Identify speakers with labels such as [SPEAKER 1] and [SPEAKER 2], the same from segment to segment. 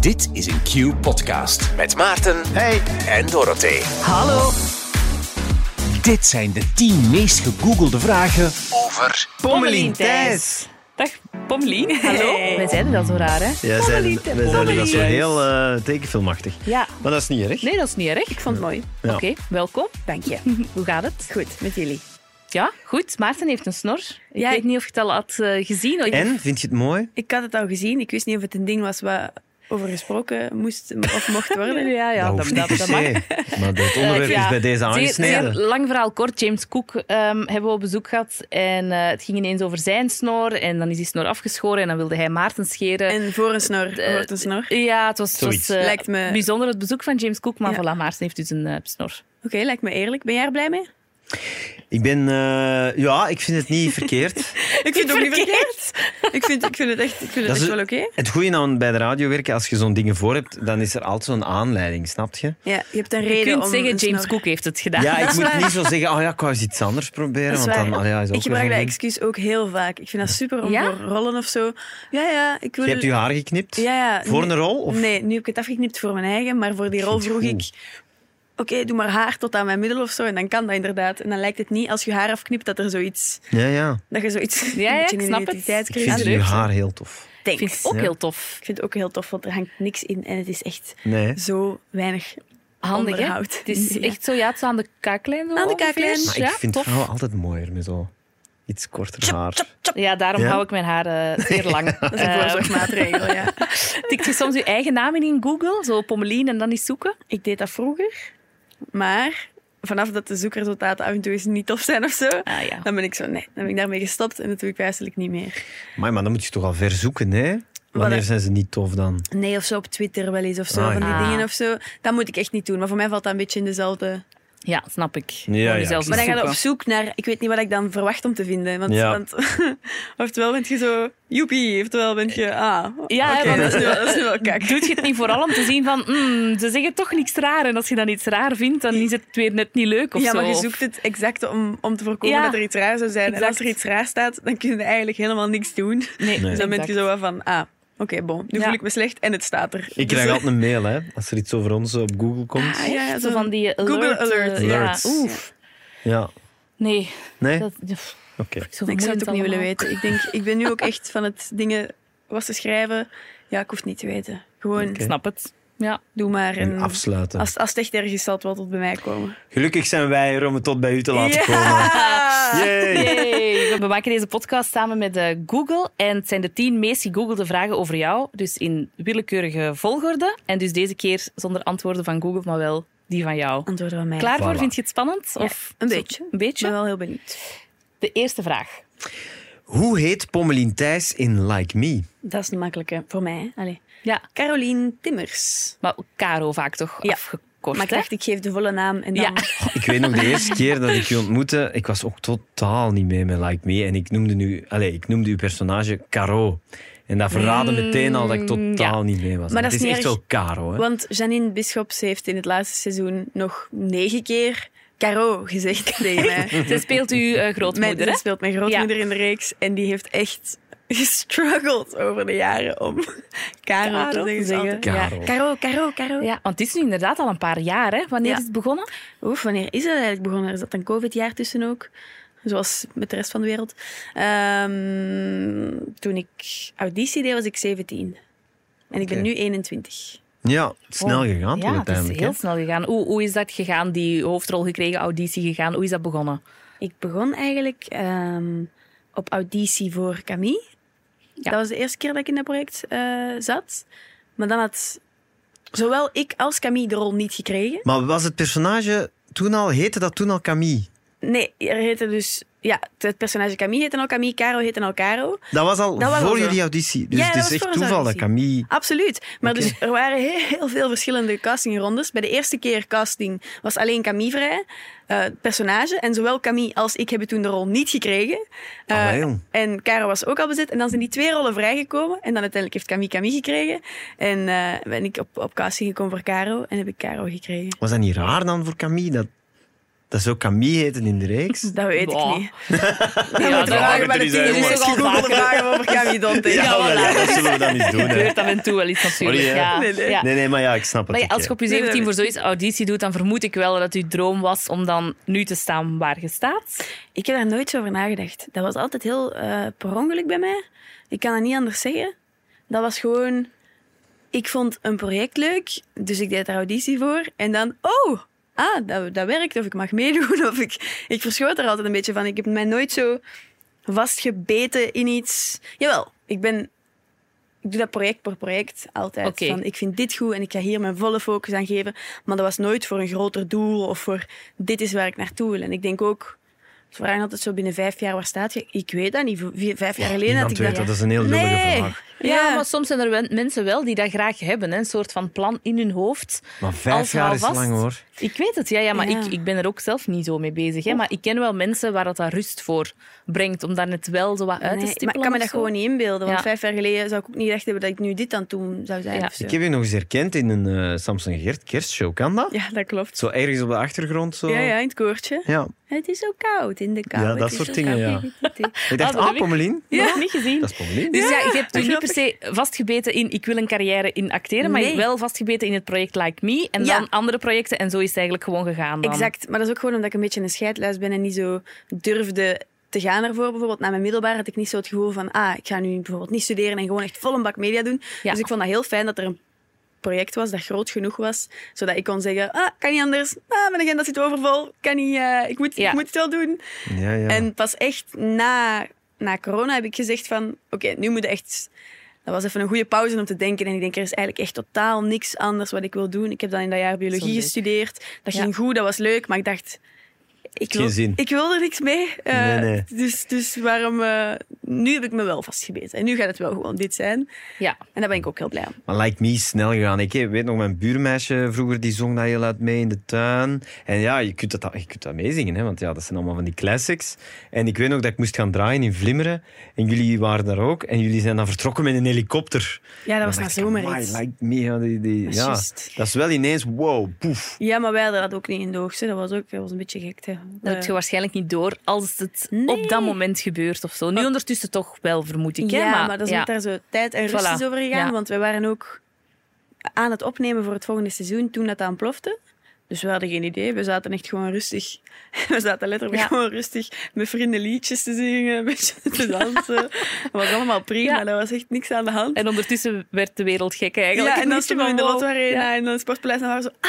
[SPEAKER 1] Dit is een Q-podcast met Maarten
[SPEAKER 2] Hey,
[SPEAKER 1] en Dorothee.
[SPEAKER 2] hallo.
[SPEAKER 1] Dit zijn de 10 meest gegoogelde vragen over...
[SPEAKER 2] Pommelien Thijs.
[SPEAKER 3] Dag Pommelien. Hallo.
[SPEAKER 4] Wij zeiden dat zo raar, hè?
[SPEAKER 2] Ja, zijn, we zijn dat zo heel eh, tekenfilmachtig.
[SPEAKER 4] Ja.
[SPEAKER 2] Maar dat is niet erg.
[SPEAKER 4] Nee, dat is niet erg.
[SPEAKER 3] Ik vond het mooi.
[SPEAKER 4] Oké, welkom.
[SPEAKER 3] Dank je.
[SPEAKER 4] Hoe gaat het?
[SPEAKER 3] Goed, met jullie.
[SPEAKER 4] Ja, goed. Maarten heeft een snor. Ik
[SPEAKER 3] Ja,
[SPEAKER 4] weet
[SPEAKER 3] ik-
[SPEAKER 4] niet of je het al had eh, gezien. Ik-
[SPEAKER 2] En, vind je het mooi?
[SPEAKER 3] Ik had het al gezien. Ik wist niet of het een ding was waar over gesproken moest of mocht worden.
[SPEAKER 4] Ja, ja,
[SPEAKER 2] dat
[SPEAKER 4] dat,
[SPEAKER 2] hoeft
[SPEAKER 4] dat,
[SPEAKER 2] niet
[SPEAKER 4] dat
[SPEAKER 2] per
[SPEAKER 4] mag.
[SPEAKER 2] se. Maar dit onderwerp
[SPEAKER 4] Eh, ja.
[SPEAKER 2] is bij deze
[SPEAKER 4] Zeer-
[SPEAKER 2] aangesneden.
[SPEAKER 4] zeer lang verhaal kort. James Cook ehm, hebben we op bezoek gehad. En eh, het ging ineens over zijn snor. En dan is die snor afgeschoren. En dan wilde hij Maarten scheren.
[SPEAKER 3] En voor een snor hoort een snor. Oké,
[SPEAKER 4] ja, het was, het was
[SPEAKER 2] Zoiets.
[SPEAKER 4] eh,
[SPEAKER 3] Lijkt me-
[SPEAKER 4] bijzonder het bezoek van James Cook. Maar
[SPEAKER 3] Ja.
[SPEAKER 4] voilà, Maarten heeft dus een eh, snor.
[SPEAKER 3] lijkt me eerlijk. Ben jij er blij mee?
[SPEAKER 2] Ik ben... eh, ja, ik vind het niet verkeerd.
[SPEAKER 3] Ik vind het ook niet verkeerd. ik, vind, ik vind het echt, ik vind het
[SPEAKER 2] is
[SPEAKER 3] echt wel oké.
[SPEAKER 2] Het goede aan bij de radio werken, als je zo'n dingen voor hebt, dan is er altijd zo'n aanleiding, snap je?
[SPEAKER 3] Ja, je hebt een
[SPEAKER 4] Je
[SPEAKER 3] reden
[SPEAKER 4] kunt
[SPEAKER 3] om
[SPEAKER 4] zeggen,
[SPEAKER 3] een
[SPEAKER 4] James
[SPEAKER 3] snor-
[SPEAKER 4] Cook heeft het gedaan.
[SPEAKER 2] Ja, ik moet
[SPEAKER 3] waar.
[SPEAKER 2] niet zo zeggen, oh ja, ik wou eens iets anders proberen.
[SPEAKER 3] Dat is
[SPEAKER 2] Want dan,
[SPEAKER 3] waar.
[SPEAKER 2] ah ja, is ook weer
[SPEAKER 3] ik gebruik
[SPEAKER 2] zo'n
[SPEAKER 3] dat
[SPEAKER 2] ding.
[SPEAKER 3] excuus ook heel vaak. Ik vind dat super om
[SPEAKER 4] Ja?
[SPEAKER 3] voor rollen of zo. Ja, ja, ik wil...
[SPEAKER 2] Je hebt je haar geknipt?
[SPEAKER 3] Ja, ja.
[SPEAKER 2] Voor
[SPEAKER 3] Nu-
[SPEAKER 2] een rol? Of?
[SPEAKER 3] Nee, nu heb ik het afgeknipt voor mijn eigen, maar voor die rol vroeg
[SPEAKER 2] goed.
[SPEAKER 3] ik... Oké, doe maar haar tot aan mijn middel of zo. En dan kan dat inderdaad. En dan lijkt het niet, als je haar afknipt, dat er zoiets...
[SPEAKER 2] Ja, ja.
[SPEAKER 3] Dat je zoiets...
[SPEAKER 4] Ja, ja, ik
[SPEAKER 3] een beetje een
[SPEAKER 4] snap het.
[SPEAKER 2] Ik
[SPEAKER 3] identiteitscrisis
[SPEAKER 2] vind
[SPEAKER 4] Ja,
[SPEAKER 2] je
[SPEAKER 4] leuk.
[SPEAKER 2] haar heel tof.
[SPEAKER 4] Ik vind het ook
[SPEAKER 2] Ja.
[SPEAKER 4] heel tof.
[SPEAKER 3] Ik vind het ook heel tof, want er hangt niks in. En het is echt
[SPEAKER 2] Nee.
[SPEAKER 3] zo weinig
[SPEAKER 4] Handig, hè?
[SPEAKER 3] onderhoud.
[SPEAKER 4] Het is
[SPEAKER 3] Ja.
[SPEAKER 4] echt zo, ja, het is aan de kaaklijn. zo
[SPEAKER 3] Aan de
[SPEAKER 4] ongeveer.
[SPEAKER 3] kaaklijn.
[SPEAKER 2] Maar
[SPEAKER 4] Ja,
[SPEAKER 2] ik vind
[SPEAKER 4] tof.
[SPEAKER 2] vrouwen altijd mooier met zo iets korter haar.
[SPEAKER 4] Ja, daarom
[SPEAKER 2] Ja?
[SPEAKER 4] hou ik mijn haar eh, zeer lang.
[SPEAKER 3] Dat is een
[SPEAKER 4] Eh,
[SPEAKER 3] voorzorgsmaatregel, ja.
[SPEAKER 4] tikt je soms je eigen naam in in Google, zo Pommelien, en dan eens zoeken?
[SPEAKER 3] Ik deed dat vroeger, maar vanaf dat de zoekresultaten af en toe eens niet tof zijn of zo,
[SPEAKER 4] Ah ja.
[SPEAKER 3] dan ben ik zo, nee, dan ben ik daarmee gestopt en dat doe ik eigenlijk niet meer.
[SPEAKER 2] Maar, maar dan moet je toch al ver zoeken, hè? Wanneer
[SPEAKER 3] Wanneer-
[SPEAKER 2] zijn ze niet tof dan?
[SPEAKER 3] Nee, of zo op Twitter wel eens of zo,
[SPEAKER 2] Ah,
[SPEAKER 3] van die
[SPEAKER 4] ja.
[SPEAKER 3] dingen of zo. Dat moet ik echt niet doen, maar voor mij valt dat een beetje in dezelfde...
[SPEAKER 4] Ja, snap ik.
[SPEAKER 2] ja,
[SPEAKER 4] Moet je zelf
[SPEAKER 2] ik
[SPEAKER 3] Maar dan ga
[SPEAKER 4] zoeken.
[SPEAKER 3] je op zoek naar, ik weet niet wat ik dan verwacht om te vinden, want,
[SPEAKER 2] Ja.
[SPEAKER 3] want oftewel ben je zo, joepie, oftewel ben je, ah,
[SPEAKER 4] Ja,
[SPEAKER 3] oké,
[SPEAKER 4] want-
[SPEAKER 3] dat, is nu wel, dat is nu wel kak.
[SPEAKER 4] Doet je het niet vooral om te zien van, mm, ze zeggen toch niks raar. En als je dan iets raar vindt, dan is het weer net niet leuk of
[SPEAKER 3] ja,
[SPEAKER 4] zo.
[SPEAKER 3] maar je
[SPEAKER 4] Of-
[SPEAKER 3] zoekt het exact om, om te voorkomen
[SPEAKER 4] Ja.
[SPEAKER 3] dat er iets raar zou zijn. En
[SPEAKER 4] Exact.
[SPEAKER 3] als er iets raar staat, dan kun je eigenlijk helemaal niks doen.
[SPEAKER 4] Nee,
[SPEAKER 2] Nee.
[SPEAKER 3] Dus dan ben je
[SPEAKER 4] exact.
[SPEAKER 3] zo wel van, ah, oké, bon. Nu
[SPEAKER 4] Ja.
[SPEAKER 3] voel ik me slecht en het staat er. Dus-
[SPEAKER 2] Ik krijg altijd een mail, hè? Als er iets over ons op Google komt.
[SPEAKER 3] Ah, ja, ja,
[SPEAKER 4] Zo
[SPEAKER 3] zo
[SPEAKER 4] van die alert,
[SPEAKER 3] Google
[SPEAKER 4] eh,
[SPEAKER 3] alert.
[SPEAKER 4] ja,
[SPEAKER 2] Alerts.
[SPEAKER 4] oef.
[SPEAKER 2] Ja.
[SPEAKER 4] Nee.
[SPEAKER 2] Nee?
[SPEAKER 4] Dat, pff,
[SPEAKER 2] Oké.
[SPEAKER 4] zo
[SPEAKER 3] Ik zou het ook niet
[SPEAKER 4] vermoeiend
[SPEAKER 3] willen
[SPEAKER 4] allemaal.
[SPEAKER 3] weten. Ik denk, ik ben nu ook echt van het dingen was te schrijven. Ja, ik hoef het niet te weten. Gewoon,
[SPEAKER 2] Oké.
[SPEAKER 4] Ik snap het. Ja.
[SPEAKER 3] doe maar.
[SPEAKER 2] En
[SPEAKER 3] En als,
[SPEAKER 2] afsluiten.
[SPEAKER 3] als het echt erg is, zal het wel tot bij mij komen.
[SPEAKER 2] Gelukkig zijn wij er om het tot bij u te laten komen. Yay!
[SPEAKER 4] Yay. We maken deze podcast samen met eh, Google. En het zijn de tien meest gegoogelde vragen over jou. Dus in willekeurige volgorde. En dus deze keer zonder antwoorden van Google, maar wel die van jou.
[SPEAKER 3] Antwoorden van mij.
[SPEAKER 4] Klaar voor?
[SPEAKER 2] Voilà.
[SPEAKER 4] Vind je het spannend? Of
[SPEAKER 3] een
[SPEAKER 4] zo-
[SPEAKER 3] beetje.
[SPEAKER 4] Een
[SPEAKER 3] Ik ben
[SPEAKER 4] beetje?
[SPEAKER 3] wel heel benieuwd.
[SPEAKER 4] De eerste vraag.
[SPEAKER 2] Hoe heet Pommelien Thijs in Like Me?
[SPEAKER 3] Dat is een makkelijke voor mij. hè. Allee.
[SPEAKER 4] Ja,
[SPEAKER 3] Caroline Timmers.
[SPEAKER 4] maar Caro vaak toch
[SPEAKER 3] Ja.
[SPEAKER 4] afgekort,
[SPEAKER 3] Maar ik
[SPEAKER 4] hè?
[SPEAKER 3] dacht, ik geef de volle naam en dan...
[SPEAKER 4] Ja.
[SPEAKER 2] Ik weet nog de eerste keer dat ik u ontmoette, ik was ook totaal niet mee met Like Me. En ik noemde, nu, allez, ik noemde uw personage Caro. En dat verraadde meteen al dat ik totaal niet mee was.
[SPEAKER 3] Maar
[SPEAKER 2] het
[SPEAKER 3] dat
[SPEAKER 2] is
[SPEAKER 3] is niet
[SPEAKER 2] echt
[SPEAKER 3] erg.
[SPEAKER 2] wel Caro. Hè?
[SPEAKER 3] Want Janine Bischops heeft in het laatste seizoen nog negen keer Caro gezegd tegen mij.
[SPEAKER 4] Ze speelt uw eh,
[SPEAKER 3] Mijn,
[SPEAKER 4] grootmoeder,
[SPEAKER 3] dat
[SPEAKER 4] hè?
[SPEAKER 3] speelt mijn grootmoeder in de reeks en die heeft echt gestruggeld over de jaren om Caro,
[SPEAKER 4] Caro
[SPEAKER 3] te
[SPEAKER 4] te
[SPEAKER 3] zeggen.
[SPEAKER 4] zeggen.
[SPEAKER 2] Caro.
[SPEAKER 3] Caro, Caro, Caro.
[SPEAKER 4] Oh. Ja, want het is nu inderdaad al een paar jaar, hè? Wanneer
[SPEAKER 3] Ja.
[SPEAKER 4] is het begonnen?
[SPEAKER 3] Oef, wanneer is dat eigenlijk begonnen? Er zat een COVID-jaar tussen ook. Zoals met de rest van de wereld. Ehm, toen ik auditie deed, was ik 17. En ik ben
[SPEAKER 2] Oké.
[SPEAKER 3] nu 21.
[SPEAKER 2] Ja, snel gegaan toch
[SPEAKER 4] Oh, Ja, het is
[SPEAKER 2] uiteindelijk. hè?
[SPEAKER 4] heel snel gegaan. Hoe, hoe is dat gegaan, die hoofdrol gekregen, auditie gegaan? Hoe is dat begonnen?
[SPEAKER 3] Ik begon eigenlijk ehm, op auditie voor Camille. Dat was de eerste keer dat ik in dat project eh, zat. Maar dan had zowel ik als Camille de rol niet gekregen.
[SPEAKER 2] Maar was het personage toen al, heette dat toen al Camille?
[SPEAKER 3] Nee, er heette dus... Ja, het personage Camille heette al Camille, Caro heette al Caro.
[SPEAKER 2] Dat was al
[SPEAKER 3] Dat was
[SPEAKER 2] voor
[SPEAKER 3] al zo.
[SPEAKER 2] jullie auditie. Dus
[SPEAKER 3] Ja,
[SPEAKER 2] het
[SPEAKER 3] dat
[SPEAKER 2] is
[SPEAKER 3] was
[SPEAKER 2] echt
[SPEAKER 3] voor onze
[SPEAKER 2] toeval dat
[SPEAKER 3] auditie.
[SPEAKER 2] Camille...
[SPEAKER 3] Absoluut. Maar dus er waren heel, heel veel verschillende castingrondes. Bij de eerste keer casting was alleen Camille vrij, eh, het personage. En zowel Camille als ik hebben toen de rol niet gekregen. Eh,
[SPEAKER 2] Allee, jong.
[SPEAKER 3] en Caro was ook al bezet. En dan zijn die twee rollen vrijgekomen. En dan uiteindelijk heeft Camille Camille gekregen. En eh, ben ik op, op casting gekomen voor Caro. En heb ik Caro gekregen.
[SPEAKER 2] Was dat niet raar dan voor Camille? Dat, Dat zou Camille heten in de reeks.
[SPEAKER 3] Dat weet
[SPEAKER 4] Bah.
[SPEAKER 3] ik niet.
[SPEAKER 4] Ja,
[SPEAKER 3] moet
[SPEAKER 4] dat-
[SPEAKER 2] vragen bij
[SPEAKER 3] vragen
[SPEAKER 2] de
[SPEAKER 3] bij de
[SPEAKER 2] is team.
[SPEAKER 4] Dus
[SPEAKER 3] team.
[SPEAKER 4] ook al
[SPEAKER 3] Google
[SPEAKER 4] vaker.
[SPEAKER 3] vragen over Gami Dante.
[SPEAKER 4] Ja,
[SPEAKER 2] wel,
[SPEAKER 4] voilà.
[SPEAKER 2] dat zullen we dan niet doen. hè.
[SPEAKER 4] gebeurt af en toe wel iets natuurlijk.
[SPEAKER 2] Sorry, hè?
[SPEAKER 4] ja.
[SPEAKER 3] Nee, nee.
[SPEAKER 4] Ja.
[SPEAKER 2] Nee, nee, maar ja, ik eh, snap het.
[SPEAKER 4] Maar ja,
[SPEAKER 2] oké.
[SPEAKER 4] als je op je
[SPEAKER 3] Nee,
[SPEAKER 4] 17
[SPEAKER 3] nee.
[SPEAKER 4] voor zoiets auditie doet, dan vermoed ik wel dat het uw droom was om dan nu te staan waar je staat.
[SPEAKER 3] Ik heb daar nooit zo over nagedacht. Dat was altijd heel eh, per ongeluk bij mij. Ik kan het niet anders zeggen. Dat was gewoon... Ik vond een project leuk, dus ik deed daar auditie voor. En dan, oh, ah, dat, dat werkt, of ik mag meedoen. Of ik, ik verschoot er altijd een beetje van. Ik heb mij nooit zo vastgebeten in iets. Jawel, ik ben... Ik doe dat project per project altijd.
[SPEAKER 4] Oké.
[SPEAKER 3] Van, ik vind dit goed en ik ga hier mijn volle focus aan geven. Maar dat was nooit voor een groter doel of voor dit is waar ik naartoe wil. En ik denk ook, ze vragen altijd zo binnen vijf jaar waar staat je. Ik weet dat niet. Vier- vijf jaar geleden had
[SPEAKER 2] Niemand
[SPEAKER 3] ik
[SPEAKER 2] weet, dat is een heel lullige
[SPEAKER 3] Nee.
[SPEAKER 2] vraag.
[SPEAKER 3] Ja.
[SPEAKER 4] maar soms zijn er wel mensen wel die dat graag hebben. Hè? Een soort van plan in hun hoofd.
[SPEAKER 2] Maar vijf
[SPEAKER 4] Als we
[SPEAKER 2] jaar
[SPEAKER 4] al
[SPEAKER 2] is
[SPEAKER 4] vast-
[SPEAKER 2] lang hoor.
[SPEAKER 4] Ik weet het, ja, ja maar
[SPEAKER 3] Ja.
[SPEAKER 4] Ik, ik ben er ook zelf niet zo mee bezig. Hè? Maar ik ken wel mensen waar dat, dat rust voor brengt, om daar net wel zo wat uit te
[SPEAKER 3] Nee,
[SPEAKER 4] stippelen.
[SPEAKER 3] maar ik kan me
[SPEAKER 4] of
[SPEAKER 3] dat
[SPEAKER 4] zo.
[SPEAKER 3] gewoon niet inbeelden. Want
[SPEAKER 4] Ja.
[SPEAKER 3] vijf jaar geleden zou ik ook niet echt hebben dat ik nu dit aan het doen zou zijn. Dus, eh,
[SPEAKER 4] Ja.
[SPEAKER 3] of zo.
[SPEAKER 2] Ik heb je nog eens herkend in een eh, Samson Gert kerstshow, kan dat?
[SPEAKER 3] Ja, dat klopt.
[SPEAKER 2] Zo ergens op de achtergrond. Zo.
[SPEAKER 3] Ja, ja, in het koortje.
[SPEAKER 2] Ja.
[SPEAKER 3] Het is zo koud in de kou.
[SPEAKER 2] Ja,
[SPEAKER 3] Het
[SPEAKER 2] dat
[SPEAKER 3] is
[SPEAKER 2] soort
[SPEAKER 3] zo
[SPEAKER 2] dingen,
[SPEAKER 3] koud.
[SPEAKER 2] Ik dacht,
[SPEAKER 4] Ah, dat
[SPEAKER 2] ah,
[SPEAKER 4] heb ik-
[SPEAKER 2] Pommelien.
[SPEAKER 4] Nog niet gezien.
[SPEAKER 2] Dat is Pommelien.
[SPEAKER 4] Dus ja, je hebt toch niet
[SPEAKER 3] dat
[SPEAKER 4] per
[SPEAKER 3] snap
[SPEAKER 4] se vastgebeten in ik wil een carrière in acteren, maar je hebt
[SPEAKER 3] Nee.
[SPEAKER 4] wel vastgebeten in het project Like Me en
[SPEAKER 3] Ja.
[SPEAKER 4] dan andere projecten en zo is het eigenlijk gewoon gegaan dan.
[SPEAKER 3] Exact. Maar dat is ook gewoon omdat ik een beetje een scheidluis ben en niet zo durfde te gaan ervoor. Bijvoorbeeld na mijn middelbaar had ik niet zo het gevoel van... Ah, ik ga nu bijvoorbeeld niet studeren en gewoon echt vol een bak media doen.
[SPEAKER 4] Ja.
[SPEAKER 3] Dus ik vond dat heel fijn dat er een project was dat groot genoeg was, zodat ik kon zeggen, ah, kan niet anders, ah, mijn agenda zit overvol, kan niet, eh, ik, moet,
[SPEAKER 4] Ja.
[SPEAKER 3] ik moet het wel doen.
[SPEAKER 2] Ja, ja.
[SPEAKER 3] En pas echt na, na corona heb ik gezegd van... Oké, nu moet je echt... Dat was even een goede pauze om te denken. En ik denk, er is eigenlijk echt totaal niks anders wat ik wil doen. Ik heb dan in dat jaar biologie
[SPEAKER 4] Zo leuk.
[SPEAKER 3] gestudeerd. Dat
[SPEAKER 4] Ja.
[SPEAKER 3] ging goed, dat was leuk. Maar ik dacht... Ik
[SPEAKER 2] Geen
[SPEAKER 3] wil,
[SPEAKER 2] zin.
[SPEAKER 3] ik wil er niks mee. Eh,
[SPEAKER 2] Nee, nee.
[SPEAKER 3] Dus, dus waarom... eh, nu heb ik me wel vastgebeten. En nu gaat het wel gewoon dit zijn.
[SPEAKER 4] Ja.
[SPEAKER 3] En daar ben ik ook heel blij om.
[SPEAKER 2] Maar like me is snel gegaan. Ik eh, weet nog, mijn buurmeisje vroeger die zong dat heel uit mee in de tuin. En ja, je kunt dat, je kunt dat meezingen, hè, want ja, dat zijn allemaal van die classics. En ik weet nog dat ik moest gaan draaien in Vlimmeren. En jullie waren daar ook. En jullie zijn dan vertrokken met een helikopter.
[SPEAKER 3] Ja, dat was
[SPEAKER 2] Dan
[SPEAKER 3] na
[SPEAKER 2] dacht ik,
[SPEAKER 3] zomerrit.
[SPEAKER 2] "Amai, like me. Ja, die, die,
[SPEAKER 3] is
[SPEAKER 2] ja.
[SPEAKER 3] juist.
[SPEAKER 2] dat is wel ineens, wow, poef.
[SPEAKER 3] Ja, maar wij hadden dat ook niet in de hoogte. Dat was ook dat was een beetje gek. Hè. Eh,
[SPEAKER 4] Dat heb je waarschijnlijk niet door als het
[SPEAKER 3] Nee. Oh.
[SPEAKER 4] op dat moment gebeurt of zo. Nu ondertussen toch wel, vermoed ik. hè,
[SPEAKER 3] ja, maar, dat is
[SPEAKER 4] ja.
[SPEAKER 3] omdat daar zo tijd en rust
[SPEAKER 4] Voilà.
[SPEAKER 3] is over gegaan.
[SPEAKER 4] Ja.
[SPEAKER 3] Want we waren ook aan het opnemen voor het volgende seizoen toen dat aanplofte. Dus we hadden geen idee. We zaten echt gewoon rustig. We zaten letterlijk
[SPEAKER 4] Ja.
[SPEAKER 3] gewoon rustig met vrienden liedjes te zingen, een beetje te dansen. Dat was allemaal prima.
[SPEAKER 4] Ja.
[SPEAKER 3] Er was echt niks aan de hand.
[SPEAKER 4] En ondertussen werd de wereld gek eigenlijk.
[SPEAKER 3] ja, en dan
[SPEAKER 4] Niet zo
[SPEAKER 3] stonden we in de
[SPEAKER 4] van,
[SPEAKER 3] Lotto
[SPEAKER 4] wow.
[SPEAKER 3] Arena en dan het Sportpaleis. En dan waren we zo,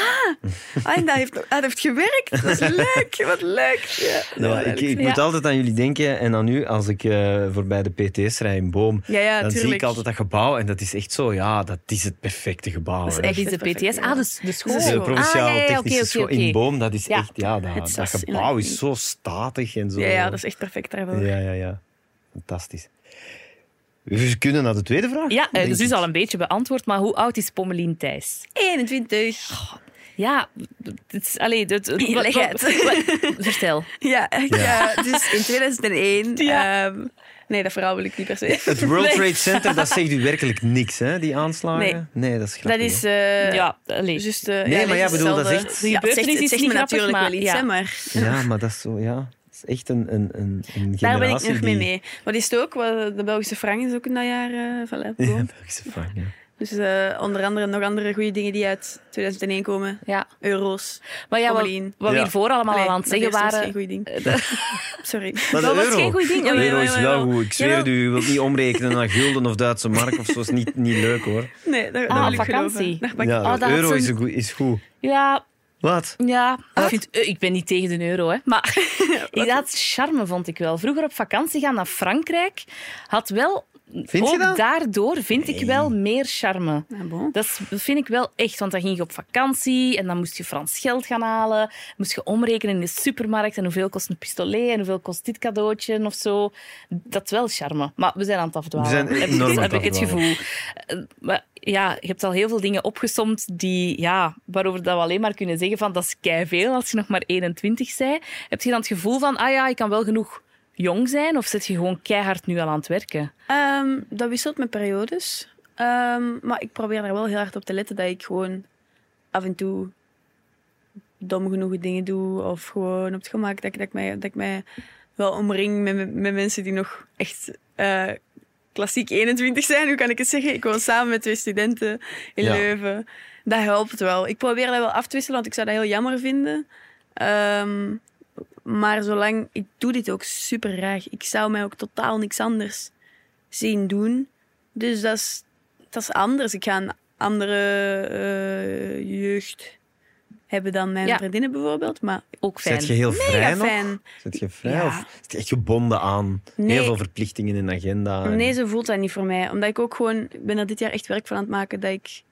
[SPEAKER 3] ah, ah, en dat heeft, ah, dat heeft gewerkt. Dat is leuk, wat leuk. Ja,
[SPEAKER 2] Nou, ik ik moet
[SPEAKER 4] Ja.
[SPEAKER 2] altijd aan jullie denken. En aan u, als ik eh, voorbij de PT's rij in Boom.
[SPEAKER 3] Ja, ja,
[SPEAKER 2] dan zie
[SPEAKER 3] tuurlijk.
[SPEAKER 2] ik altijd dat gebouw. En dat is echt zo, ja, dat is het perfecte gebouw.
[SPEAKER 3] Dat is
[SPEAKER 2] hè.
[SPEAKER 4] Dit is de
[SPEAKER 3] Perfect,
[SPEAKER 4] PTS.
[SPEAKER 3] ja.
[SPEAKER 4] Ah, dus de school.
[SPEAKER 3] Dus
[SPEAKER 2] De
[SPEAKER 3] de
[SPEAKER 2] provinciaal
[SPEAKER 4] ah, ja, ja, ja,
[SPEAKER 2] technische
[SPEAKER 4] oké, oké,
[SPEAKER 2] school
[SPEAKER 4] oké.
[SPEAKER 2] in Boom, dat is
[SPEAKER 4] Ja.
[SPEAKER 2] echt, ja, dat,
[SPEAKER 3] Het
[SPEAKER 2] dat
[SPEAKER 3] zas in
[SPEAKER 2] gebouw
[SPEAKER 3] Leiden.
[SPEAKER 2] is zo statig en zo.
[SPEAKER 3] Ja, ja, dat is echt perfect daarvoor.
[SPEAKER 2] ja, ja, ja. Fantastisch. We kunnen naar de tweede vraag.
[SPEAKER 4] Ja, eh,
[SPEAKER 2] denk
[SPEAKER 4] dus u
[SPEAKER 2] ik.
[SPEAKER 4] is al een beetje beantwoord, maar hoe oud is Pommelien Thijs?
[SPEAKER 3] 21.
[SPEAKER 4] Ja, het is, allee, het, het,
[SPEAKER 3] Leg uit.
[SPEAKER 4] wat- vertel.
[SPEAKER 3] Ja, ja. dus in 2001.
[SPEAKER 4] Ja.
[SPEAKER 3] ehm, nee, dat verhaal wil ik niet per se.
[SPEAKER 2] Het World
[SPEAKER 4] Nee.
[SPEAKER 2] Trade Center, dat zegt u werkelijk niks, hè, die aanslagen? Nee, dat is
[SPEAKER 3] Dat
[SPEAKER 2] grappig.
[SPEAKER 3] is.
[SPEAKER 2] hè.
[SPEAKER 3] eh
[SPEAKER 4] Ja, allee.
[SPEAKER 3] Just,
[SPEAKER 2] Nee, maar ja, bedoel, dat is echt-
[SPEAKER 4] Die
[SPEAKER 3] ja, het zegt,
[SPEAKER 4] gebeurtenis
[SPEAKER 3] het
[SPEAKER 4] is
[SPEAKER 3] zegt
[SPEAKER 4] niet
[SPEAKER 3] me
[SPEAKER 4] grappig,
[SPEAKER 3] natuurlijk wel
[SPEAKER 4] maar
[SPEAKER 3] iets,
[SPEAKER 4] ja.
[SPEAKER 3] hè, maar
[SPEAKER 2] Ja, maar dat is zo, ja. Dat is echt een, een, een, een
[SPEAKER 3] daar ben ik
[SPEAKER 2] generatie
[SPEAKER 3] nog mee
[SPEAKER 2] die-
[SPEAKER 3] mee. Maar die is het ook, wel, de Belgische frank is ook in dat jaar eh van Leeuwen.
[SPEAKER 2] Ja, Belgische vraag, ja.
[SPEAKER 3] Dus eh, onder andere nog andere goede dingen die uit 2001 komen.
[SPEAKER 4] Ja.
[SPEAKER 3] Euro's.
[SPEAKER 4] Maar ja, wat,
[SPEAKER 3] Pommelien.
[SPEAKER 4] wat we
[SPEAKER 2] Ja.
[SPEAKER 4] hiervoor allemaal
[SPEAKER 3] Allee,
[SPEAKER 4] al aan het
[SPEAKER 3] dat
[SPEAKER 4] zeggen
[SPEAKER 3] eerste was geen
[SPEAKER 4] waren...
[SPEAKER 3] goeie ding. Sorry.
[SPEAKER 2] Maar de
[SPEAKER 4] eh, Dat was
[SPEAKER 2] euro.
[SPEAKER 4] geen goed ding.
[SPEAKER 2] De
[SPEAKER 4] Jawel,
[SPEAKER 2] euro is
[SPEAKER 3] jawel,
[SPEAKER 2] wel
[SPEAKER 3] jawel.
[SPEAKER 2] goed. Ik zweer
[SPEAKER 3] Jawel.
[SPEAKER 2] het u, je wilt niet omrekenen naar gulden of Duitse mark of zo. is niet, niet leuk, hoor.
[SPEAKER 3] Nee, daar,
[SPEAKER 4] Ah,
[SPEAKER 3] daar wil ik
[SPEAKER 4] vakantie.
[SPEAKER 3] geloven. Daar pak ik-
[SPEAKER 2] Ja,
[SPEAKER 4] Oh, dat
[SPEAKER 2] euro
[SPEAKER 4] had
[SPEAKER 2] is
[SPEAKER 4] zo'n-
[SPEAKER 2] goed- is goed.
[SPEAKER 4] Ja,
[SPEAKER 2] Wat?
[SPEAKER 4] ja. Ik, vind, eh, ik ben niet tegen de euro, hè. Maar ik dat charme vond ik wel. Vroeger op vakantie gaan naar Frankrijk had wel...
[SPEAKER 2] Vind
[SPEAKER 4] ook
[SPEAKER 2] je dat?
[SPEAKER 4] daardoor vind ik wel meer charme.
[SPEAKER 3] Ah, bon.
[SPEAKER 4] Dat is- dat vind ik wel echt, want dan ging je op vakantie en dan moest je Frans geld gaan halen. Moest je omrekenen in de supermarkt en hoeveel kost een pistolet en hoeveel kost dit cadeautje of zo. Dat is wel charme. Maar we zijn aan het afdwalen.
[SPEAKER 2] We zijn
[SPEAKER 4] heb, ik-
[SPEAKER 2] enorm aan het
[SPEAKER 4] heb ik het gevoel.
[SPEAKER 2] afdwalen.
[SPEAKER 4] Eh, maar ja, je hebt al heel veel dingen opgesomd die, ja, waarover dat we alleen maar kunnen zeggen van dat is veel als je nog maar 21 bent. Heb je dan het gevoel van, ah ja, ik kan wel genoeg jong zijn of zit je gewoon keihard nu al aan het werken?
[SPEAKER 3] Ehm, dat wisselt met periodes. Ehm, maar ik probeer daar wel heel hard op te letten dat ik gewoon af en toe dom genoeg dingen doe. Of gewoon op het gemak dat ik, dat ik, mij, dat ik mij wel omring met, met- met mensen die nog echt eh, klassiek 21 zijn. Hoe kan ik het zeggen? Ik woon samen met twee studenten in
[SPEAKER 2] Ja.
[SPEAKER 3] Leuven. Dat helpt wel. Ik probeer dat wel af te wisselen, want ik zou dat heel jammer vinden. Ehm, maar zolang... Ik doe dit ook super graag. Ik zou mij ook totaal niks anders zien doen. Dus dat is, dat is anders. Ik ga een andere eh, jeugd hebben dan mijn
[SPEAKER 4] Ja.
[SPEAKER 3] vriendinnen bijvoorbeeld. Maar
[SPEAKER 4] Ook fijn.
[SPEAKER 2] Zet je heel vrij
[SPEAKER 3] mega
[SPEAKER 2] nog?
[SPEAKER 3] fijn.
[SPEAKER 2] Zit je vrij
[SPEAKER 3] Ja.
[SPEAKER 2] of zit je echt gebonden aan
[SPEAKER 3] Nee.
[SPEAKER 2] heel veel verplichtingen in agenda? en-
[SPEAKER 3] Nee, zo voelt dat niet voor mij. Omdat ik ook gewoon... Ik ben er dit jaar echt werk van aan het maken dat ik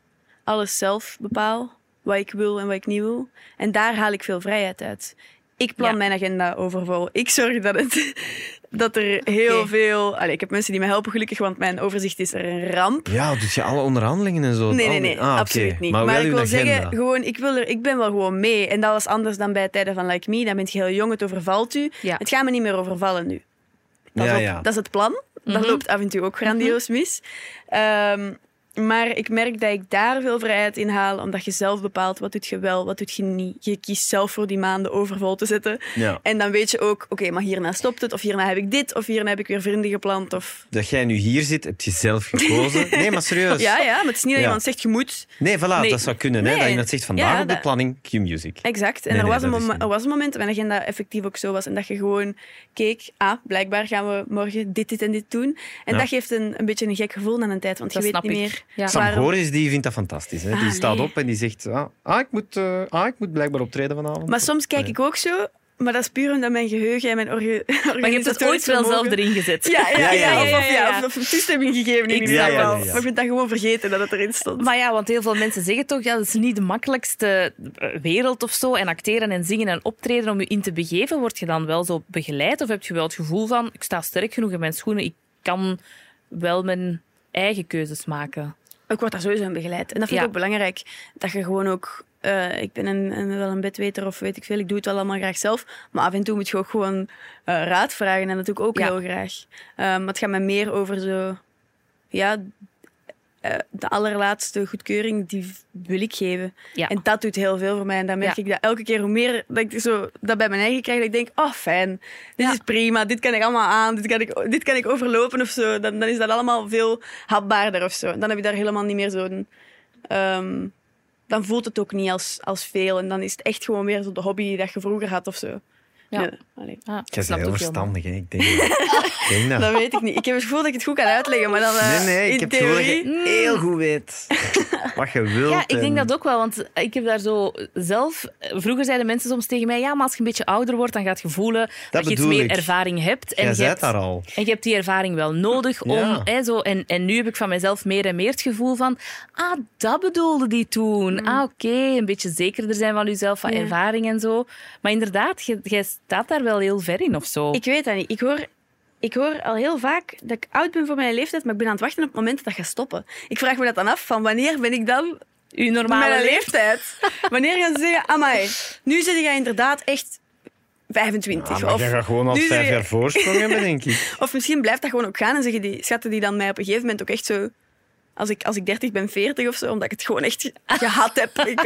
[SPEAKER 3] alles zelf bepaal. Wat ik wil en wat ik niet wil. En daar haal ik veel vrijheid uit. Ik plan
[SPEAKER 4] Ja.
[SPEAKER 3] mijn agenda overvol. Ik zorg dat, het, dat er heel
[SPEAKER 4] Oké.
[SPEAKER 3] veel... Allee, ik heb mensen die me helpen gelukkig, want mijn overzicht is er een ramp.
[SPEAKER 2] Ja, doet je alle onderhandelingen en zo?
[SPEAKER 3] Nee,
[SPEAKER 2] Al die-
[SPEAKER 3] nee, nee,
[SPEAKER 2] Ah, oké.
[SPEAKER 3] absoluut niet.
[SPEAKER 2] Maar, wel
[SPEAKER 3] ik
[SPEAKER 2] uw
[SPEAKER 3] wil
[SPEAKER 2] agenda.
[SPEAKER 3] zeggen, gewoon, ik, wil er, ik ben wel gewoon mee. En dat was anders dan bij tijden van Like Me. Dan bent je heel jong, het overvalt u.
[SPEAKER 4] Ja.
[SPEAKER 3] Het gaat me niet meer overvallen nu. Pas
[SPEAKER 2] ja,
[SPEAKER 3] op,
[SPEAKER 2] ja.
[SPEAKER 3] Dat is het plan. Dat
[SPEAKER 4] Mhm.
[SPEAKER 3] loopt af en toe ook grandioos mis. Ehm, maar ik merk dat ik daar veel vrijheid in haal, omdat je zelf bepaalt wat doet je wel, wat doet je niet. Je kiest zelf voor die maanden overvol te zetten.
[SPEAKER 2] Ja.
[SPEAKER 3] En dan weet je ook, oké, maar hierna stopt het, of hierna heb ik dit, of hierna heb ik weer vrienden geplant. Of...
[SPEAKER 2] Dat jij nu hier zit, heb je zelf gekozen. Nee, maar serieus.
[SPEAKER 3] Ja, ja, maar het is niet dat
[SPEAKER 2] Ja.
[SPEAKER 3] iemand zegt, je moet.
[SPEAKER 2] Nee, voilà,
[SPEAKER 4] Nee.
[SPEAKER 2] dat zou kunnen. Hè?
[SPEAKER 3] Nee.
[SPEAKER 2] Dat iemand zegt, vandaag
[SPEAKER 3] Ja,
[SPEAKER 2] op de
[SPEAKER 3] dat-
[SPEAKER 2] planning, Q-music.
[SPEAKER 3] Exact. En
[SPEAKER 2] Nee,
[SPEAKER 3] er,
[SPEAKER 2] nee,
[SPEAKER 3] was een
[SPEAKER 2] dat is
[SPEAKER 3] mom-
[SPEAKER 2] niet.
[SPEAKER 3] er was een moment dat mijn agenda effectief ook zo was. En dat je gewoon keek, ah, blijkbaar gaan we morgen dit, dit en dit doen. En
[SPEAKER 2] Ja.
[SPEAKER 3] dat geeft een, een beetje een gek gevoel aan een tijd, want
[SPEAKER 4] Dat
[SPEAKER 3] je weet
[SPEAKER 4] snap
[SPEAKER 3] niet
[SPEAKER 4] ik.
[SPEAKER 3] meer
[SPEAKER 4] Ja.
[SPEAKER 2] Sam
[SPEAKER 3] waarom-
[SPEAKER 2] Goris, die vindt dat fantastisch. Hè? Die
[SPEAKER 3] Ah,
[SPEAKER 2] staat
[SPEAKER 3] nee.
[SPEAKER 2] op en die zegt, ah, ah, ik, moet, eh, ah ik moet blijkbaar optreden vanavond.
[SPEAKER 3] Maar soms kijk ik ook zo, maar dat is puur omdat mijn geheugen en mijn orga
[SPEAKER 4] Maar je hebt het ooit wel zelf erin gezet.
[SPEAKER 3] Ja, ja, ja,
[SPEAKER 2] Ja, ja,
[SPEAKER 3] of-
[SPEAKER 4] ja,
[SPEAKER 3] of-
[SPEAKER 4] ja,
[SPEAKER 3] ja,
[SPEAKER 4] ja.
[SPEAKER 3] Of, of toestemming gegeven in
[SPEAKER 4] Ik
[SPEAKER 3] ieder
[SPEAKER 2] snap
[SPEAKER 3] geval.
[SPEAKER 2] het. Ja, ja, ja.
[SPEAKER 3] Maar ik ben dat gewoon vergeten dat het erin stond.
[SPEAKER 4] Maar ja, want heel veel mensen zeggen toch, ja, dat is niet de makkelijkste eh, wereld of zo. En acteren en zingen en optreden om je in te begeven, word je dan wel zo begeleid? Of heb je wel het gevoel van, ik sta sterk genoeg in mijn schoenen, ik kan wel mijn eigen keuzes maken?
[SPEAKER 3] ik word daar sowieso in begeleid. En dat vind ik
[SPEAKER 4] Ja.
[SPEAKER 3] ook belangrijk. Dat je gewoon ook... eh, ik ben een, een- wel een bedweter of weet ik veel. Ik doe het wel allemaal graag zelf. Maar af en toe moet je ook gewoon eh, raad vragen. En dat doe ik ook
[SPEAKER 4] Ja.
[SPEAKER 3] heel graag. Eh, maar het gaat mij meer over zo... Ja, eh, de allerlaatste goedkeuring, die wil ik geven.
[SPEAKER 4] Ja.
[SPEAKER 3] En dat doet heel veel voor mij. En dan merk
[SPEAKER 4] Ja.
[SPEAKER 3] ik dat elke keer hoe meer dat ik zo dat bij mijn eigen krijg, dat ik denk, oh fijn, dit
[SPEAKER 4] Ja.
[SPEAKER 3] is prima, dit kan ik allemaal aan, dit kan ik, dit kan ik overlopen of zo. Dan, dan is dat allemaal veel hapbaarder of zo. Dan heb je daar helemaal niet meer zo'n... ehm, dan voelt het ook niet als, als veel. En dan is het echt gewoon weer zo de hobby dat je vroeger had of zo.
[SPEAKER 4] Ja.
[SPEAKER 3] allee.
[SPEAKER 4] Ah, ik
[SPEAKER 2] Jij bent heel
[SPEAKER 4] snap het ook helemaal.
[SPEAKER 2] verstandig, hè? ik denk dat. ik denk dat.
[SPEAKER 3] Dat weet ik niet. Ik heb het gevoel dat ik het goed kan uitleggen, maar dan
[SPEAKER 2] Nee,
[SPEAKER 3] eh,
[SPEAKER 2] nee, ik
[SPEAKER 3] in
[SPEAKER 2] heb het gevoel dat
[SPEAKER 3] theorie... Mm.
[SPEAKER 2] je heel goed weet wat je wilt.
[SPEAKER 4] Ja, ik denk
[SPEAKER 2] en-
[SPEAKER 4] dat ook wel, want ik heb daar zo zelf... Vroeger zeiden mensen soms tegen mij, ja, maar als je een beetje ouder wordt, dan gaat je voelen dat, je iets
[SPEAKER 2] bedoel
[SPEAKER 4] meer
[SPEAKER 2] ik.
[SPEAKER 4] ervaring hebt.
[SPEAKER 2] Jij
[SPEAKER 4] je
[SPEAKER 2] zei
[SPEAKER 4] hebt-
[SPEAKER 2] daar al.
[SPEAKER 4] En je hebt die ervaring wel nodig om...
[SPEAKER 2] Ja.
[SPEAKER 4] Hè, zo, en, en nu heb ik van mezelf meer en meer het gevoel van... Ah, dat bedoelde die toen. Ah, oké. een beetje zekerder zijn van jezelf, van
[SPEAKER 3] Mm. Ja.
[SPEAKER 4] ervaring en zo. Maar inderdaad, jij- jij staat daar wel heel ver in of zo.
[SPEAKER 3] Ik weet dat niet. Ik hoor, ik hoor al heel vaak dat ik oud ben voor mijn leeftijd, maar ik ben aan het wachten op het moment dat dat gaat stoppen. Ik vraag me dat dan af, van wanneer ben ik dan
[SPEAKER 4] Uw
[SPEAKER 3] mijn
[SPEAKER 4] normale leeftijd.
[SPEAKER 3] leeftijd? Wanneer gaan ze zeggen, amai, nu zit jij inderdaad echt 25.
[SPEAKER 2] Ah, maar
[SPEAKER 3] of,
[SPEAKER 2] jij gaat gewoon al
[SPEAKER 3] nu zeg
[SPEAKER 2] vijf
[SPEAKER 3] je-
[SPEAKER 2] jaar voorsprong hebben, denk ik.
[SPEAKER 3] of misschien blijft dat gewoon ook gaan en zeggen die, schatten die dan mij op een gegeven moment ook echt zo... Als ik, als ik 30 ben, 40 of zo, omdat ik het gewoon echt gehad heb. Ik,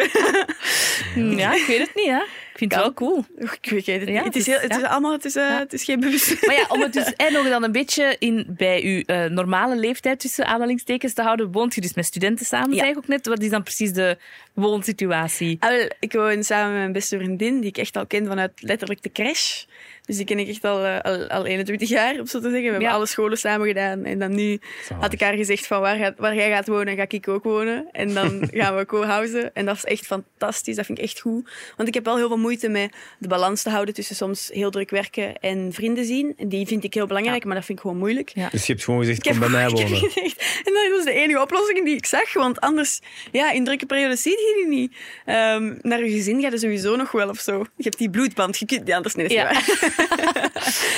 [SPEAKER 4] Ja, ik weet het niet, hè. Ik vind het wel cool.
[SPEAKER 3] ik weet het niet.
[SPEAKER 4] Ja,
[SPEAKER 3] het is,
[SPEAKER 4] dus,
[SPEAKER 3] heel, het is allemaal, het is, eh, het is geen bewust.
[SPEAKER 4] Maar ja, om het dus en nog dan een beetje in, bij uw eh, normale leeftijd tussen aanhalingstekens te houden, woont je dus met studenten samen,
[SPEAKER 3] Ja.
[SPEAKER 4] zei ik ook net. Wat is dan precies de woonsituatie?
[SPEAKER 3] Ah, wel, ik woon samen met mijn beste vriendin, die ik echt al ken vanuit letterlijk de crash. Dus die ken ik echt al, eh, al, al 21 jaar, om zo te zeggen. We hebben
[SPEAKER 4] Ja.
[SPEAKER 3] alle scholen samen gedaan. En dan nu had ik haar gezegd van waar, gaat- waar jij gaat wonen, ga ik ook wonen. En dan gaan we co-housen. En dat is echt fantastisch, dat vind ik echt goed. Want ik heb wel heel veel moeite met de balans te houden tussen soms heel druk werken en vrienden zien. Die vind ik heel belangrijk, maar dat vind ik gewoon moeilijk.
[SPEAKER 4] Ja.
[SPEAKER 2] Dus je hebt gewoon gezegd,
[SPEAKER 3] Ik
[SPEAKER 2] kom bij
[SPEAKER 3] heb
[SPEAKER 2] mij
[SPEAKER 3] gewoon- ik heb
[SPEAKER 2] wonen.
[SPEAKER 3] gezegd- En dat was de enige oplossing die ik zag. Want anders, ja, in drukke periodes zie je die niet. Ehm, naar je gezin gaat je sowieso nog wel of zo. Je hebt die bloedband, je kunt die anders niet.
[SPEAKER 4] Ja.
[SPEAKER 3] Ja.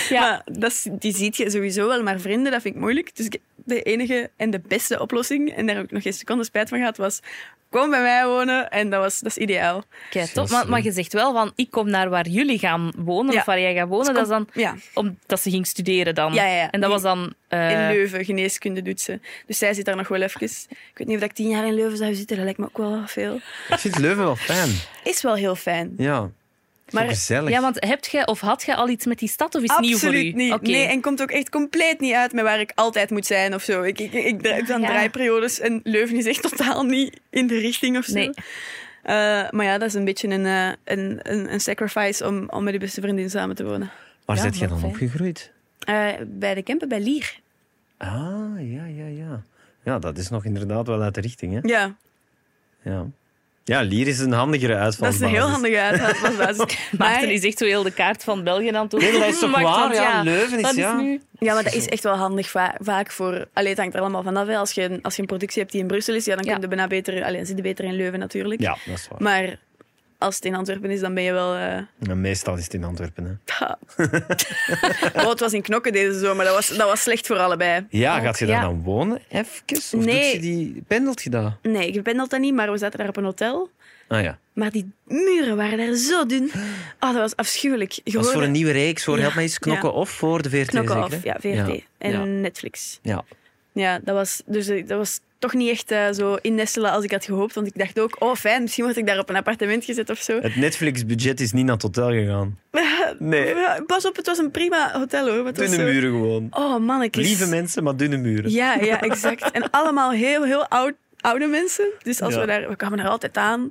[SPEAKER 4] Ja.
[SPEAKER 3] Maar dat is, die ziet je sowieso wel. Maar vrienden, dat vind ik moeilijk. Dus ik, de enige en de beste oplossing, en daar heb ik nog geen seconde spijt van gehad, was kom bij mij wonen en dat, was, dat is ideaal.
[SPEAKER 4] Kei top. Oh, Maar, maar je zegt wel van, ik kom naar waar jullie gaan wonen,
[SPEAKER 3] Ja.
[SPEAKER 4] of waar jij gaat wonen. Dat is dan
[SPEAKER 3] Ja,
[SPEAKER 4] omdat ze ging studeren dan.
[SPEAKER 3] Ja, ja, ja.
[SPEAKER 4] En dat was dan... eh,
[SPEAKER 3] in Leuven, geneeskunde doet ze. Dus zij zit daar nog wel even. Ik weet niet of ik tien jaar in Leuven zou zitten, dat lijkt me ook wel veel.
[SPEAKER 2] Ik vind Leuven wel fijn.
[SPEAKER 3] Is wel heel fijn.
[SPEAKER 2] Ja. Het is
[SPEAKER 3] Maar-
[SPEAKER 2] wel gezellig.
[SPEAKER 4] Ja, want hebt jij of had jij al iets met die stad of is het nieuw voor u?
[SPEAKER 3] Absoluut niet.
[SPEAKER 4] Oké.
[SPEAKER 3] Nee, en komt ook echt compleet niet uit met waar ik altijd moet zijn of zo. Ik, ik, ik, ik draai dan
[SPEAKER 4] ja.
[SPEAKER 3] draaiperiodes en Leuven is echt totaal niet in de richting of zo.
[SPEAKER 4] Nee.
[SPEAKER 3] Eh, maar ja, dat is een beetje een, eh, een, een, een sacrifice om, om met die beste vriendin samen te wonen.
[SPEAKER 2] Waar
[SPEAKER 4] Ja,
[SPEAKER 2] zit jij
[SPEAKER 4] wel
[SPEAKER 2] dan
[SPEAKER 4] fijn.
[SPEAKER 2] opgegroeid?
[SPEAKER 3] Eh, bij de camper bij Lier.
[SPEAKER 2] Ah, ja, ja, ja. Ja, dat is nog inderdaad wel uit de richting, hè?
[SPEAKER 3] Ja,
[SPEAKER 2] Ja. Ja, Lier is een handigere uitval.
[SPEAKER 3] dat is een heel handige uitvalsbasis.
[SPEAKER 4] Maarten is echt zo heel de kaart van België aan het
[SPEAKER 2] Nee, dat is toch
[SPEAKER 4] maken,
[SPEAKER 2] waar?
[SPEAKER 4] want
[SPEAKER 2] Ja, Leuven is-
[SPEAKER 4] dat
[SPEAKER 2] ja.
[SPEAKER 4] nu...
[SPEAKER 3] Ja, maar dat is echt wel handig va- vaak voor... Allee, het hangt er allemaal vanaf. hè. Als je, als je een productie hebt die in Brussel is, ja, dan
[SPEAKER 4] Ja.
[SPEAKER 3] kun je bijna beter... Allee, dan zit je beter in Leuven natuurlijk.
[SPEAKER 2] Ja, dat is waar.
[SPEAKER 3] Maar als het in Antwerpen is, dan ben je wel... eh,
[SPEAKER 2] Maar Meestal is het in Antwerpen, hè?
[SPEAKER 3] Oh, het was in Knokken deze zomer. Dat was, dat was slecht voor allebei.
[SPEAKER 2] Ja, gaat je daar
[SPEAKER 4] ja.
[SPEAKER 2] dan wonen? Even? Of
[SPEAKER 3] Nee.
[SPEAKER 2] doet je die, pendelt je daar?
[SPEAKER 3] Nee, ik ben dat niet, maar we zaten daar op een hotel.
[SPEAKER 2] Ah ja.
[SPEAKER 3] Maar die muren waren daar zo dun. Oh, dat was afschuwelijk.
[SPEAKER 2] Dat is
[SPEAKER 3] Gewoon
[SPEAKER 2] voor een nieuwe reeks, voor
[SPEAKER 3] Ja,
[SPEAKER 2] help mij eens knokken
[SPEAKER 3] ja.
[SPEAKER 2] of voor de VRT
[SPEAKER 3] knokken
[SPEAKER 2] zeker,
[SPEAKER 3] af.
[SPEAKER 2] hè?
[SPEAKER 3] Ja, VRT. En
[SPEAKER 2] Ja.
[SPEAKER 3] Netflix.
[SPEAKER 2] Ja.
[SPEAKER 3] Ja, dat was, dus, eh, dat was toch niet echt eh, zo innestelen als ik had gehoopt. Want ik dacht ook, oh fijn, misschien word ik daar op een appartement gezet of zo.
[SPEAKER 2] Het Netflix-budget is niet naar het hotel gegaan. Nee,
[SPEAKER 3] Ja, Eh, Pas op, het was een prima hotel hoor. maar het was
[SPEAKER 2] dunne
[SPEAKER 3] zo-
[SPEAKER 2] muren gewoon.
[SPEAKER 3] Oh mannetjes.
[SPEAKER 2] Lieve mensen, maar dunne muren.
[SPEAKER 3] Ja, ja, exact. En allemaal heel, heel oud, oude mensen. Dus als
[SPEAKER 2] Ja.
[SPEAKER 3] we daar, we kwamen daar altijd aan.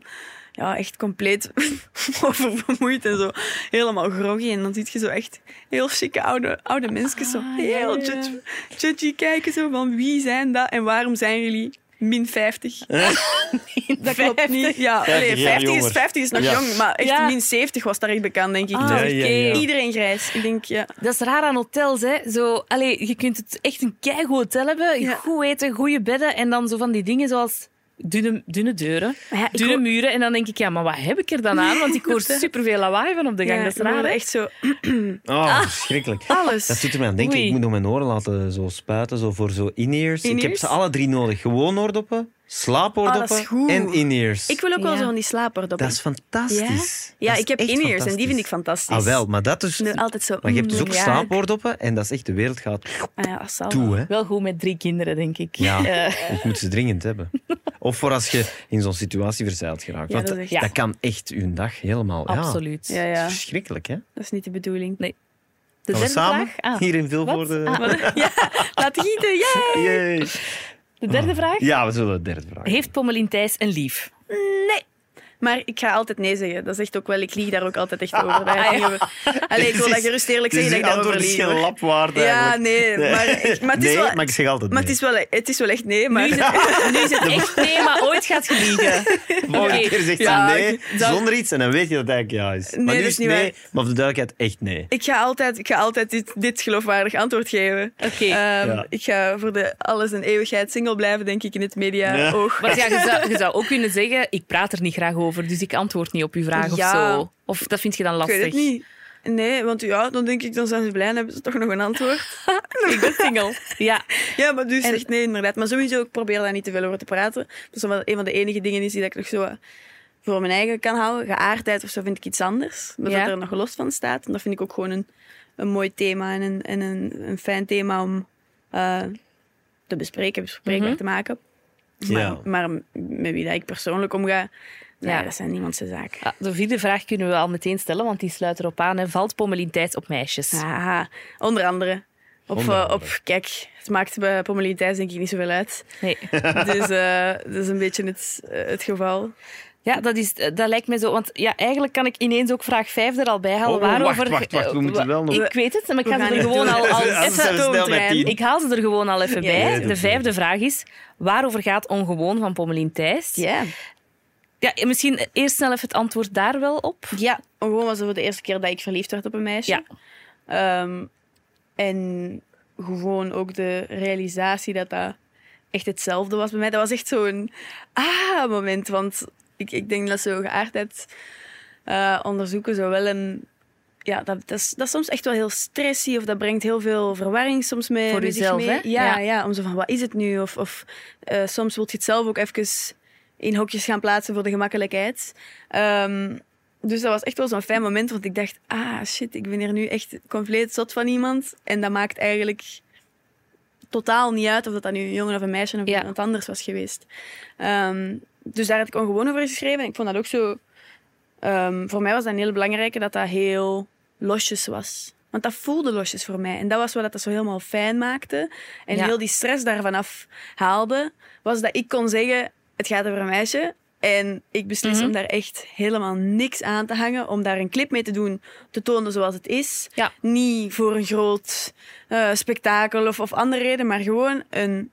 [SPEAKER 3] Ja, echt compleet oververmoeid en zo. Helemaal groggy. En dan zie je zo echt heel chique oude, oude mensen. Zo
[SPEAKER 4] Ah, ja,
[SPEAKER 3] heel
[SPEAKER 4] ja, ja.
[SPEAKER 3] judgy- judgy kijken. Zo van wie zijn dat en waarom zijn jullie min 50? dat klopt niet. Ja,
[SPEAKER 2] 50
[SPEAKER 3] allee,
[SPEAKER 2] jaar
[SPEAKER 3] 50, is,
[SPEAKER 2] jonger.
[SPEAKER 3] 50 is nog
[SPEAKER 2] Ja.
[SPEAKER 3] jong. Maar echt
[SPEAKER 4] Ja.
[SPEAKER 3] min 70 was daar echt bekend, denk ik.
[SPEAKER 4] Ah,
[SPEAKER 3] Dus
[SPEAKER 2] Ja, ja,
[SPEAKER 4] oké.
[SPEAKER 2] ja.
[SPEAKER 3] Iedereen grijs. Ik denk, ja.
[SPEAKER 4] Dat is raar aan hotels, hè. Zo, allee, je kunt het echt een keigoed hotel hebben,
[SPEAKER 3] Ja.
[SPEAKER 4] goed eten, goede bedden en dan zo van die dingen zoals dunne, dunne deuren,
[SPEAKER 3] Maar ja, ik
[SPEAKER 4] dunne
[SPEAKER 3] hoor-
[SPEAKER 4] muren. En dan denk ik, ja, maar wat heb ik er dan aan? Want ik hoor superveel lawaai van op de gang.
[SPEAKER 3] ja,
[SPEAKER 4] dat is
[SPEAKER 3] we
[SPEAKER 4] raar,
[SPEAKER 3] hoorden
[SPEAKER 4] hè.
[SPEAKER 3] echt zo Ah.
[SPEAKER 2] Oh, verschrikkelijk.
[SPEAKER 3] alles.
[SPEAKER 2] Dat doet er mij aan denken.
[SPEAKER 4] Oei.
[SPEAKER 2] Ik moet nog mijn oren laten zo spuiten, zo voor zo in-ears. Ik heb
[SPEAKER 3] In-ears?
[SPEAKER 2] ze alle drie nodig. Gewoon oordoppen,
[SPEAKER 3] Oh, dat is
[SPEAKER 2] slaapoordoppen
[SPEAKER 3] goed.
[SPEAKER 2] en in-ears.
[SPEAKER 3] Ik wil ook wel
[SPEAKER 4] Ja.
[SPEAKER 3] zo van die slaapdoppen.
[SPEAKER 2] Dat is fantastisch.
[SPEAKER 3] Ja, ja
[SPEAKER 2] Dat is
[SPEAKER 3] ik heb
[SPEAKER 2] echt
[SPEAKER 3] in-ears en die vind ik
[SPEAKER 2] fantastisch.
[SPEAKER 3] fantastisch.
[SPEAKER 2] Ah wel, maar dat dus...
[SPEAKER 3] Nu altijd zo.
[SPEAKER 2] Maar je hebt dus
[SPEAKER 3] mm,
[SPEAKER 2] ook
[SPEAKER 3] ja.
[SPEAKER 2] slaapoordoppen en dat is echt de wereld gaat
[SPEAKER 3] Ah ja, dat zal wel.
[SPEAKER 2] toe, hè.
[SPEAKER 4] Wel goed met drie kinderen, denk ik.
[SPEAKER 2] Ja,
[SPEAKER 4] Eh,
[SPEAKER 2] ik moet ze dringend hebben. Of voor als je in zo'n situatie verzeild geraakt.
[SPEAKER 3] Ja,
[SPEAKER 2] Want
[SPEAKER 3] dat
[SPEAKER 2] dat,
[SPEAKER 3] is echt-
[SPEAKER 4] Ja.
[SPEAKER 2] kan echt uw dag helemaal...
[SPEAKER 4] absoluut.
[SPEAKER 3] Ja,
[SPEAKER 2] Ja. Dat
[SPEAKER 3] ja,
[SPEAKER 2] is verschrikkelijk, hè.
[SPEAKER 3] dat is niet de bedoeling.
[SPEAKER 4] De
[SPEAKER 2] Gaan we
[SPEAKER 4] derde
[SPEAKER 2] samen
[SPEAKER 4] vraag? Ah,
[SPEAKER 2] hier in Vilvoorde...
[SPEAKER 4] wat? Ah,
[SPEAKER 3] ja, laat gieten, ja!
[SPEAKER 2] Yay.
[SPEAKER 4] de derde vraag?
[SPEAKER 2] Ja, we zullen de derde vraag.
[SPEAKER 4] Heeft Pommelien Thijs een lief?
[SPEAKER 3] Nee! Maar ik ga altijd nee zeggen. Dat is echt ook wel, ik lieg daar ook altijd echt over. Daar
[SPEAKER 4] Ah,
[SPEAKER 3] heb ik niet- Allee, ik wil dat gerust eerlijk
[SPEAKER 2] Dus
[SPEAKER 3] zeggen dat
[SPEAKER 2] die
[SPEAKER 3] ik daarover
[SPEAKER 2] antwoord is
[SPEAKER 3] lieg.
[SPEAKER 2] geen
[SPEAKER 3] hoor.
[SPEAKER 2] lapwaarde
[SPEAKER 3] Ja,
[SPEAKER 2] eigenlijk.
[SPEAKER 3] nee, maar, ik, maar het is
[SPEAKER 2] nee,
[SPEAKER 3] wel...
[SPEAKER 2] maar ik zeg altijd
[SPEAKER 3] Maar
[SPEAKER 2] nee.
[SPEAKER 3] het is, wel, het is wel echt nee, maar...
[SPEAKER 4] Nu is het echt nee, maar ooit gaat je liegen.
[SPEAKER 2] Volgende
[SPEAKER 4] Oké.
[SPEAKER 2] keer zegt ze
[SPEAKER 3] Ja,
[SPEAKER 2] nee,
[SPEAKER 3] dat-
[SPEAKER 2] zonder iets, en dan weet je dat het eigenlijk ja is.
[SPEAKER 3] Nee,
[SPEAKER 2] maar nu
[SPEAKER 3] dat
[SPEAKER 2] is
[SPEAKER 3] is niet
[SPEAKER 2] nee,
[SPEAKER 3] waar.
[SPEAKER 2] maar voor de duidelijkheid echt nee.
[SPEAKER 3] Ik ga altijd, ik ga altijd dit, dit geloofwaardig antwoord geven.
[SPEAKER 4] Oké.
[SPEAKER 3] Ehm,
[SPEAKER 2] Ja.
[SPEAKER 3] Ik ga voor de alles en eeuwigheid single blijven, denk ik, in het
[SPEAKER 2] Ja.
[SPEAKER 3] media-oog.
[SPEAKER 4] Maar ja, je zou, je zou ook kunnen zeggen, ik praat er niet graag over, dus ik antwoord niet op uw vraag
[SPEAKER 3] Ja.
[SPEAKER 4] of zo. Of dat vind je dan
[SPEAKER 3] Ik
[SPEAKER 4] lastig?
[SPEAKER 3] weet het niet. Nee, want ja, dan denk ik, dan zijn ze blij en hebben ze toch nog een antwoord.
[SPEAKER 4] Ik ben single. Ja.
[SPEAKER 3] Ja, maar dus
[SPEAKER 4] En-
[SPEAKER 3] echt nee, inderdaad. Maar sowieso, ik probeer daar niet te veel over te praten. Dat is wel een van de enige dingen is die dat ik nog zo eh, voor mijn eigen kan houden. Geaardheid of zo vind ik iets anders. Maar
[SPEAKER 4] Ja.
[SPEAKER 3] dat er nog los van staat. En dat vind ik ook gewoon een, een mooi thema en een, en een, een fijn thema om eh, te bespreken, bespreekbaar
[SPEAKER 4] Mhm.
[SPEAKER 3] te maken. Maar,
[SPEAKER 2] Ja.
[SPEAKER 3] maar met wie dat ik persoonlijk omga, nee,
[SPEAKER 4] Ja.
[SPEAKER 3] dat zijn niemand zijn zaken.
[SPEAKER 4] Ah, De vierde vraag kunnen we al meteen stellen, want die sluit erop aan. Hè. Valt Pommelien Thijs op meisjes?
[SPEAKER 3] Ah, onder andere. Op,
[SPEAKER 2] Onder
[SPEAKER 3] eh,
[SPEAKER 2] andere.
[SPEAKER 3] op, kijk, het maakt bij Pommelien Thijs denk ik niet zoveel uit.
[SPEAKER 4] Nee.
[SPEAKER 3] dus eh, dat is een beetje het, eh, het geval.
[SPEAKER 4] Ja, dat, is, eh, dat lijkt me zo. Want ja, eigenlijk kan ik ineens ook vraag 5 er al bij halen.
[SPEAKER 2] Oh, wacht,
[SPEAKER 4] waarover... Eh,
[SPEAKER 2] wacht, wacht, we moeten wel nog-
[SPEAKER 4] Ik weet het, maar ik
[SPEAKER 3] We
[SPEAKER 4] ga
[SPEAKER 3] gaan
[SPEAKER 4] ze er
[SPEAKER 3] het
[SPEAKER 4] gewoon
[SPEAKER 3] doen.
[SPEAKER 4] al, al
[SPEAKER 3] Als- als
[SPEAKER 4] even...
[SPEAKER 3] ze
[SPEAKER 2] snel met
[SPEAKER 3] toomtrein.
[SPEAKER 2] tien.
[SPEAKER 4] Ik haal ze er gewoon al even
[SPEAKER 3] Ja,
[SPEAKER 4] bij.
[SPEAKER 2] ja,
[SPEAKER 4] De
[SPEAKER 2] doe.
[SPEAKER 4] vijfde vraag is, waarover gaat Ongewoon van Pommelien Thijs?
[SPEAKER 3] Ja.
[SPEAKER 4] Ja, misschien eerst snel even het antwoord daar wel op.
[SPEAKER 3] Ja, Oh, gewoon was het voor de eerste keer dat ik verliefd werd op een meisje.
[SPEAKER 4] Ja.
[SPEAKER 3] Ehm, en gewoon ook de realisatie dat dat echt hetzelfde was bij mij. Dat was echt zo'n ah, ah-moment. Want ik, ik denk dat zo geaardheid eh, onderzoeken zo wel een ja, dat, dat, is, dat is soms echt wel heel stressy of dat brengt heel veel verwarring soms mee.
[SPEAKER 4] Voor
[SPEAKER 3] met zich
[SPEAKER 4] jezelf,
[SPEAKER 3] mee.
[SPEAKER 4] hè?
[SPEAKER 3] Ja,
[SPEAKER 4] Ja.
[SPEAKER 3] ja. om zo van, wat is het nu? Of, of eh, soms wil je het zelf ook even in hokjes gaan plaatsen voor de gemakkelijkheid. Ehm, dus dat was echt wel zo'n fijn moment, want ik dacht, ah shit, ik ben hier nu echt compleet zot van iemand. En dat maakt eigenlijk totaal niet uit of dat dan nu een jongen of een meisje of
[SPEAKER 4] Ja.
[SPEAKER 3] iemand anders was geweest. Ehm, dus daar had ik ongewoon over geschreven. En ik vond dat ook zo... ehm, voor mij was dat een heel belangrijke, dat dat heel losjes was. Want dat voelde losjes voor mij. En dat was wat dat zo helemaal fijn maakte. En
[SPEAKER 4] Ja.
[SPEAKER 3] heel die stress daarvan afhaalde, was dat ik kon zeggen, het gaat over een meisje. En ik beslis
[SPEAKER 4] Mhm.
[SPEAKER 3] om daar echt helemaal niks aan te hangen. Om daar een clip mee te doen, te tonen zoals het is.
[SPEAKER 4] Ja.
[SPEAKER 3] Niet voor een groot eh, spektakel of, of andere reden, maar gewoon een...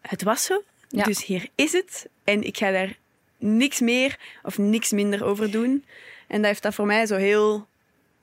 [SPEAKER 3] Het was zo,
[SPEAKER 4] Ja.
[SPEAKER 3] dus hier is het. En ik ga daar niks meer of niks minder over doen. En dat heeft dat voor mij zo heel...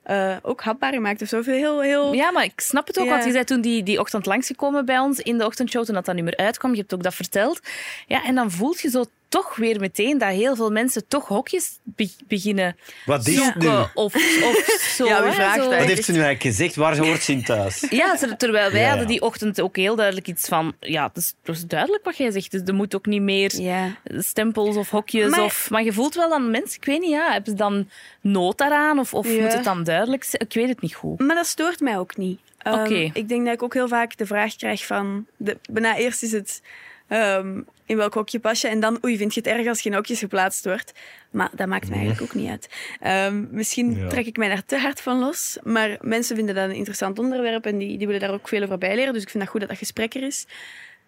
[SPEAKER 3] eh, ook hapbaar gemaakt of zo. Heel, heel...
[SPEAKER 4] Ja, maar ik snap het ook,
[SPEAKER 3] Ja.
[SPEAKER 4] want je bent toen die, die ochtend langsgekomen bij ons in de ochtendshow, toen dat, dat nummer uitkwam, je hebt ook dat verteld. Ja, en dan voelt je zo toch weer meteen dat heel veel mensen toch hokjes be- beginnen
[SPEAKER 2] Wat is het nu?
[SPEAKER 4] zoeken of, of zo.
[SPEAKER 3] Ja, wie
[SPEAKER 4] hè,
[SPEAKER 3] vraagt
[SPEAKER 4] zo.
[SPEAKER 3] dat?
[SPEAKER 2] Wat heeft ze nu eigenlijk gezegd? Waar hoort ze in thuis?
[SPEAKER 4] Ja, ter- terwijl wij
[SPEAKER 2] Ja, ja.
[SPEAKER 4] hadden die ochtend ook heel duidelijk iets van... Ja, het is, het is duidelijk wat jij zegt. Dus er moet ook niet meer
[SPEAKER 3] Ja.
[SPEAKER 4] stempels of hokjes.
[SPEAKER 3] Maar-
[SPEAKER 4] of, maar je voelt wel dan mensen... Ik weet niet, ja, hebben ze dan nood daaraan? Of, of
[SPEAKER 3] Ja.
[SPEAKER 4] moet het dan duidelijk zijn? Ik weet het niet goed.
[SPEAKER 3] Maar dat stoort mij ook niet. Ehm,
[SPEAKER 4] Oké.
[SPEAKER 3] Ik denk dat ik ook heel vaak de vraag krijg van... De, bijna eerst is het ehm, in welk hokje pas je. En dan, oei, vind je het erg als geen hokjes geplaatst wordt? Maar dat maakt mij eigenlijk ook niet uit. Ehm, misschien
[SPEAKER 2] Ja.
[SPEAKER 3] trek ik mij daar te hard van los. Maar mensen vinden dat een interessant onderwerp. En die, die willen daar ook veel over bijleren. Dus ik vind dat goed dat dat gesprek er is.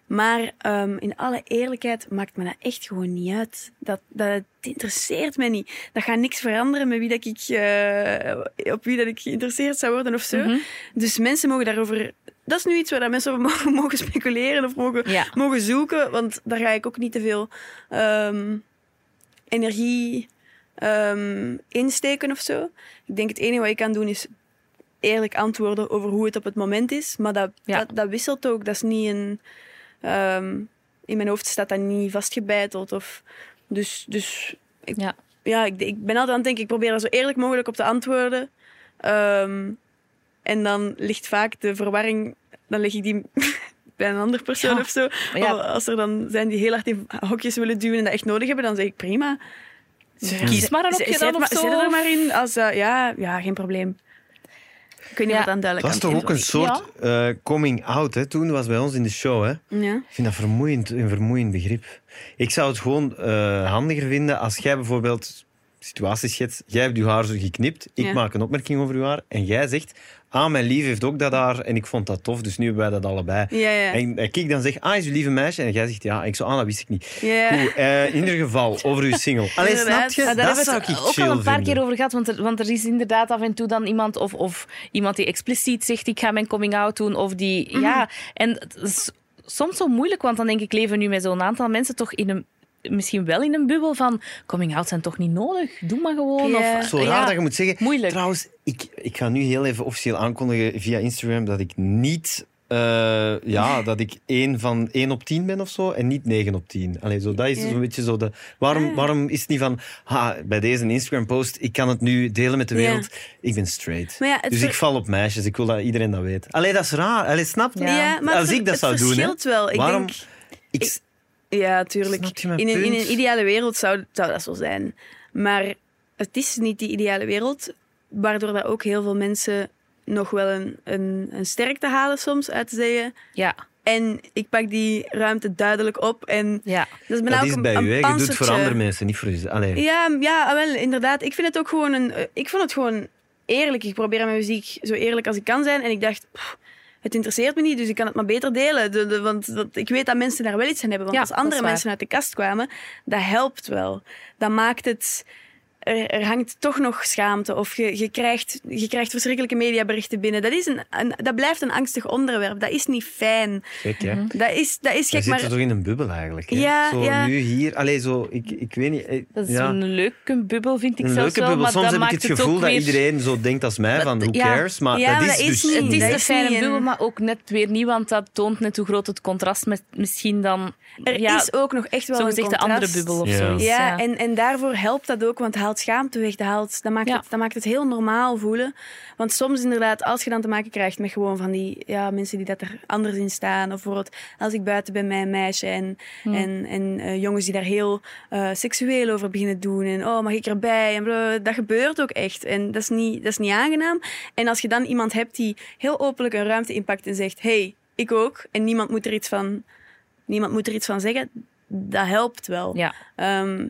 [SPEAKER 3] Maar ehm, in alle eerlijkheid maakt me dat echt gewoon niet uit. Dat, dat, het interesseert mij niet. Dat gaat niks veranderen met wie dat ik, eh, op wie dat ik geïnteresseerd zou worden of zo.
[SPEAKER 4] Mhm.
[SPEAKER 3] Dus mensen mogen daarover... Dat is nu iets waar dat mensen over mogen, mogen speculeren of mogen,
[SPEAKER 4] Ja.
[SPEAKER 3] mogen zoeken. Want daar ga ik ook niet te veel ehm, energie ehm, insteken of zo. Ik denk het enige wat ik kan doen is eerlijk antwoorden over hoe het op het moment is. Maar dat,
[SPEAKER 4] Ja.
[SPEAKER 3] dat, dat wisselt ook. Dat is niet een... ehm, in mijn hoofd staat dat niet vastgebeiteld. Of, dus dus
[SPEAKER 4] Ja.
[SPEAKER 3] ja, ik, ik ben altijd aan het denken, ik probeer er zo eerlijk mogelijk op te antwoorden. Ehm, en dan ligt vaak de verwarring, dan leg ik die bij een ander persoon
[SPEAKER 4] Ja.
[SPEAKER 3] of zo.
[SPEAKER 4] Ja.
[SPEAKER 3] Of als er dan zijn die heel hard in hokjes willen duwen en dat echt nodig hebben, dan zeg ik prima.
[SPEAKER 4] Kies maar een
[SPEAKER 3] Zet-
[SPEAKER 4] hokje
[SPEAKER 3] zet
[SPEAKER 4] dan of
[SPEAKER 3] maar-
[SPEAKER 4] zo.
[SPEAKER 3] Zet er maar in. Als, eh, ja, ja, geen probleem. Ik weet niet
[SPEAKER 4] Ja.
[SPEAKER 3] wat dan duidelijk
[SPEAKER 2] Dat was
[SPEAKER 3] aan
[SPEAKER 2] toch
[SPEAKER 3] het
[SPEAKER 2] ook een
[SPEAKER 3] is.
[SPEAKER 2] soort eh, coming out, hè? Toen was bij ons in de show, hè?
[SPEAKER 3] Ja.
[SPEAKER 2] Ik vind dat vermoeiend, een vermoeiend begrip. Ik zou het gewoon eh, handiger vinden als jij bijvoorbeeld situatie schetst. Jij hebt je haar zo geknipt. Ik
[SPEAKER 3] Ja.
[SPEAKER 2] maak een opmerking over je haar. En jij zegt, ah, mijn lief heeft ook dat haar. En ik vond dat tof, dus nu hebben wij dat allebei.
[SPEAKER 3] Ja, ja.
[SPEAKER 2] En, en ik dan zeg, ah, is uw lieve meisje? En jij zegt, ja. En ik zo, ah, dat wist ik niet.
[SPEAKER 3] Ja, ja.
[SPEAKER 2] Goed, eh, in ieder geval, over uw single. Allee, snap
[SPEAKER 3] Inderdaad.
[SPEAKER 2] je?
[SPEAKER 3] Maar
[SPEAKER 4] Ah, daar
[SPEAKER 2] Dat
[SPEAKER 4] hebben
[SPEAKER 2] zou
[SPEAKER 4] we
[SPEAKER 2] ik
[SPEAKER 4] het
[SPEAKER 2] chill
[SPEAKER 4] ook al een paar
[SPEAKER 2] vinden.
[SPEAKER 4] keer over gehad. Want er, want er is inderdaad af en toe dan iemand... Of, of iemand die expliciet zegt, ik ga mijn coming-out doen. Of die...
[SPEAKER 2] Mhm.
[SPEAKER 4] Ja, en het is soms zo moeilijk. Want dan denk ik, leven nu met zo'n aantal mensen toch in een... Misschien wel in een bubbel van coming-out zijn toch niet nodig? Doe maar gewoon.
[SPEAKER 3] Ja.
[SPEAKER 4] Of,
[SPEAKER 2] Zo raar
[SPEAKER 4] ja.
[SPEAKER 2] dat je moet zeggen.
[SPEAKER 4] Moeilijk.
[SPEAKER 2] Trouwens, ik, ik ga nu heel even officieel aankondigen via Instagram dat ik niet. eh, ja, dat ik 1 van 1 op 10 ben of zo en niet 9 op 10. Allee, zo, dat is
[SPEAKER 3] Ja.
[SPEAKER 2] zo'n beetje zo de. Waarom, waarom is het niet van. Ha, bij deze Instagram-post, ik kan het nu delen met de
[SPEAKER 3] Ja.
[SPEAKER 2] wereld. Ik ben straight.
[SPEAKER 3] Maar ja, het
[SPEAKER 2] dus
[SPEAKER 3] ver-
[SPEAKER 2] ik val op meisjes, ik wil dat iedereen dat weet. Allee, dat is raar. Allee, snap je?
[SPEAKER 4] Ja.
[SPEAKER 3] Ja, maar
[SPEAKER 2] Als
[SPEAKER 3] het-
[SPEAKER 2] ik dat
[SPEAKER 3] het
[SPEAKER 2] zou doen, hè.
[SPEAKER 3] verschilt wel. Ik
[SPEAKER 2] Waarom?
[SPEAKER 3] denk,
[SPEAKER 2] Ik,
[SPEAKER 3] Ja, tuurlijk.
[SPEAKER 2] Snap je mijn
[SPEAKER 3] in, een, in
[SPEAKER 2] punt?
[SPEAKER 3] een ideale wereld zou, zou dat zo zijn. Maar het is niet die ideale wereld, waardoor dat ook heel veel mensen nog wel een, een, een sterkte halen soms uit te zeggen.
[SPEAKER 4] Ja,
[SPEAKER 3] En ik pak die ruimte duidelijk op. En
[SPEAKER 4] ja.
[SPEAKER 3] dat is, bijna
[SPEAKER 2] dat
[SPEAKER 3] ook
[SPEAKER 2] is
[SPEAKER 3] een,
[SPEAKER 2] bij
[SPEAKER 3] een
[SPEAKER 2] u, hè. Je doet het voor
[SPEAKER 3] panzertje.
[SPEAKER 2] andere mensen, niet voor jezelf. Allee.
[SPEAKER 3] Ja, ja, ah, wel, inderdaad. Ik vind het ook gewoon een. eh, Ik vond het gewoon eerlijk. Ik probeer aan mijn muziek zo eerlijk als ik kan zijn. En ik dacht, pff, het interesseert me niet, dus ik kan het maar beter delen. De, de- want, want ik weet dat mensen daar wel iets aan hebben. Want
[SPEAKER 4] Ja,
[SPEAKER 3] als
[SPEAKER 4] dat is
[SPEAKER 3] andere
[SPEAKER 4] waar.
[SPEAKER 3] mensen uit de kast kwamen, dat helpt wel. Dat maakt het. Er, er hangt toch nog schaamte. Of je, je, krijgt, je krijgt verschrikkelijke mediaberichten binnen. Dat, is een, een- dat blijft een angstig onderwerp. Dat is niet fijn.
[SPEAKER 2] Gek, hè.
[SPEAKER 3] Dat is, dat is
[SPEAKER 2] Je zit
[SPEAKER 3] gek. Mhm. Maar
[SPEAKER 2] er toch in een bubbel eigenlijk. Hè?
[SPEAKER 3] Ja,
[SPEAKER 2] zo
[SPEAKER 3] ja.
[SPEAKER 2] nu hier, alleen zo, ik, ik weet niet. eh,
[SPEAKER 4] Dat is
[SPEAKER 2] ja.
[SPEAKER 4] een leuke bubbel, vind ik
[SPEAKER 2] Een
[SPEAKER 4] zelfs
[SPEAKER 2] leuke
[SPEAKER 4] wel.
[SPEAKER 2] bubbel.
[SPEAKER 4] Maar
[SPEAKER 2] Soms
[SPEAKER 4] dat
[SPEAKER 2] heb ik
[SPEAKER 4] maakt
[SPEAKER 2] het
[SPEAKER 4] ook
[SPEAKER 2] gevoel dat
[SPEAKER 4] weer-
[SPEAKER 2] iedereen zo denkt als mij, van who
[SPEAKER 4] ja.
[SPEAKER 2] cares, maar
[SPEAKER 3] Ja,
[SPEAKER 2] dat
[SPEAKER 3] maar
[SPEAKER 2] is
[SPEAKER 3] dat is
[SPEAKER 2] dus
[SPEAKER 3] niet.
[SPEAKER 4] Het is
[SPEAKER 3] Dat
[SPEAKER 4] de
[SPEAKER 3] is
[SPEAKER 4] fijne
[SPEAKER 3] niet
[SPEAKER 4] bubbel,
[SPEAKER 3] een-
[SPEAKER 4] maar ook net weer niet, want dat toont net hoe groot het contrast met misschien dan...
[SPEAKER 3] er
[SPEAKER 4] ja,
[SPEAKER 3] is ook nog echt wel een
[SPEAKER 4] zogezegd de andere
[SPEAKER 3] contrast.
[SPEAKER 4] bubbel of
[SPEAKER 2] Ja.
[SPEAKER 4] zoiets.
[SPEAKER 3] Ja, en, en daarvoor helpt dat ook, want haalt wat schaamte weghaalt, dan maakt,
[SPEAKER 4] Ja.
[SPEAKER 3] het, dan maakt het heel normaal voelen. Want soms inderdaad, als je dan te maken krijgt met gewoon van die ja, mensen die dat er anders in staan. Of bijvoorbeeld als ik buiten ben met een meisje en, en, en eh, jongens die daar heel eh, seksueel over beginnen doen. En oh, mag ik erbij? En blablabla. dat gebeurt ook echt. En dat is, niet, dat is niet aangenaam. En als je dan iemand hebt die heel openlijk een ruimte inpakt en zegt... hey, ik ook. En niemand moet er iets van, niemand moet er iets van zeggen. Dat helpt wel.
[SPEAKER 4] Ja.
[SPEAKER 3] Ehm,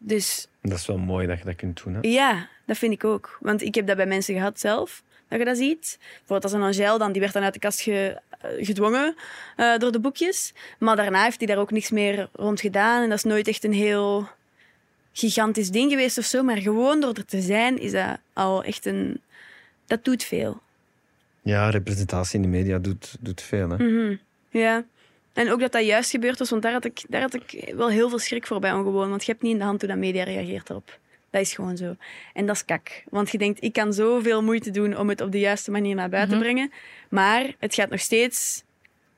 [SPEAKER 3] dus
[SPEAKER 2] Dat is wel mooi dat je dat kunt doen. Hè?
[SPEAKER 3] ja, dat vind ik ook. Want ik heb dat bij mensen gehad zelf, dat je dat ziet. Bijvoorbeeld als een Angel dan, die werd dan uit de kast ge- eh, gedwongen eh, door de boekjes. Maar daarna heeft hij daar ook niks meer rond gedaan. En dat is nooit echt een heel gigantisch ding geweest of zo. Maar gewoon door er te zijn is dat al echt een... Dat doet veel.
[SPEAKER 2] Ja, representatie in de media doet, doet veel. Hè?
[SPEAKER 3] Mhm. Ja. En ook dat dat juist gebeurd was, want daar had ik, daar had ik wel heel veel schrik voor bij ongewoon. Want je hebt niet in de hand hoe dat media reageert erop. Dat is gewoon zo. En dat is kak. Want je denkt, ik kan zoveel moeite doen om het op de juiste manier naar buiten
[SPEAKER 2] Mhm.
[SPEAKER 3] te brengen. Maar het gaat nog steeds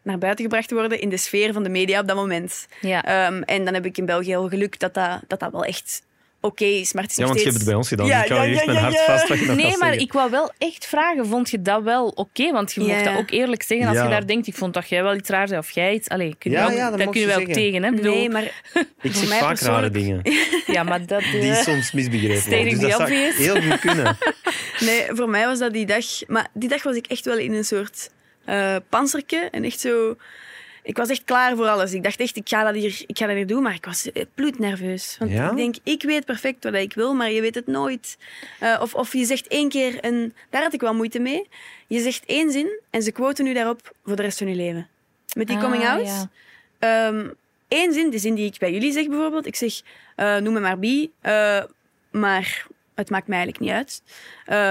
[SPEAKER 3] naar buiten gebracht worden in de sfeer van de media op dat moment.
[SPEAKER 4] Ja.
[SPEAKER 3] Ehm, en dan heb ik in België heel geluk dat dat, dat, dat wel echt oké is. Maar het is
[SPEAKER 2] Ja,
[SPEAKER 3] nog
[SPEAKER 2] want je hebt
[SPEAKER 3] steeds...
[SPEAKER 2] het bij ons gedaan.
[SPEAKER 3] Ja,
[SPEAKER 2] ik hou
[SPEAKER 3] ja,
[SPEAKER 2] hier echt
[SPEAKER 3] ja,
[SPEAKER 2] mijn
[SPEAKER 3] ja,
[SPEAKER 2] hart
[SPEAKER 3] ja.
[SPEAKER 2] vast. Dat je dat
[SPEAKER 4] Nee,
[SPEAKER 2] gaat
[SPEAKER 4] maar
[SPEAKER 2] zeggen.
[SPEAKER 4] ik wou wel echt vragen, vond je dat wel oké? Want je
[SPEAKER 3] Ja,
[SPEAKER 4] mocht dat
[SPEAKER 3] ja.
[SPEAKER 4] ook eerlijk zeggen als
[SPEAKER 2] Ja.
[SPEAKER 4] je daar denkt, ik vond dat jij wel iets raar zei of jij iets. Allee, kun je
[SPEAKER 2] Ja,
[SPEAKER 4] wel-
[SPEAKER 2] ja, dat
[SPEAKER 4] daar
[SPEAKER 2] mag
[SPEAKER 4] kunnen
[SPEAKER 2] je
[SPEAKER 4] we ook
[SPEAKER 2] zeggen.
[SPEAKER 4] tegen. Hè? Ik bedoel,
[SPEAKER 3] Nee, maar
[SPEAKER 2] Ik
[SPEAKER 3] voor
[SPEAKER 2] zeg
[SPEAKER 3] mij
[SPEAKER 2] vaak rare
[SPEAKER 3] persoonlijk-
[SPEAKER 2] dingen
[SPEAKER 4] Ja, maar dat... eh,
[SPEAKER 2] die soms misbegrepen worden.
[SPEAKER 4] Stating
[SPEAKER 2] Dus dat
[SPEAKER 4] the
[SPEAKER 2] zou
[SPEAKER 4] obvious.
[SPEAKER 2] heel goed kunnen. Ah,
[SPEAKER 3] Nee, voor mij was dat die dag. Maar die dag was ik echt wel in een soort eh panzerke. En echt zo. Ik was echt klaar voor alles. Ik dacht echt, ik ga dat hier, ik ga dat hier doen. Maar ik was eh, bloednerveus. Want
[SPEAKER 2] Ja?
[SPEAKER 3] ik denk, ik weet perfect wat ik wil, maar je weet het nooit. Eh, of, of je zegt één keer een. Daar had ik wel moeite mee. Je zegt één zin en ze quoten nu daarop voor de rest van je leven. Met die
[SPEAKER 4] Ah,
[SPEAKER 3] coming out.
[SPEAKER 4] ja.
[SPEAKER 3] Eén Ehm, zin, de zin die ik bij jullie zeg bijvoorbeeld. Ik zeg, eh, noem me maar bi, eh, maar het maakt mij eigenlijk niet uit.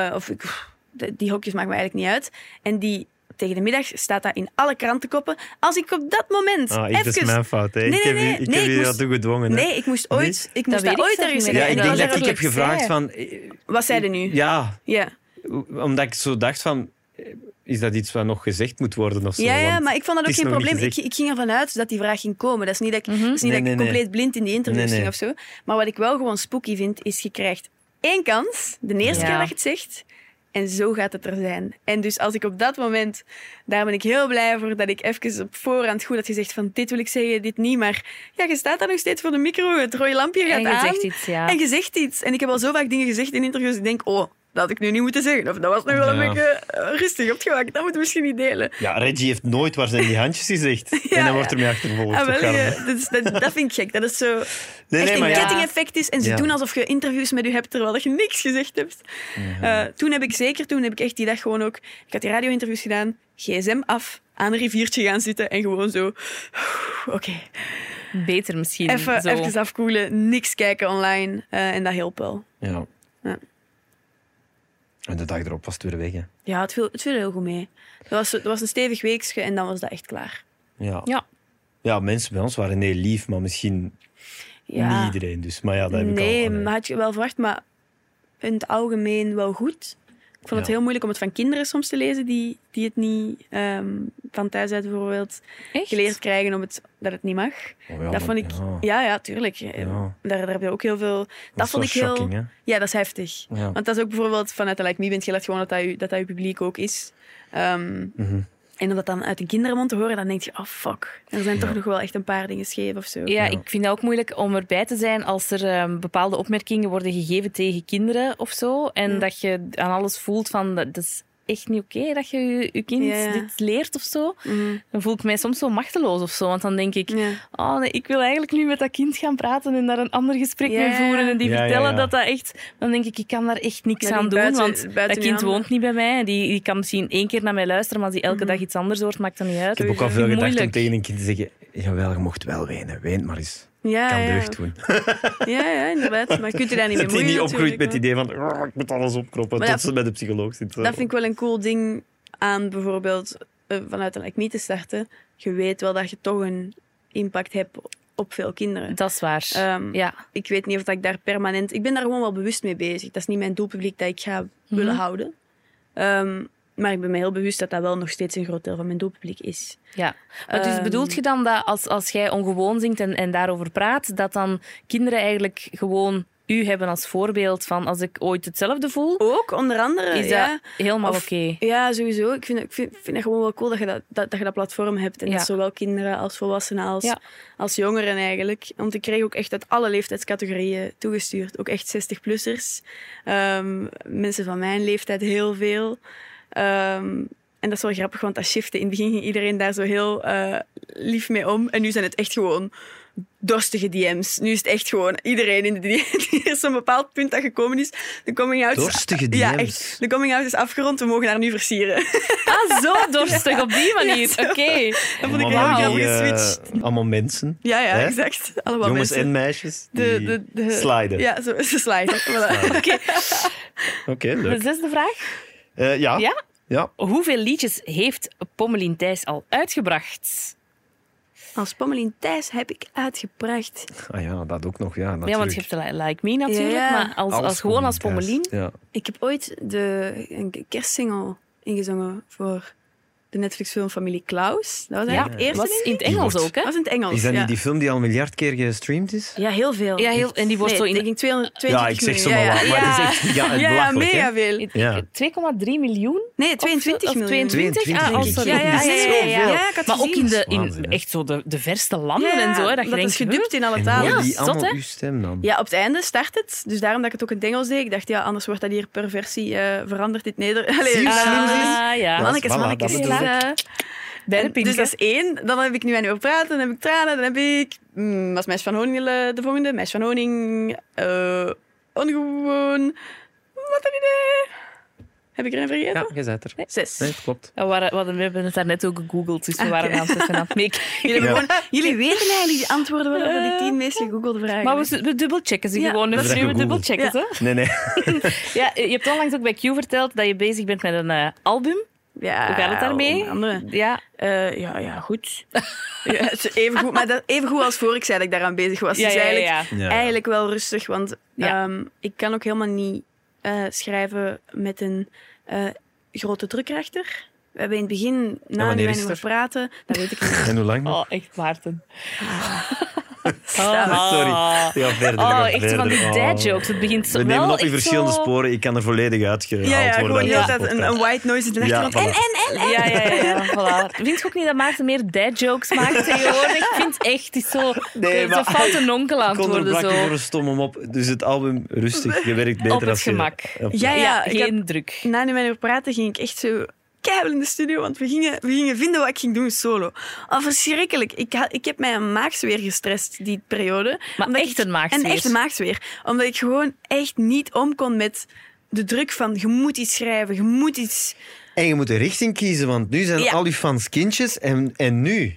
[SPEAKER 3] Eh, of ik, pff, de- die hokjes maakt mij eigenlijk niet uit. En die tegen de middag staat dat in alle krantenkoppen. Als ik op dat moment
[SPEAKER 2] Ah, ik,
[SPEAKER 3] even...
[SPEAKER 2] dat is mijn fout. Hè.
[SPEAKER 3] Nee,
[SPEAKER 2] ik
[SPEAKER 3] nee,
[SPEAKER 2] heb u,
[SPEAKER 3] nee.
[SPEAKER 2] ik
[SPEAKER 3] Nee,
[SPEAKER 2] heb
[SPEAKER 3] ik
[SPEAKER 2] u
[SPEAKER 3] moest-
[SPEAKER 2] dat toe gedwongen. hè.
[SPEAKER 3] Nee, ik moest ooit, ik moest
[SPEAKER 4] weet
[SPEAKER 3] dat,
[SPEAKER 4] ik
[SPEAKER 3] ooit
[SPEAKER 4] zelf
[SPEAKER 3] ergens
[SPEAKER 4] niet
[SPEAKER 3] zeggen.
[SPEAKER 4] meer.
[SPEAKER 2] Ja,
[SPEAKER 3] En
[SPEAKER 2] ik
[SPEAKER 3] dat
[SPEAKER 2] denk
[SPEAKER 3] was
[SPEAKER 2] dat ik heb
[SPEAKER 3] eigenlijk-
[SPEAKER 2] gevraagd
[SPEAKER 4] zei.
[SPEAKER 2] van... eh,
[SPEAKER 3] Wat zei er nu?
[SPEAKER 2] Ja,
[SPEAKER 3] Ja.
[SPEAKER 2] omdat ik zo dacht van... eh, Is dat iets wat nog gezegd moet worden of zo?
[SPEAKER 3] Ja, ja,
[SPEAKER 2] Want-
[SPEAKER 3] maar ik vond dat ook
[SPEAKER 2] het is
[SPEAKER 3] geen
[SPEAKER 2] nog niet
[SPEAKER 3] probleem. Ik,
[SPEAKER 2] gezegd. Mhm.
[SPEAKER 3] ik ging ervan uit dat die vraag ging komen. Dat is niet dat ik, dat is niet
[SPEAKER 2] Nee,
[SPEAKER 3] dat ik
[SPEAKER 2] nee, nee.
[SPEAKER 3] compleet blind in die interviews
[SPEAKER 2] Nee, nee.
[SPEAKER 3] ging of zo. Maar wat ik wel gewoon spooky vind, is je krijgt één kans, de eerste
[SPEAKER 4] Ja.
[SPEAKER 3] keer dat je het zegt, en zo gaat het er zijn. En dus als ik op dat moment, daar ben ik heel blij voor, dat ik even op voorhand goed had gezegd van dit wil ik zeggen, dit niet. Maar ja, je staat daar nog steeds voor de micro, het rode lampje gaat
[SPEAKER 4] En je
[SPEAKER 3] aan.
[SPEAKER 4] zegt iets, ja.
[SPEAKER 3] En je zegt iets. En ik heb al zo vaak dingen gezegd in interviews. Ik denk, oh, dat had ik nu niet moeten zeggen. Of dat was nu wel een
[SPEAKER 2] Ja.
[SPEAKER 3] beetje eh, rustig opgemaakt. Dat moet ik misschien niet delen.
[SPEAKER 2] Ja, Reggie heeft nooit waar zijn die handjes gezegd. en
[SPEAKER 3] ja.
[SPEAKER 2] dan wordt er mee achtervolgd.
[SPEAKER 3] Ah,
[SPEAKER 2] Wat
[SPEAKER 3] wel,
[SPEAKER 2] gaan we-
[SPEAKER 3] ja, dat, is- dat, dat vind ik gek. Dat is zo
[SPEAKER 2] Nee,
[SPEAKER 3] echt
[SPEAKER 2] nee, maar
[SPEAKER 3] een
[SPEAKER 2] ja.
[SPEAKER 3] kettingeffect is. En ze
[SPEAKER 2] Ja.
[SPEAKER 3] doen alsof je interviews met u hebt terwijl je niks gezegd hebt.
[SPEAKER 2] Mhm.
[SPEAKER 3] Eh, toen heb ik zeker, toen heb ik echt die dag gewoon ook... Ik had die radio-interviews gedaan, gsm af, aan een riviertje gaan zitten en gewoon zo... Oké,
[SPEAKER 4] Beter misschien.
[SPEAKER 3] even,
[SPEAKER 4] zo.
[SPEAKER 3] even afkoelen, niks kijken online. eh, en dat hielp wel.
[SPEAKER 2] Ja.
[SPEAKER 3] Ja.
[SPEAKER 2] En de dag erop was het weer weg. Hè.
[SPEAKER 3] Ja, het viel, het viel heel goed mee. Het was, het was een stevig weekje en dan was dat echt klaar.
[SPEAKER 2] Ja.
[SPEAKER 4] Ja.
[SPEAKER 2] Ja, mensen bij ons waren heel lief, maar misschien
[SPEAKER 3] Ja.
[SPEAKER 2] niet iedereen. Dus. Maar ja, dat heb ik al.
[SPEAKER 3] nee,
[SPEAKER 2] allee.
[SPEAKER 3] maar had je wel verwacht, maar in het algemeen wel goed. Ik vond het
[SPEAKER 2] Ja.
[SPEAKER 3] heel moeilijk om het van kinderen soms te lezen die, die het niet ehm, van thuis uit bijvoorbeeld
[SPEAKER 4] Echt?
[SPEAKER 3] geleerd krijgen om het, dat het niet mag.
[SPEAKER 2] Oh ja,
[SPEAKER 3] dat vond
[SPEAKER 2] maar-
[SPEAKER 3] ik...
[SPEAKER 2] ja.
[SPEAKER 3] Ja, ja, tuurlijk. Eh, Daar, daar heb je ook heel veel... Dat,
[SPEAKER 2] is
[SPEAKER 3] vond
[SPEAKER 2] wel
[SPEAKER 3] ik heel...
[SPEAKER 2] shocking, hè?
[SPEAKER 3] Ja, dat is heftig.
[SPEAKER 2] Ja.
[SPEAKER 3] Want dat is ook bijvoorbeeld vanuit de Like Me bent je laat gewoon dat dat, je, dat dat je publiek ook is. Ehm,
[SPEAKER 2] Mhm.
[SPEAKER 3] En om dat dan uit de kindermond te horen, dan denk je, oh fuck. Er zijn toch nog wel echt een paar dingen scheef of zo.
[SPEAKER 4] Ja, ik vind het ook moeilijk om erbij te zijn als er ehm, bepaalde opmerkingen worden gegeven tegen kinderen of zo. En dat je aan alles voelt van, dat is echt niet oké dat je je je kind
[SPEAKER 3] Ja, ja.
[SPEAKER 4] dit leert of zo. Dan voel ik mij soms zo machteloos of zo. Want dan denk ik,
[SPEAKER 3] Ja.
[SPEAKER 4] oh nee, ik wil eigenlijk nu met dat kind gaan praten en daar een ander gesprek
[SPEAKER 3] Ja,
[SPEAKER 4] mee
[SPEAKER 3] ja,
[SPEAKER 4] voeren.
[SPEAKER 3] ja.
[SPEAKER 4] En die
[SPEAKER 2] Ja, ja,
[SPEAKER 4] vertellen
[SPEAKER 2] ja.
[SPEAKER 4] dat dat echt... Dan denk ik, ik kan daar echt niks
[SPEAKER 3] Dat
[SPEAKER 4] aan
[SPEAKER 3] ligt
[SPEAKER 4] doen,
[SPEAKER 3] buiten-
[SPEAKER 4] want
[SPEAKER 3] buiten
[SPEAKER 4] dat
[SPEAKER 3] je
[SPEAKER 4] kind
[SPEAKER 3] handen. Mhm.
[SPEAKER 4] woont niet bij mij. Die, die kan misschien één keer naar mij luisteren, maar als die elke dag iets anders hoort, maakt dat niet uit.
[SPEAKER 2] Ik heb ook al veel gedacht om
[SPEAKER 4] Moeilijk.
[SPEAKER 2] tegen een kind te zeggen: Jawel, je mocht wel wenen, ween maar eens.
[SPEAKER 3] Ah, Ja,
[SPEAKER 2] kan
[SPEAKER 3] ja.
[SPEAKER 2] deugd doen.
[SPEAKER 3] Ja, ja, inderdaad. Maar je kunt je daar niet mee
[SPEAKER 2] Dat hij
[SPEAKER 3] moeien
[SPEAKER 2] niet opgroeit
[SPEAKER 3] natuurlijk,
[SPEAKER 2] met het
[SPEAKER 3] maar-
[SPEAKER 2] idee van: "Oh, Ik moet alles opkroppen
[SPEAKER 3] Maar
[SPEAKER 2] tot
[SPEAKER 3] dat-
[SPEAKER 2] ze bij de psycholoog zit.
[SPEAKER 3] Dat vind ik wel een cool ding aan bijvoorbeeld eh, vanuit een Like Me te starten. Je weet wel dat je toch een impact hebt op veel kinderen.
[SPEAKER 4] Dat is waar.
[SPEAKER 3] Ehm,
[SPEAKER 4] ja.
[SPEAKER 3] Ik weet niet of dat ik daar permanent... Ik ben daar gewoon wel bewust mee bezig. Dat is niet mijn doelpubliek dat ik ga willen houden. Ehm, maar ik ben me heel bewust dat dat wel nog steeds een groot deel van mijn doelpubliek is.
[SPEAKER 4] Ja, maar dus
[SPEAKER 3] Ehm.
[SPEAKER 4] bedoelt je dan dat als, als jij ongewoon zingt en, en daarover praat, dat dan kinderen eigenlijk gewoon u hebben als voorbeeld van als ik ooit hetzelfde voel,
[SPEAKER 3] Ook, onder andere.
[SPEAKER 4] is
[SPEAKER 3] Oh, ja.
[SPEAKER 4] dat helemaal
[SPEAKER 3] Of-
[SPEAKER 4] oké.
[SPEAKER 3] Ja, sowieso. Ik vind, ik vind, vind het gewoon wel cool dat je dat, dat, dat je dat platform hebt. En
[SPEAKER 4] Ja.
[SPEAKER 3] dat zowel kinderen als volwassenen als,
[SPEAKER 4] Ja.
[SPEAKER 3] als jongeren eigenlijk. Want ik kreeg ook echt uit alle leeftijdscategorieën toegestuurd. Ook echt 60-plussers. Ehm, mensen van mijn leeftijd heel veel. Ehm, en dat is wel grappig, want dat shifte. In het begin ging iedereen daar zo heel eh, lief mee om. En nu zijn het echt gewoon dorstige DM's. Nu is het echt gewoon iedereen in de DM. Er is zo'n bepaald punt dat gekomen is. De coming out is
[SPEAKER 2] Dorstige
[SPEAKER 3] ja,
[SPEAKER 2] DM's.
[SPEAKER 3] echt. De coming out is afgerond, we mogen haar nu versieren.
[SPEAKER 4] Ah, zo dorstig op die manier.
[SPEAKER 3] Ja, zo.
[SPEAKER 4] Oké.
[SPEAKER 3] Dat vond ik heel
[SPEAKER 2] Allemaal
[SPEAKER 4] wauw.
[SPEAKER 3] grappig
[SPEAKER 2] die, eh,
[SPEAKER 3] geswitcht.
[SPEAKER 2] allemaal mensen.
[SPEAKER 3] Ja, ja,
[SPEAKER 2] hè?
[SPEAKER 3] exact. Allemaal
[SPEAKER 2] Jongens
[SPEAKER 3] mensen.
[SPEAKER 2] en meisjes. Die
[SPEAKER 3] De- de- de-
[SPEAKER 2] sliden.
[SPEAKER 3] Ja, zo, ze sliden. Voilà. Oké.
[SPEAKER 2] Oké,
[SPEAKER 4] De
[SPEAKER 2] leuk.
[SPEAKER 4] zesde vraag.
[SPEAKER 2] Eh, ja.
[SPEAKER 4] Dus- Ja?
[SPEAKER 2] Ja.
[SPEAKER 4] Hoeveel liedjes heeft Pommelien Thijs al uitgebracht?
[SPEAKER 3] Als Pommelien Thijs heb ik uitgebracht.
[SPEAKER 2] Ah ja, dat ook nog. Ja, natuurlijk.
[SPEAKER 4] Ja, want je hebt de Li- Like Me natuurlijk,
[SPEAKER 3] Ja.
[SPEAKER 4] maar als,
[SPEAKER 2] Alles
[SPEAKER 4] als, gewoon als
[SPEAKER 2] thuis.
[SPEAKER 4] Pommelien.
[SPEAKER 2] Ja.
[SPEAKER 3] Ik heb ooit de, een kerstsingle ingezongen voor de Netflixfilm Familie Klaus. Dat was
[SPEAKER 4] Ja,
[SPEAKER 3] eigenlijk het eerste.
[SPEAKER 4] was
[SPEAKER 3] denk
[SPEAKER 4] in
[SPEAKER 3] ik.
[SPEAKER 4] het Engels
[SPEAKER 2] Die wordt-
[SPEAKER 4] ook, hè?
[SPEAKER 3] Dat was in het Engels.
[SPEAKER 2] Is dat
[SPEAKER 3] ja.
[SPEAKER 2] niet die film die al een miljard keer gestreamd is?
[SPEAKER 3] Ja, heel veel.
[SPEAKER 4] Ja, heel- en die wordt
[SPEAKER 3] Nee,
[SPEAKER 4] zo in-
[SPEAKER 3] Ik denk 200,
[SPEAKER 2] Ja,
[SPEAKER 3] 220
[SPEAKER 2] ik zeg
[SPEAKER 3] miljoen.
[SPEAKER 2] zomaar
[SPEAKER 3] Ja,
[SPEAKER 2] wat,
[SPEAKER 3] ja.
[SPEAKER 2] maar het is echt ja,
[SPEAKER 3] Ja, ja,
[SPEAKER 2] belachelijk, hè?
[SPEAKER 3] mega veel.
[SPEAKER 4] Ik-
[SPEAKER 2] Ja.
[SPEAKER 4] ik- 2,3 miljoen?
[SPEAKER 3] Nee,
[SPEAKER 4] Of zo-
[SPEAKER 3] 22
[SPEAKER 4] of
[SPEAKER 3] miljoen.
[SPEAKER 4] 22? Ah,
[SPEAKER 2] denk
[SPEAKER 4] oh,
[SPEAKER 2] ik.
[SPEAKER 4] sorry.
[SPEAKER 3] Ja, ja, ja,
[SPEAKER 4] Dat is
[SPEAKER 3] ja, ja,
[SPEAKER 4] zoveel.
[SPEAKER 3] ja, ik had
[SPEAKER 4] Maar ook in,
[SPEAKER 3] gezien.
[SPEAKER 4] de, in
[SPEAKER 2] Waanzin, hè?
[SPEAKER 4] echt zo de, de verste landen
[SPEAKER 3] Ja,
[SPEAKER 4] en zo. hè, Dat, je denkt,
[SPEAKER 3] is gedubt in alle
[SPEAKER 2] En horen
[SPEAKER 3] talen.
[SPEAKER 4] Ja,
[SPEAKER 2] die
[SPEAKER 4] zot,
[SPEAKER 2] allemaal
[SPEAKER 4] hè?
[SPEAKER 2] uw stem dan?
[SPEAKER 3] Ja, op het einde start het. Dus daarom dat ik het ook in het Engels deed. Ik dacht, ja, anders wordt dat hier per versie eh, veranderd in het Nederlands. Allee, eh,
[SPEAKER 2] Zie je,
[SPEAKER 3] in het
[SPEAKER 2] slim
[SPEAKER 3] Nederlands.
[SPEAKER 2] is
[SPEAKER 4] Ah, ja.
[SPEAKER 2] Dat is-
[SPEAKER 3] mannetjes,
[SPEAKER 2] voilà, dat
[SPEAKER 3] mannetjes.
[SPEAKER 4] bedoel
[SPEAKER 3] Dus,
[SPEAKER 4] ik.
[SPEAKER 3] eh,
[SPEAKER 4] Bij de
[SPEAKER 3] en-
[SPEAKER 4] pink.
[SPEAKER 3] dus dat is één. Dan heb ik nu aan u over praten, dan heb ik tranen, dan heb ik... mm, was Meisje van Honing eh, de volgende? Meisje van Honing, eh, ongewoon, wat een idee. Heb ik er een vergeten?
[SPEAKER 2] Ja, je zet er.
[SPEAKER 3] Zes.
[SPEAKER 2] Nee, het klopt.
[SPEAKER 4] Ja, we, waren- we hadden- we hebben het daarnet ook gegoogeld, dus we waren aan het aan het meekijken.
[SPEAKER 3] Ah, Jullie, hebben
[SPEAKER 2] Ja.
[SPEAKER 3] gewoon, jullie weten eigenlijk die antwoorden waren van die tien meest gegoogelde vragen.
[SPEAKER 4] Maar we, we dubbelchecken ze
[SPEAKER 3] Ja,
[SPEAKER 4] gewoon.
[SPEAKER 2] dat
[SPEAKER 4] Dus
[SPEAKER 2] is
[SPEAKER 4] nu we
[SPEAKER 2] gegoogeld.
[SPEAKER 4] dubbelchecken ze.
[SPEAKER 2] Nee, nee.
[SPEAKER 4] Ja, je hebt onlangs ook bij Q verteld dat je bezig bent met een eh, album.
[SPEAKER 3] ja,
[SPEAKER 4] Hoe gaat het daarmee?
[SPEAKER 3] onder andere.
[SPEAKER 4] Ja,
[SPEAKER 3] Eh, ja, ja, goed. ja, het is even goed. Maar dat, even goed als voor ik zei dat ik daaraan bezig was.
[SPEAKER 4] ja,
[SPEAKER 3] dus
[SPEAKER 4] ja, ja,
[SPEAKER 3] eigenlijk,
[SPEAKER 4] ja.
[SPEAKER 2] Ja, ja.
[SPEAKER 3] eigenlijk wel rustig. Want
[SPEAKER 4] Ja.
[SPEAKER 3] ehm, ik kan ook helemaal niet eh, schrijven met een eh, grote drukrechter. We hebben in het begin, na
[SPEAKER 2] wanneer
[SPEAKER 3] nu wij
[SPEAKER 2] is
[SPEAKER 3] niet
[SPEAKER 2] het
[SPEAKER 3] meer
[SPEAKER 2] er?
[SPEAKER 3] praten, dat weet ik niet.
[SPEAKER 2] En hoe lang? nog?
[SPEAKER 4] Oh, echt Maarten. Ah.
[SPEAKER 3] Staan.
[SPEAKER 2] Sorry. Ja, verder.
[SPEAKER 4] Oh,
[SPEAKER 2] ga
[SPEAKER 4] echt zo
[SPEAKER 2] verder.
[SPEAKER 4] van die
[SPEAKER 2] Oh.
[SPEAKER 4] dad jokes. Het begint zo
[SPEAKER 2] We nemen
[SPEAKER 4] wel
[SPEAKER 2] op in
[SPEAKER 4] echt
[SPEAKER 2] verschillende
[SPEAKER 4] zo-
[SPEAKER 2] sporen. Ik kan er volledig uitgehaald
[SPEAKER 3] Ja, ja,
[SPEAKER 2] worden.
[SPEAKER 3] gewoon
[SPEAKER 2] uit
[SPEAKER 3] heel
[SPEAKER 2] deze
[SPEAKER 3] de tijd een,
[SPEAKER 2] podcast.
[SPEAKER 3] een white noise in de achtergrond.
[SPEAKER 2] Ja,
[SPEAKER 3] en, en, en, en.
[SPEAKER 4] Ja, ja, ja. ja, voilà. Vind je ook niet dat Maarten meer dad jokes maakt tegenwoordig? Ik vind het echt, het is zo,
[SPEAKER 2] Nee,
[SPEAKER 4] zo
[SPEAKER 2] maar-
[SPEAKER 4] fout een onkel aan
[SPEAKER 2] Ik
[SPEAKER 4] het
[SPEAKER 2] kon er
[SPEAKER 4] worden.
[SPEAKER 2] blakken
[SPEAKER 4] Zo.
[SPEAKER 2] voor een stomme mop. Dus het album rustig. Je werkt beter
[SPEAKER 4] Op het
[SPEAKER 2] als je...
[SPEAKER 4] gemak.
[SPEAKER 2] Op-
[SPEAKER 3] Ja, ja,
[SPEAKER 4] Ja,
[SPEAKER 3] ik
[SPEAKER 4] geen druk.
[SPEAKER 3] na nu met hem praten ging ik echt zo keihard in de studio, want we gingen, we gingen vinden wat ik ging doen solo. Al verschrikkelijk. Ik, ha- ik heb mij een maagsweer gestrest die periode.
[SPEAKER 4] Maar
[SPEAKER 3] Omdat
[SPEAKER 4] echt
[SPEAKER 3] ik-
[SPEAKER 4] een maagsfeer.
[SPEAKER 3] Een echte maagsweer. Omdat ik gewoon echt niet om kon met de druk van je moet iets schrijven, je moet iets...
[SPEAKER 2] En je moet een richting kiezen, want nu zijn
[SPEAKER 3] Ja.
[SPEAKER 2] al die fans kindjes. En, en nu?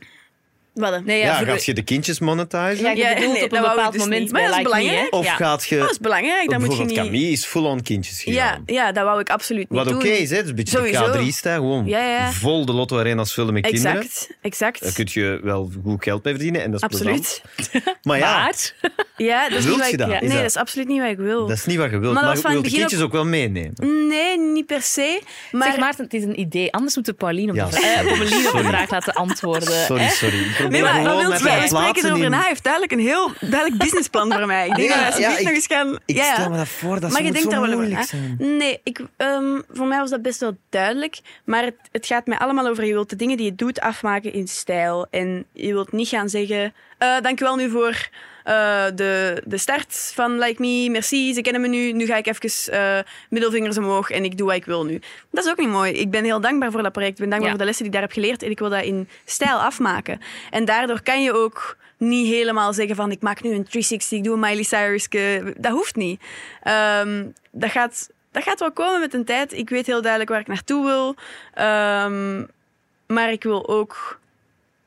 [SPEAKER 3] Wat
[SPEAKER 4] Nee,
[SPEAKER 2] Ja,
[SPEAKER 4] ja, voor-
[SPEAKER 2] gaat je de kindjes monetizen?
[SPEAKER 4] ja, ik
[SPEAKER 3] Ja,
[SPEAKER 4] bedoel
[SPEAKER 3] nee,
[SPEAKER 4] op een
[SPEAKER 3] dat wou ik
[SPEAKER 4] bepaald
[SPEAKER 3] dus
[SPEAKER 4] moment
[SPEAKER 3] niet. Maar dat
[SPEAKER 4] bij
[SPEAKER 3] is
[SPEAKER 4] Like Me, hè?
[SPEAKER 3] belangrijk.
[SPEAKER 2] Of
[SPEAKER 4] Ja.
[SPEAKER 2] gaat je...
[SPEAKER 3] Dat is belangrijk, dat moet je
[SPEAKER 2] bijvoorbeeld
[SPEAKER 3] niet...
[SPEAKER 2] Camille is full-on kindjes
[SPEAKER 3] ja,
[SPEAKER 2] gegaan.
[SPEAKER 3] ja, dat wou ik absoluut niet
[SPEAKER 2] Wat oké
[SPEAKER 3] doen.
[SPEAKER 2] is, hè? Het is een beetje
[SPEAKER 3] Sowieso.
[SPEAKER 2] de K3 staan. Gewoon
[SPEAKER 3] Ja, ja.
[SPEAKER 2] vol de Lotto Arena's vullen met kinderen.
[SPEAKER 3] Exact,
[SPEAKER 2] Daar
[SPEAKER 3] exact.
[SPEAKER 2] kun je wel goed geld mee verdienen en dat is plezant.
[SPEAKER 3] Absoluut.
[SPEAKER 2] Maar ja,
[SPEAKER 4] Maar,
[SPEAKER 3] Ja, dat is
[SPEAKER 2] Wilt
[SPEAKER 3] niet wat
[SPEAKER 2] je
[SPEAKER 3] ik-
[SPEAKER 2] dat?
[SPEAKER 3] ja,
[SPEAKER 2] Is
[SPEAKER 3] Nee,
[SPEAKER 2] dat-
[SPEAKER 3] dat is absoluut niet wat ik wil.
[SPEAKER 2] dat is niet wat je wilt. Maar,
[SPEAKER 3] Maar dat
[SPEAKER 2] je
[SPEAKER 3] was van
[SPEAKER 2] wilt de
[SPEAKER 3] het begin
[SPEAKER 2] kindjes ook... wel meenemen.
[SPEAKER 3] Nee, niet per se. Maar
[SPEAKER 4] zeg Maarten, het is een idee. Anders moeten we Pauline op de,
[SPEAKER 2] Ja,
[SPEAKER 4] vraag- eh,
[SPEAKER 2] sorry,
[SPEAKER 4] Pommelien op de
[SPEAKER 2] sorry.
[SPEAKER 4] vraag laten antwoorden.
[SPEAKER 2] Sorry,
[SPEAKER 4] hè?
[SPEAKER 2] sorry. Ik probeer
[SPEAKER 3] Eh, Nee, maar
[SPEAKER 2] gewoon
[SPEAKER 3] wat wil
[SPEAKER 2] met
[SPEAKER 3] je? We
[SPEAKER 2] mijn
[SPEAKER 3] spreken
[SPEAKER 2] plaatsen
[SPEAKER 3] erover
[SPEAKER 2] in-
[SPEAKER 3] na. Hij heeft duidelijk een heel duidelijk businessplan voor mij. Ik denk
[SPEAKER 2] Ja,
[SPEAKER 3] dat we
[SPEAKER 2] ja,
[SPEAKER 3] alsjeblieft
[SPEAKER 2] ik-
[SPEAKER 3] nog eens gaan...
[SPEAKER 2] Ik
[SPEAKER 3] ja.
[SPEAKER 2] stel me dat voor, dat
[SPEAKER 3] maar je
[SPEAKER 2] moet
[SPEAKER 3] denkt
[SPEAKER 2] zo
[SPEAKER 3] daar wel over Ah,
[SPEAKER 2] moeilijk
[SPEAKER 3] na.
[SPEAKER 2] zijn.
[SPEAKER 3] Nee, ik, ehm, voor mij was dat best wel duidelijk. Maar het, het gaat mij allemaal over... Je wilt de dingen die je doet afmaken in stijl. En je wilt niet gaan zeggen... eh dankjewel nu voor eh, de, de start van Like Me. Merci, ze kennen me nu. Nu ga ik even eh, middelvingers omhoog en ik doe wat ik wil nu. Dat is ook niet mooi. Ik ben heel dankbaar voor dat project. Ik ben dankbaar
[SPEAKER 4] Ja.
[SPEAKER 3] voor de lessen die ik daar heb geleerd. En ik wil dat in stijl afmaken. En daardoor kan je ook niet helemaal zeggen van... Ik maak nu een 360, ik doe een Miley Cyrus. Dat hoeft niet. Ehm, dat, gaat, dat gaat wel komen met een tijd. Ik weet heel duidelijk waar ik naartoe wil. Ehm, maar ik wil ook...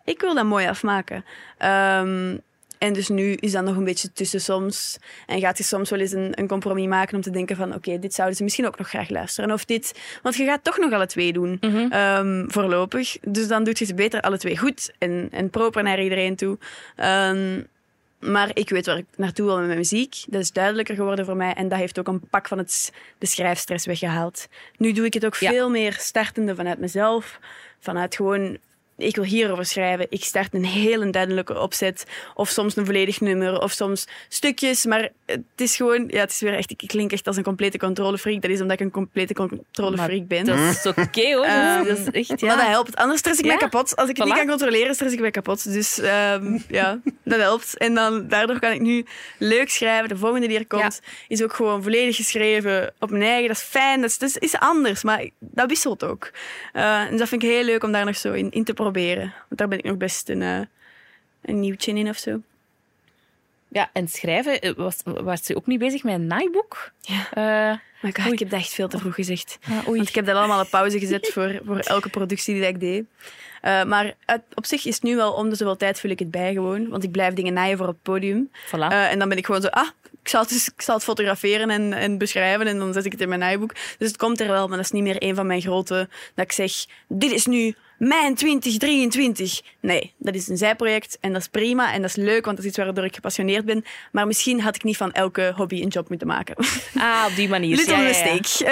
[SPEAKER 3] Ik wil dat mooi afmaken. Ehm, en dus nu is dat nog een beetje tussen soms. En gaat je soms wel eens een, een compromis maken om te denken van... Oké, dit zouden ze misschien ook nog graag luisteren. Of dit... Want je gaat toch nog alle twee doen. ehm, voorlopig. Dus dan doet je het beter alle twee goed. En, en proper naar iedereen toe. Ehm, maar ik weet waar ik naartoe wil met mijn muziek. Dat is duidelijker geworden voor mij. En dat heeft ook een pak van het, s- de schrijfstress weggehaald. Nu doe ik het ook
[SPEAKER 4] Ja.
[SPEAKER 3] veel meer startende vanuit mezelf. Vanuit gewoon ik wil hierover schrijven. Ik start een hele duidelijke opzet. Of soms een volledig nummer, of soms stukjes. Maar het is gewoon... Ja, het is weer echt... Ik klink echt als een complete controlefreak. Dat is omdat ik een complete controlefreak ben.
[SPEAKER 4] Dat is oké hoor. Dat is- dat is echt, ja.
[SPEAKER 3] Eh, Maar dat helpt. Anders stress ik
[SPEAKER 4] Ja.
[SPEAKER 3] mij kapot. Als ik het
[SPEAKER 4] Voilà.
[SPEAKER 3] niet kan controleren, stress ik mij kapot. Dus ehm, ja, dat helpt. En dan, daardoor kan ik nu leuk schrijven. De volgende die er komt, is ook gewoon volledig geschreven op mijn eigen. Dat is fijn. Dat is, dat is anders, maar dat wisselt ook. Eh, en dat vind ik heel leuk om daar nog zo in, in te proberen. Want daar ben ik nog best een, eh, een nieuwtje in of zo.
[SPEAKER 4] Ja, en schrijven, eh, was, was je ook niet bezig met een naaiboek?
[SPEAKER 3] Ja.
[SPEAKER 4] Eh,
[SPEAKER 3] Maar ik, ik heb dat echt veel te vroeg gezegd.
[SPEAKER 4] ah, oei.
[SPEAKER 3] Want ik heb dat allemaal op pauze gezet voor, voor elke productie die dat ik deed. Eh, maar uit- op zich is het nu wel om de zoveel tijd vul ik het bij gewoon. Want ik blijf dingen naaien voor op het podium.
[SPEAKER 4] Voilà.
[SPEAKER 3] Eh, en dan ben ik gewoon zo, ah, ik zal het, dus, ik zal het fotograferen en, en beschrijven. En dan zet ik het in mijn naaiboek. Dus het komt er wel, maar dat is niet meer een van mijn grote... Dat ik zeg, dit is nu mijn 2023. Nee, dat is een zijproject en dat is prima. En dat is leuk, want dat is iets waardoor ik gepassioneerd ben. Maar misschien had ik niet van elke hobby een job moeten maken.
[SPEAKER 4] Ah, op die manier.
[SPEAKER 3] Little
[SPEAKER 4] Ja, ja, ja.
[SPEAKER 3] mistake.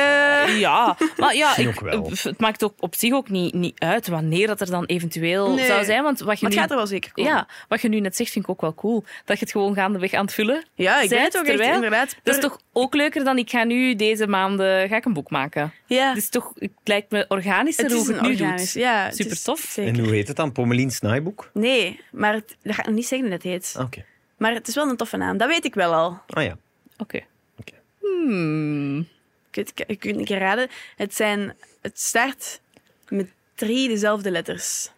[SPEAKER 3] Eh,
[SPEAKER 4] Ja, maar ja,
[SPEAKER 2] Misschien
[SPEAKER 4] ik,
[SPEAKER 2] ook wel.
[SPEAKER 4] eh, het maakt ook op zich ook niet, niet uit wanneer dat er dan eventueel
[SPEAKER 3] Nee.
[SPEAKER 4] zou zijn. Want wat je,
[SPEAKER 3] maar het
[SPEAKER 4] nu,
[SPEAKER 3] gaat er wel zeker komen.
[SPEAKER 4] ja, wat je nu net zegt, vind ik ook wel cool. Dat je het gewoon gaandeweg aan het vullen
[SPEAKER 3] Ja, ik ben
[SPEAKER 4] bent,
[SPEAKER 3] het ook echt,
[SPEAKER 4] terwijl-
[SPEAKER 3] inderdaad.
[SPEAKER 4] Dat is toch ook leuker dan ik ga nu deze maanden ga ik een boek maken.
[SPEAKER 3] ja,
[SPEAKER 4] Het is toch, het lijkt me organischer hoe je
[SPEAKER 3] een
[SPEAKER 4] het nu
[SPEAKER 3] organisch-
[SPEAKER 4] doet.
[SPEAKER 3] Ja, het
[SPEAKER 4] Super
[SPEAKER 3] is-
[SPEAKER 4] tof.
[SPEAKER 2] En
[SPEAKER 3] Zeker.
[SPEAKER 2] hoe heet het dan? Pommelien Naaiboek?
[SPEAKER 3] Nee, maar het, dat ga ik nog niet zeggen hoe dat heet.
[SPEAKER 2] Ah, Oké.
[SPEAKER 3] Maar het is wel een toffe naam, dat weet ik wel al.
[SPEAKER 2] Ah ja.
[SPEAKER 4] Oké.
[SPEAKER 2] Oké.
[SPEAKER 4] Hmm.
[SPEAKER 3] Ik weet- Ik ik kan het een keer raden. Het, zijn, het start met drie dezelfde letters.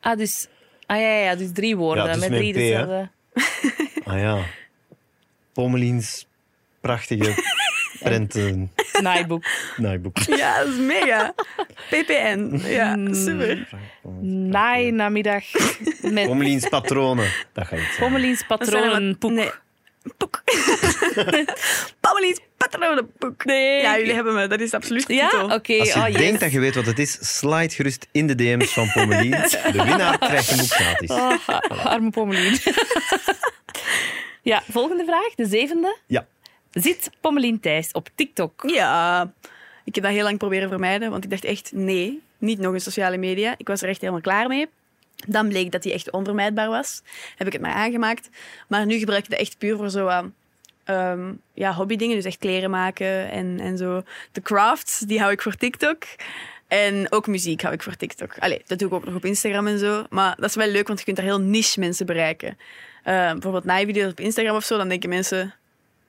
[SPEAKER 4] Ah, dus, ah ja, ja, ja, dus drie woorden
[SPEAKER 2] Ja, dus
[SPEAKER 4] met
[SPEAKER 2] met
[SPEAKER 4] drie
[SPEAKER 2] een P, hè?
[SPEAKER 4] dezelfde.
[SPEAKER 2] Ah ja. Pommeliens prachtige prenten
[SPEAKER 4] Naaiboek.
[SPEAKER 2] naaiboek.
[SPEAKER 3] Ja, dat is mega. PPN.
[SPEAKER 4] Hmm.
[SPEAKER 3] Ja, super.
[SPEAKER 4] Naai namiddag met
[SPEAKER 2] Pommeliens patronen. Dat gaat het zijn.
[SPEAKER 4] Pommeliens
[SPEAKER 3] Dat zijn er wat-
[SPEAKER 4] patronenpoek.
[SPEAKER 3] Nee. Poek. Paulie's patronenpoek.
[SPEAKER 4] Nee.
[SPEAKER 3] Ja, jullie hebben me. Dat is absoluut de
[SPEAKER 4] Ja,
[SPEAKER 3] titel.
[SPEAKER 4] oké.
[SPEAKER 2] Als je
[SPEAKER 4] oh, yes.
[SPEAKER 2] denkt dat je weet wat het is, slide gerust in de DM's van Pommelien. De winnaar krijgt een boek gratis.
[SPEAKER 3] Oh.
[SPEAKER 4] Ah, ah, arme Pommelien. ja, volgende vraag, de zevende.
[SPEAKER 2] Ja.
[SPEAKER 4] Zit Pommelien Thijs op TikTok?
[SPEAKER 3] Ja, ik heb dat heel lang proberen vermijden, want ik dacht echt nee, niet nog eens sociale media. Ik was er echt helemaal klaar mee. Dan bleek dat die echt onvermijdbaar was. Heb ik het maar aangemaakt. Maar nu gebruik ik dat echt puur voor zo aan ehm ja, hobbydingen, dus echt kleren maken en, en zo. De crafts, die hou ik voor TikTok. En ook muziek hou ik voor TikTok. Allee, dat doe ik ook nog op Instagram en zo. Maar dat is wel leuk, want je kunt daar heel niche mensen bereiken. Ehm bijvoorbeeld naaivideo's op Instagram of zo, dan denken mensen...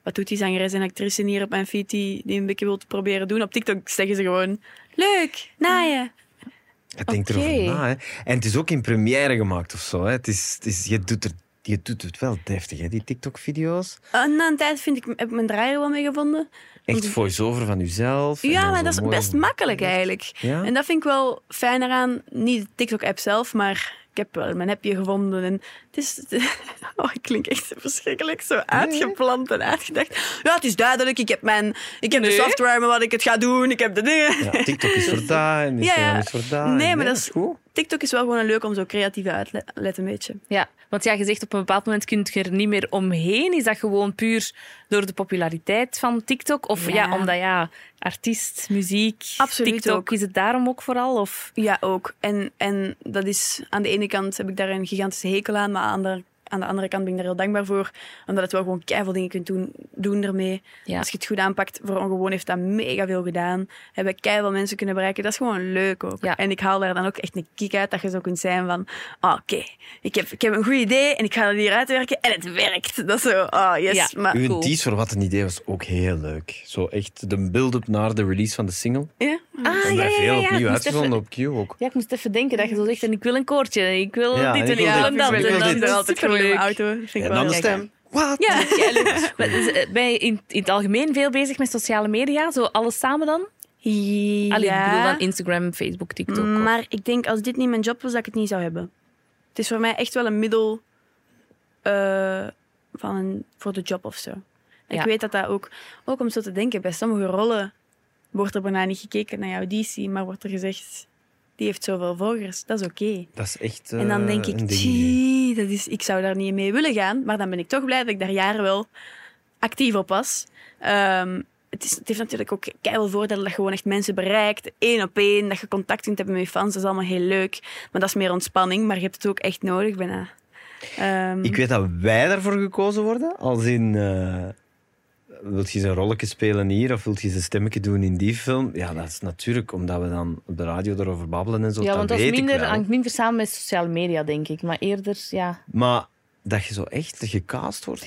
[SPEAKER 3] Wat doet die zangeres en actrice hier op mijn feed die, die een beetje wilt proberen doen? Op TikTok zeggen ze gewoon... Leuk, naaien.
[SPEAKER 2] Ik denk
[SPEAKER 4] Oké.
[SPEAKER 2] erover na. Hè. En het is ook in première gemaakt of zo. Hè. Het is, het is, je, doet er, je doet het wel deftig, hè, die TikTok-video's.
[SPEAKER 3] Eh, na een tijd vind ik, heb ik mijn draaier wel mee gevonden.
[SPEAKER 2] Echt voice-over van jezelf. en
[SPEAKER 3] Ja,
[SPEAKER 2] dan
[SPEAKER 3] maar
[SPEAKER 2] zo
[SPEAKER 3] dat is
[SPEAKER 2] mooi-
[SPEAKER 3] best makkelijk eigenlijk.
[SPEAKER 2] Ja?
[SPEAKER 3] En dat vind ik wel fijn eraan. Niet de TikTok-app zelf, maar ik heb wel mijn appje gevonden. En het is... Oh, ik klink echt verschrikkelijk zo uitgeplant en uitgedacht. Ja, het is duidelijk. Ik heb, mijn, ik heb
[SPEAKER 4] Nee.
[SPEAKER 3] de software met wat ik het ga doen. Ik heb de dingen.
[SPEAKER 2] Ja, TikTok is voor daar en Instagram
[SPEAKER 3] Ja, ja.
[SPEAKER 2] is voor daar.
[SPEAKER 3] Nee,
[SPEAKER 2] Ja,
[SPEAKER 3] maar dat is-
[SPEAKER 2] goed.
[SPEAKER 3] TikTok is wel gewoon leuk om zo creatieve uitlet een beetje.
[SPEAKER 4] Ja, want ja, je zegt op een bepaald moment kun je er niet meer omheen. Is dat gewoon puur door de populariteit van TikTok? Of ja,
[SPEAKER 3] Ja.
[SPEAKER 4] omdat ja, artiest, muziek,
[SPEAKER 3] Absoluut
[SPEAKER 4] TikTok,
[SPEAKER 3] ook.
[SPEAKER 4] is het daarom ook vooral? Of...
[SPEAKER 3] Ja, ook. En, en dat is aan de ene kant heb ik daar een gigantische hekel aan, maar aan de, aan de andere kant ben ik daar heel dankbaar voor. Omdat het wel gewoon keihard dingen kunt doen, doen ermee.
[SPEAKER 4] Ja.
[SPEAKER 3] Als je het goed aanpakt, voor ongewoon heeft dat mega veel gedaan. Hebben keihard mensen kunnen bereiken. Dat is gewoon leuk ook.
[SPEAKER 4] Ja.
[SPEAKER 3] En ik haal daar dan ook echt een kick uit dat je zo kunt zijn van, ah, oké, ik, heb, ik heb een goed idee en ik ga dat hier uitwerken en het werkt. Dat is zo, oh yes.
[SPEAKER 4] Ja.
[SPEAKER 3] Maar,
[SPEAKER 2] Uw
[SPEAKER 4] Cool.
[SPEAKER 2] tease voor wat een idee was ook heel leuk. Zo echt de build-up naar de release van de single.
[SPEAKER 3] ja.
[SPEAKER 4] Ah,
[SPEAKER 2] en daar veel opnieuw
[SPEAKER 4] ik moest even-
[SPEAKER 2] uitgezonden op Q ook.
[SPEAKER 4] Ja, ik moest even denken dat je zo zegt, en ik wil een koortje, ik wil
[SPEAKER 2] Ja,
[SPEAKER 4] dit en ik wil
[SPEAKER 2] dit,
[SPEAKER 4] dat.
[SPEAKER 2] ik wil
[SPEAKER 4] En
[SPEAKER 2] dit.
[SPEAKER 4] dan
[SPEAKER 2] Ik wil
[SPEAKER 4] dat is
[SPEAKER 3] altijd gewoon in mijn
[SPEAKER 4] superleuk.
[SPEAKER 3] auto. Vind ik
[SPEAKER 2] En
[SPEAKER 3] wel
[SPEAKER 2] dan de
[SPEAKER 3] leuk.
[SPEAKER 2] stem. Wat?
[SPEAKER 4] Ja, ja, leuk. Maar dus, eh, ben je in, in het algemeen veel bezig met sociale media? Zo alles samen dan?
[SPEAKER 3] Ja.
[SPEAKER 4] Allee, ik bedoel dan Instagram, Facebook, TikTok. of-
[SPEAKER 3] Maar ik denk, als dit niet mijn job was, dat ik het niet zou hebben. Het is voor mij echt wel een middel eh, van een, voor de job of zo. En
[SPEAKER 4] Ja.
[SPEAKER 3] Ik weet dat dat ook, ook om zo te denken, bij sommige rollen wordt er bijna niet gekeken naar jouw DC, maar wordt er gezegd, die heeft zoveel volgers, dat is oké.
[SPEAKER 2] Dat is echt
[SPEAKER 3] en dan
[SPEAKER 2] eh,
[SPEAKER 3] denk ik,
[SPEAKER 2] een ding.
[SPEAKER 3] tjie, dat is, ik zou daar niet mee willen gaan, maar dan ben ik toch blij dat ik daar jaren wel actief op was. Ehm, het, is, het heeft natuurlijk ook keihard voordelen dat je gewoon echt mensen bereikt, één op één, dat je contact kunt hebben met je fans, dat is allemaal heel leuk. Maar dat is meer ontspanning, maar je hebt het ook echt nodig bijna. Ehm,
[SPEAKER 2] Ik weet dat wij daarvoor gekozen worden. Als in... eh wilt je eens een rolletje spelen hier of wilt je eens een stemmetje doen in die film? Ja, dat is natuurlijk omdat we dan op de radio erover babbelen en zo.
[SPEAKER 4] Ja, want dat is
[SPEAKER 2] weet ik
[SPEAKER 4] minder,
[SPEAKER 2] wel.
[SPEAKER 4] hangt minder samen met sociale media, denk ik. Maar eerder, ja.
[SPEAKER 2] Maar dat je zo echt gecast wordt.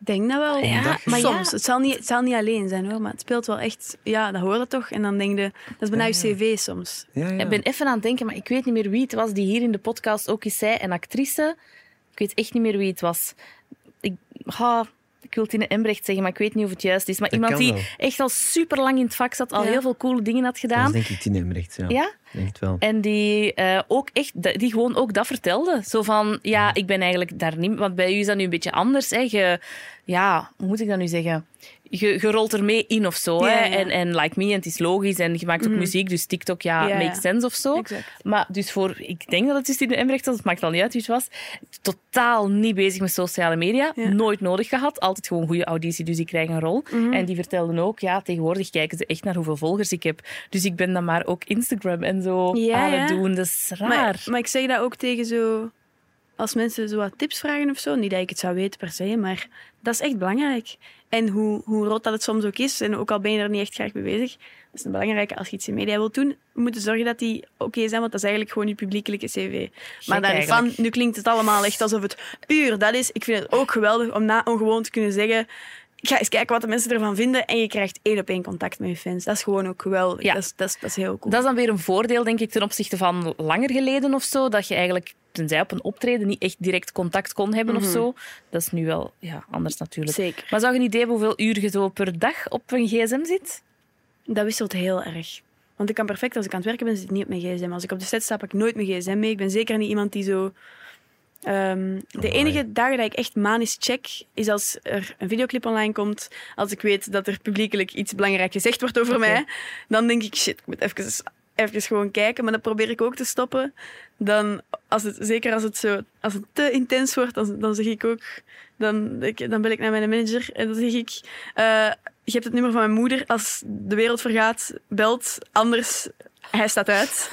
[SPEAKER 3] Ik denk dat wel.
[SPEAKER 2] Omdat
[SPEAKER 4] Ja,
[SPEAKER 2] je-
[SPEAKER 4] maar
[SPEAKER 3] Soms.
[SPEAKER 4] ja.
[SPEAKER 3] Het, zal niet, het zal niet alleen zijn hoor, maar het speelt wel echt. Ja, dat hoor je toch. En dan denk je, dat is bijna je CV soms.
[SPEAKER 2] Ja, ja.
[SPEAKER 4] Ik ben even aan het denken, maar ik weet niet meer wie het was die hier in de podcast ook eens zei, een actrice. Ik weet echt niet meer wie het was. Ik, ha, ik wil Tine Embrecht zeggen, maar ik weet niet of het juist is. Maar
[SPEAKER 2] Dat
[SPEAKER 4] iemand
[SPEAKER 2] kan
[SPEAKER 4] die
[SPEAKER 2] wel.
[SPEAKER 4] echt al super lang in het vak zat, al
[SPEAKER 3] Ja.
[SPEAKER 4] heel veel coole dingen had
[SPEAKER 2] Dat is
[SPEAKER 4] gedaan.
[SPEAKER 2] denk ik Tine Embrecht, ja.
[SPEAKER 4] Ja?
[SPEAKER 2] Ik Denk het wel.
[SPEAKER 4] En die eh, ook echt, da- die gewoon ook dat vertelde. Zo van, ja, ik ben eigenlijk daar niet... Want bij u is dat nu een beetje anders, hè. Je, ja, hoe moet ik dat nu zeggen? Je, je rolt er mee in of zo,
[SPEAKER 3] Ja,
[SPEAKER 4] hè.
[SPEAKER 3] ja. Mm.
[SPEAKER 4] En, en like me, en het is logisch. En je maakt ook muziek, dus TikTok, ja,
[SPEAKER 3] Ja, ja.
[SPEAKER 4] makes sense of zo.
[SPEAKER 3] Exact.
[SPEAKER 4] Maar dus voor, ik denk dat het is Tine Embrecht, was, het maakt wel niet uit wie het was. Totaal niet bezig met sociale media.
[SPEAKER 3] Ja.
[SPEAKER 4] Nooit nodig gehad. Altijd gewoon goede auditie, dus ik krijg een rol.
[SPEAKER 3] Mhm.
[SPEAKER 4] En die vertelden ook, ja, tegenwoordig kijken ze echt naar hoeveel volgers ik heb. Dus ik ben dan maar ook Instagram en zo
[SPEAKER 3] Ja,
[SPEAKER 4] aan het
[SPEAKER 3] ja.
[SPEAKER 4] doen. Dat is raar.
[SPEAKER 3] Maar, maar ik zeg dat ook tegen zo. Als mensen zo wat tips vragen of zo. Niet dat ik het zou weten per se, maar dat is echt belangrijk. En hoe, hoe rot dat het soms ook is, en ook al ben je er niet echt graag mee bezig, dat is het belangrijke als je iets in media wilt doen. We moeten zorgen dat die oké zijn, want dat is eigenlijk gewoon je publiekelijke CV. Maar daarvan,
[SPEAKER 4] eigenlijk.
[SPEAKER 3] nu klinkt het allemaal echt alsof het puur dat is. Ik vind het ook geweldig om na ongewoon te kunnen zeggen. Ik ga eens kijken wat de mensen ervan vinden. En je krijgt één op één contact met je fans. Dat is gewoon ook geweldig.
[SPEAKER 4] Ja.
[SPEAKER 3] Dat, is, dat, is, dat is heel cool.
[SPEAKER 4] Dat is dan weer een voordeel, denk ik, ten opzichte van langer geleden of zo. Dat je eigenlijk, tenzij op een optreden, niet echt direct contact kon hebben of zo. Dat is nu wel ja, anders natuurlijk.
[SPEAKER 3] Mhm. Zeker.
[SPEAKER 4] Maar zou je een idee hebben hoeveel uur je zo per dag op een gsm zit?
[SPEAKER 3] Dat wisselt heel erg. Want ik kan perfect, als ik aan het werken ben, zit ik niet op mijn gsm. Als ik op de set sta, pak ik nooit mijn gsm mee. Ik ben zeker niet iemand die zo... ehm, de
[SPEAKER 2] Amai.
[SPEAKER 3] enige dagen dat ik echt manisch check, is als er een videoclip online komt. Als ik weet dat er publiekelijk iets belangrijk gezegd wordt over mij. Dan denk ik, shit, ik moet even, even gewoon kijken. Maar dat probeer ik ook te stoppen. Dan, als het, zeker als het, zo, als het te intens wordt, dan, dan zeg ik ook... Dan, ik- dan bel ik naar mijn manager en dan zeg ik... eh, je hebt het nummer van mijn moeder. Als de wereld vergaat, belt. Anders, hij staat uit.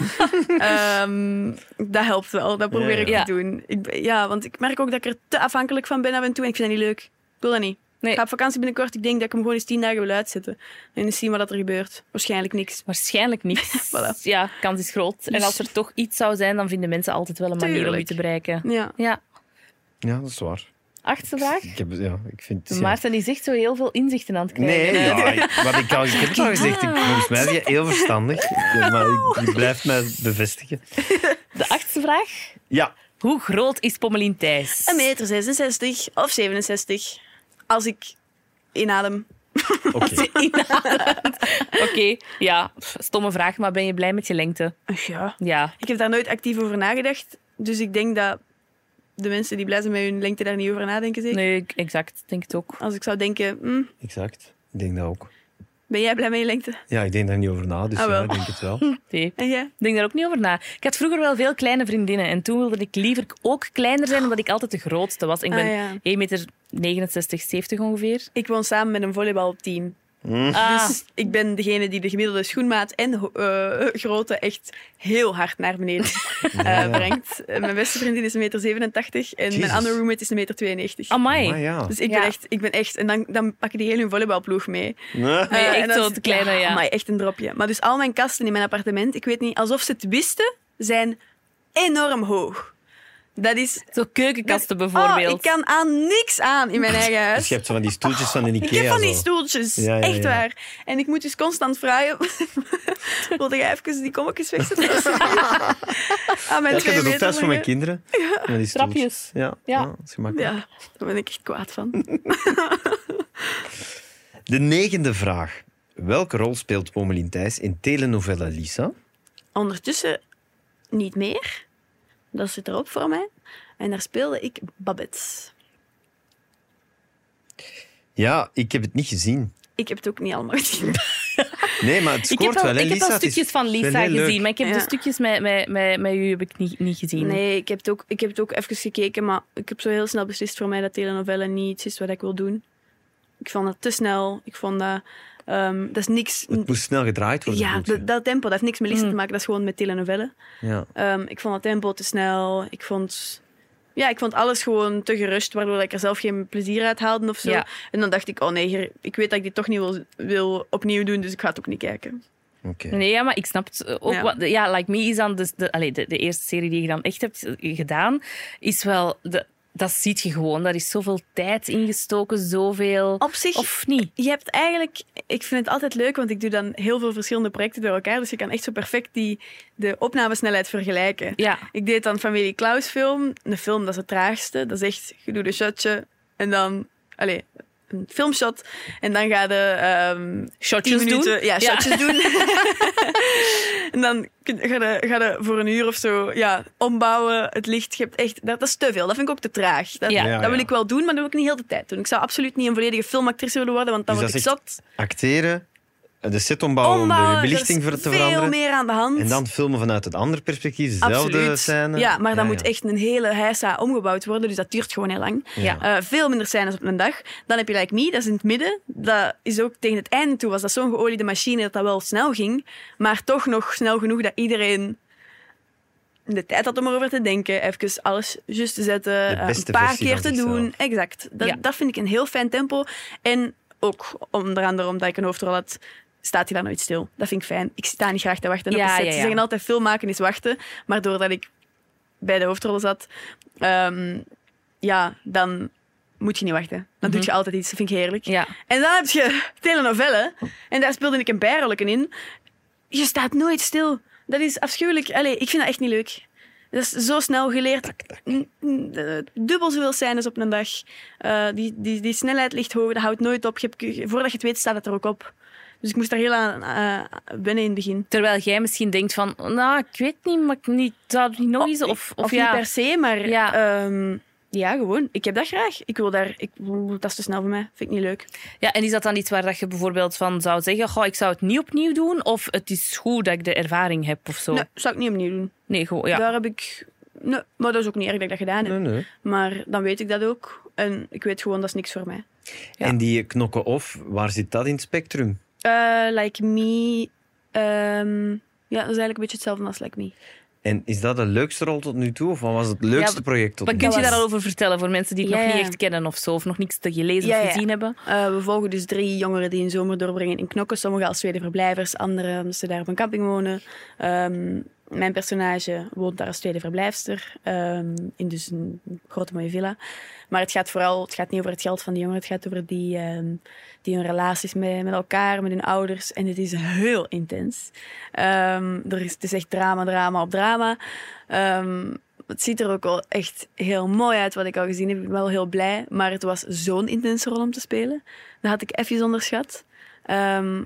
[SPEAKER 3] Ehm, dat helpt wel. Dat probeer
[SPEAKER 2] Ja,
[SPEAKER 3] ik
[SPEAKER 4] ja.
[SPEAKER 3] te doen. Ik, ben- ja, want ik merk ook dat ik er te afhankelijk van ben af en toe. En ik vind dat niet leuk. Ik wil dat niet.
[SPEAKER 4] Nee.
[SPEAKER 3] Ik ga op vakantie binnenkort. Ik denk dat ik hem gewoon eens tien dagen wil uitzetten. En eens zien wat er gebeurt. Waarschijnlijk niks.
[SPEAKER 4] Waarschijnlijk niet.
[SPEAKER 3] Voilà.
[SPEAKER 4] Ja, kans is groot. En
[SPEAKER 3] Dus-
[SPEAKER 4] als er toch iets zou zijn, dan vinden mensen altijd wel een manier om u
[SPEAKER 3] Tuurlijk.
[SPEAKER 4] te bereiken.
[SPEAKER 3] Ja.
[SPEAKER 4] Ja.
[SPEAKER 2] Ja, dat is waar.
[SPEAKER 4] Achtste vraag.
[SPEAKER 2] Ik, heb, ja, ik vind... ja.
[SPEAKER 4] Maarten is echt zo heel veel inzichten aan het krijgen.
[SPEAKER 2] Nee, ja, ik, wat ik, al, ik heb het al gezegd. Ik, volgens mij is je heel verstandig. Ja, Maar ik, je blijft mij bevestigen.
[SPEAKER 4] De achtste vraag.
[SPEAKER 2] Ja,
[SPEAKER 4] Hoe groot is Pommelien Thijs?
[SPEAKER 3] Een meter 66 of 67. Als ik inadem.
[SPEAKER 2] oké.
[SPEAKER 4] Oké, ja, pff, stomme vraag, maar ben je blij met je lengte?
[SPEAKER 3] Ach ja.
[SPEAKER 4] Ja.
[SPEAKER 3] Ik heb daar nooit actief over nagedacht. Dus ik denk dat de mensen die blij zijn met hun lengte daar niet over nadenken. Zeker.
[SPEAKER 4] Nee, ik- exact. Denk het ook.
[SPEAKER 3] Als ik zou denken, hm,
[SPEAKER 2] Exact. Ik denk dat ook.
[SPEAKER 3] ben jij blij met je lengte?
[SPEAKER 2] Ja, ik denk daar niet over na, dus
[SPEAKER 3] Ah, wel.
[SPEAKER 2] ja, ik denk het wel.
[SPEAKER 4] Nee.
[SPEAKER 3] En jij?
[SPEAKER 4] Denk daar ook niet over na. Ik had vroeger wel veel kleine vriendinnen en toen wilde ik liever ook kleiner zijn, omdat ik altijd de grootste was. Ik ben
[SPEAKER 3] Ah, ja.
[SPEAKER 4] 1,69 meter 70 ongeveer.
[SPEAKER 3] Ik woon samen met een volleybalteam.
[SPEAKER 4] Ah,
[SPEAKER 3] Dus ik ben degene die de gemiddelde schoenmaat en ho- eh, grootte echt heel hard naar beneden eh, brengt. Eh, mijn beste vriendin is 1,87 meter en mijn
[SPEAKER 2] Jezus.
[SPEAKER 3] andere roommate is 1,92 meter.
[SPEAKER 4] amai.
[SPEAKER 2] Maar ja.
[SPEAKER 3] Dus ik
[SPEAKER 4] Ja.
[SPEAKER 3] ben echt, ik ben echt en dan, dan pakken die heel hun volleybalploeg mee.
[SPEAKER 4] Nee,
[SPEAKER 3] Eh,
[SPEAKER 4] echt
[SPEAKER 3] en dat
[SPEAKER 4] zo
[SPEAKER 3] is-
[SPEAKER 4] het kleine, ja.
[SPEAKER 3] amai, echt een dropje. Maar dus al mijn kasten in mijn appartement, ik weet niet, alsof ze het wisten, zijn enorm hoog. Dat is...
[SPEAKER 4] Zo keukenkasten
[SPEAKER 3] dat-
[SPEAKER 4] bijvoorbeeld.
[SPEAKER 3] Oh, ik kan aan niks aan in mijn eigen huis.
[SPEAKER 2] Dus je hebt zo van die stoeltjes van de Ikea.
[SPEAKER 3] Ik heb van die
[SPEAKER 2] zo.
[SPEAKER 3] stoeltjes,
[SPEAKER 2] Ja, ja,
[SPEAKER 3] echt
[SPEAKER 2] ja.
[SPEAKER 3] waar. En ik moet dus constant vragen... Wilde jij even die kommetjes wegzetten? Aan mijn
[SPEAKER 2] Ja, ik heb
[SPEAKER 3] twee
[SPEAKER 2] dat ook thuis
[SPEAKER 3] meter
[SPEAKER 2] voor mijn
[SPEAKER 3] lange-
[SPEAKER 2] kinderen. Van die stoeltjes.
[SPEAKER 4] Trapjes.
[SPEAKER 2] Ja,
[SPEAKER 4] Ja.
[SPEAKER 2] ja. dat is gemakkelijk.
[SPEAKER 3] Ja, daar ben ik echt kwaad van.
[SPEAKER 2] De negende vraag. Welke rol speelt Pommelien Thijs in telenovela Lisa?
[SPEAKER 3] Ondertussen niet meer. Dat zit erop voor mij. En daar speelde ik Babette.
[SPEAKER 2] Ja, ik heb het niet gezien.
[SPEAKER 3] Ik heb het ook niet allemaal gezien.
[SPEAKER 2] Nee, maar het
[SPEAKER 4] Ik heb
[SPEAKER 2] scoort
[SPEAKER 4] wel,
[SPEAKER 2] wel, hè,
[SPEAKER 4] ik heb
[SPEAKER 2] Lisa?
[SPEAKER 4] wel
[SPEAKER 2] Het is-
[SPEAKER 4] stukjes van
[SPEAKER 2] het is wel
[SPEAKER 4] Lisa
[SPEAKER 2] heel leuk.
[SPEAKER 4] gezien, maar ik heb
[SPEAKER 3] Ja.
[SPEAKER 4] de stukjes met, met, met, met u heb ik niet, niet gezien.
[SPEAKER 3] Nee, ik heb, het ook, ik heb het ook even gekeken, maar ik heb zo heel snel beslist voor mij dat telenovelle niet iets is wat ik wil doen. Ik vond dat te snel. Ik vond dat Ehm, dat is niks...
[SPEAKER 2] Het moest snel gedraaid worden.
[SPEAKER 3] Ja, Mm.
[SPEAKER 2] bedoel je?
[SPEAKER 3] dat, dat tempo, dat heeft niks met Lisa te maken. Dat is gewoon met telenovelle.
[SPEAKER 2] ja.
[SPEAKER 3] Ehm, ik vond het tempo te snel. Ik vond, ja, ik vond alles gewoon te gerust, waardoor ik er zelf geen plezier uit haalde of zo.
[SPEAKER 4] Ja.
[SPEAKER 3] En dan dacht ik, oh nee, hier- ik weet dat ik dit toch niet wil, wil opnieuw doen, dus ik ga het ook niet kijken.
[SPEAKER 2] Oké.
[SPEAKER 4] Nee, ja, maar ik snap het eh, ook.
[SPEAKER 3] Ja.
[SPEAKER 4] Ja, ja Like Me is dan dus de, allee, de, de eerste serie die je dan echt hebt eh, gedaan. Is wel, de, dat ziet je gewoon. Daar is zoveel tijd ingestoken, zoveel.
[SPEAKER 3] Op zich,
[SPEAKER 4] Of niet?
[SPEAKER 3] je hebt eigenlijk, ik vind het altijd leuk, want ik doe dan heel veel verschillende projecten door elkaar. Dus je kan echt zo perfect die, de opnamesnelheid vergelijken.
[SPEAKER 4] Ja.
[SPEAKER 3] Ik deed dan Familie Klaus film. Een film, dat is het traagste. Dat is echt, je doet een shotje en dan... Allee, een filmshot. En dan ga je ehm,
[SPEAKER 4] Shotjes
[SPEAKER 3] 10
[SPEAKER 4] doen?
[SPEAKER 3] minuten- Ja,
[SPEAKER 4] Ja.
[SPEAKER 3] shotjes doen. en dan kun- ga je, ga je voor een uur of zo ja, ombouwen. Het licht, je hebt echt... Dat, dat is te veel. Dat vind ik ook te traag. Dat,
[SPEAKER 4] Ja.
[SPEAKER 2] Ja,
[SPEAKER 3] dat wil
[SPEAKER 2] ja.
[SPEAKER 3] ik wel doen, maar dat wil ik niet heel de tijd doen. Ik zou absoluut niet een volledige filmactrice willen worden, want dan
[SPEAKER 2] Dus
[SPEAKER 3] word ik
[SPEAKER 2] dat
[SPEAKER 3] zot.
[SPEAKER 2] Acteren, de set ombouwen, om de
[SPEAKER 3] Ombouwen,
[SPEAKER 2] belichting
[SPEAKER 3] er
[SPEAKER 2] voor
[SPEAKER 3] is
[SPEAKER 2] te
[SPEAKER 3] veel
[SPEAKER 2] veranderen.
[SPEAKER 3] meer aan de hand.
[SPEAKER 2] En dan filmen vanuit het andere perspectief, dezelfde
[SPEAKER 3] Absoluut.
[SPEAKER 2] scène.
[SPEAKER 3] Ja, maar dan moet
[SPEAKER 2] ja.
[SPEAKER 3] echt een hele heisa omgebouwd worden. Dus dat duurt gewoon heel lang.
[SPEAKER 4] Ja.
[SPEAKER 3] Eh, veel minder scènes op een dag. Dan heb je Like Me, dat is in het midden. Dat is ook tegen het einde toe was dat zo'n geoliede machine dat dat wel snel ging. Maar toch nog snel genoeg dat iedereen de tijd had om erover te denken. Even alles juist te zetten. eh,
[SPEAKER 2] beste
[SPEAKER 3] Een paar
[SPEAKER 2] versie
[SPEAKER 3] keer
[SPEAKER 2] van
[SPEAKER 3] te
[SPEAKER 2] zichzelf.
[SPEAKER 3] doen. Exact. Dat,
[SPEAKER 4] Ja.
[SPEAKER 3] dat vind ik een heel fijn tempo. En ook onder andere omdat ik een hoofdrol had... Staat hij daar nooit stil? Dat vind ik fijn. Ik sta niet graag te wachten
[SPEAKER 4] Ja,
[SPEAKER 3] op een set.
[SPEAKER 4] ja,
[SPEAKER 3] Ze
[SPEAKER 4] ja.
[SPEAKER 3] zeggen altijd film maken is wachten. Maar doordat ik bij de hoofdrol zat, ehm, ja, dan moet je niet wachten. Dan doe je altijd iets. Dat vind ik heerlijk.
[SPEAKER 4] Ja.
[SPEAKER 3] En dan heb je telenovelle. En daar speelde ik een bijrolletje in. Je staat nooit stil. Dat is afschuwelijk. Allee, ik vind dat echt niet leuk. Dat is zo snel geleerd. Mm, mm, eh, Dubbel zoveel scènes op een dag. Eh, die, die, die snelheid ligt hoog. Dat houdt nooit op. Je hebt, voordat je het weet, staat het er ook op. Dus ik moest daar heel aan eh, wennen in het begin.
[SPEAKER 4] Terwijl jij misschien denkt van, nou, ik weet niet, maar ik niet, zou het niet nog eens... Of, of,
[SPEAKER 3] Oh, Of,
[SPEAKER 4] ja.
[SPEAKER 3] niet per se, maar
[SPEAKER 4] Ja.
[SPEAKER 3] ja. ja, gewoon. Ik heb dat graag. Ik wil daar... Ik, dat is te snel voor mij. Vind ik niet leuk.
[SPEAKER 4] ja, en is dat dan iets waar dat je bijvoorbeeld van zou zeggen, goh, ik zou het niet opnieuw doen, of het is goed dat ik de ervaring heb of zo?
[SPEAKER 3] Nee, zou ik niet opnieuw doen.
[SPEAKER 4] Nee, gewoon, ja.
[SPEAKER 3] Daar heb ik... Nee, maar dat is ook niet erg dat ik dat gedaan heb.
[SPEAKER 2] Nee, nee.
[SPEAKER 3] Maar dan weet ik dat ook. En ik weet gewoon, dat is niks voor mij.
[SPEAKER 4] Ja.
[SPEAKER 2] En die knokken of, waar zit dat in het spectrum?
[SPEAKER 3] Eh, like Me... ehm, ja, dat is eigenlijk een beetje hetzelfde als Like Me.
[SPEAKER 2] En is dat de leukste rol tot nu toe? Of wat was het leukste
[SPEAKER 4] Ja,
[SPEAKER 2] project tot
[SPEAKER 4] Wat
[SPEAKER 2] nu
[SPEAKER 4] kun
[SPEAKER 2] toe?
[SPEAKER 4] je daar
[SPEAKER 3] was-
[SPEAKER 4] al over vertellen voor mensen die het
[SPEAKER 3] Ja,
[SPEAKER 4] nog niet
[SPEAKER 3] ja.
[SPEAKER 4] echt kennen of zo, of nog niks te gelezen
[SPEAKER 3] Ja,
[SPEAKER 4] of
[SPEAKER 3] ja.
[SPEAKER 4] gezien hebben?
[SPEAKER 3] Eh, we volgen dus drie jongeren die een zomer doorbrengen in Knokken. Sommigen als tweede verblijvers, anderen omdat ze daar op een camping wonen. Ehm, mijn personage woont daar als tweede verblijfster ehm, in dus een grote mooie villa. Maar het gaat vooral het gaat niet over het geld van de jongeren. Het gaat over die, ehm, die hun relaties met, met elkaar, met hun ouders. En het is heel intens. Ehm, er is, het is echt drama, drama op drama. Ehm, het ziet er ook al echt heel mooi uit wat ik al gezien heb. Ik ben wel heel blij. Maar het was zo'n intense rol om te spelen. Dat had ik even onderschat. Ehm,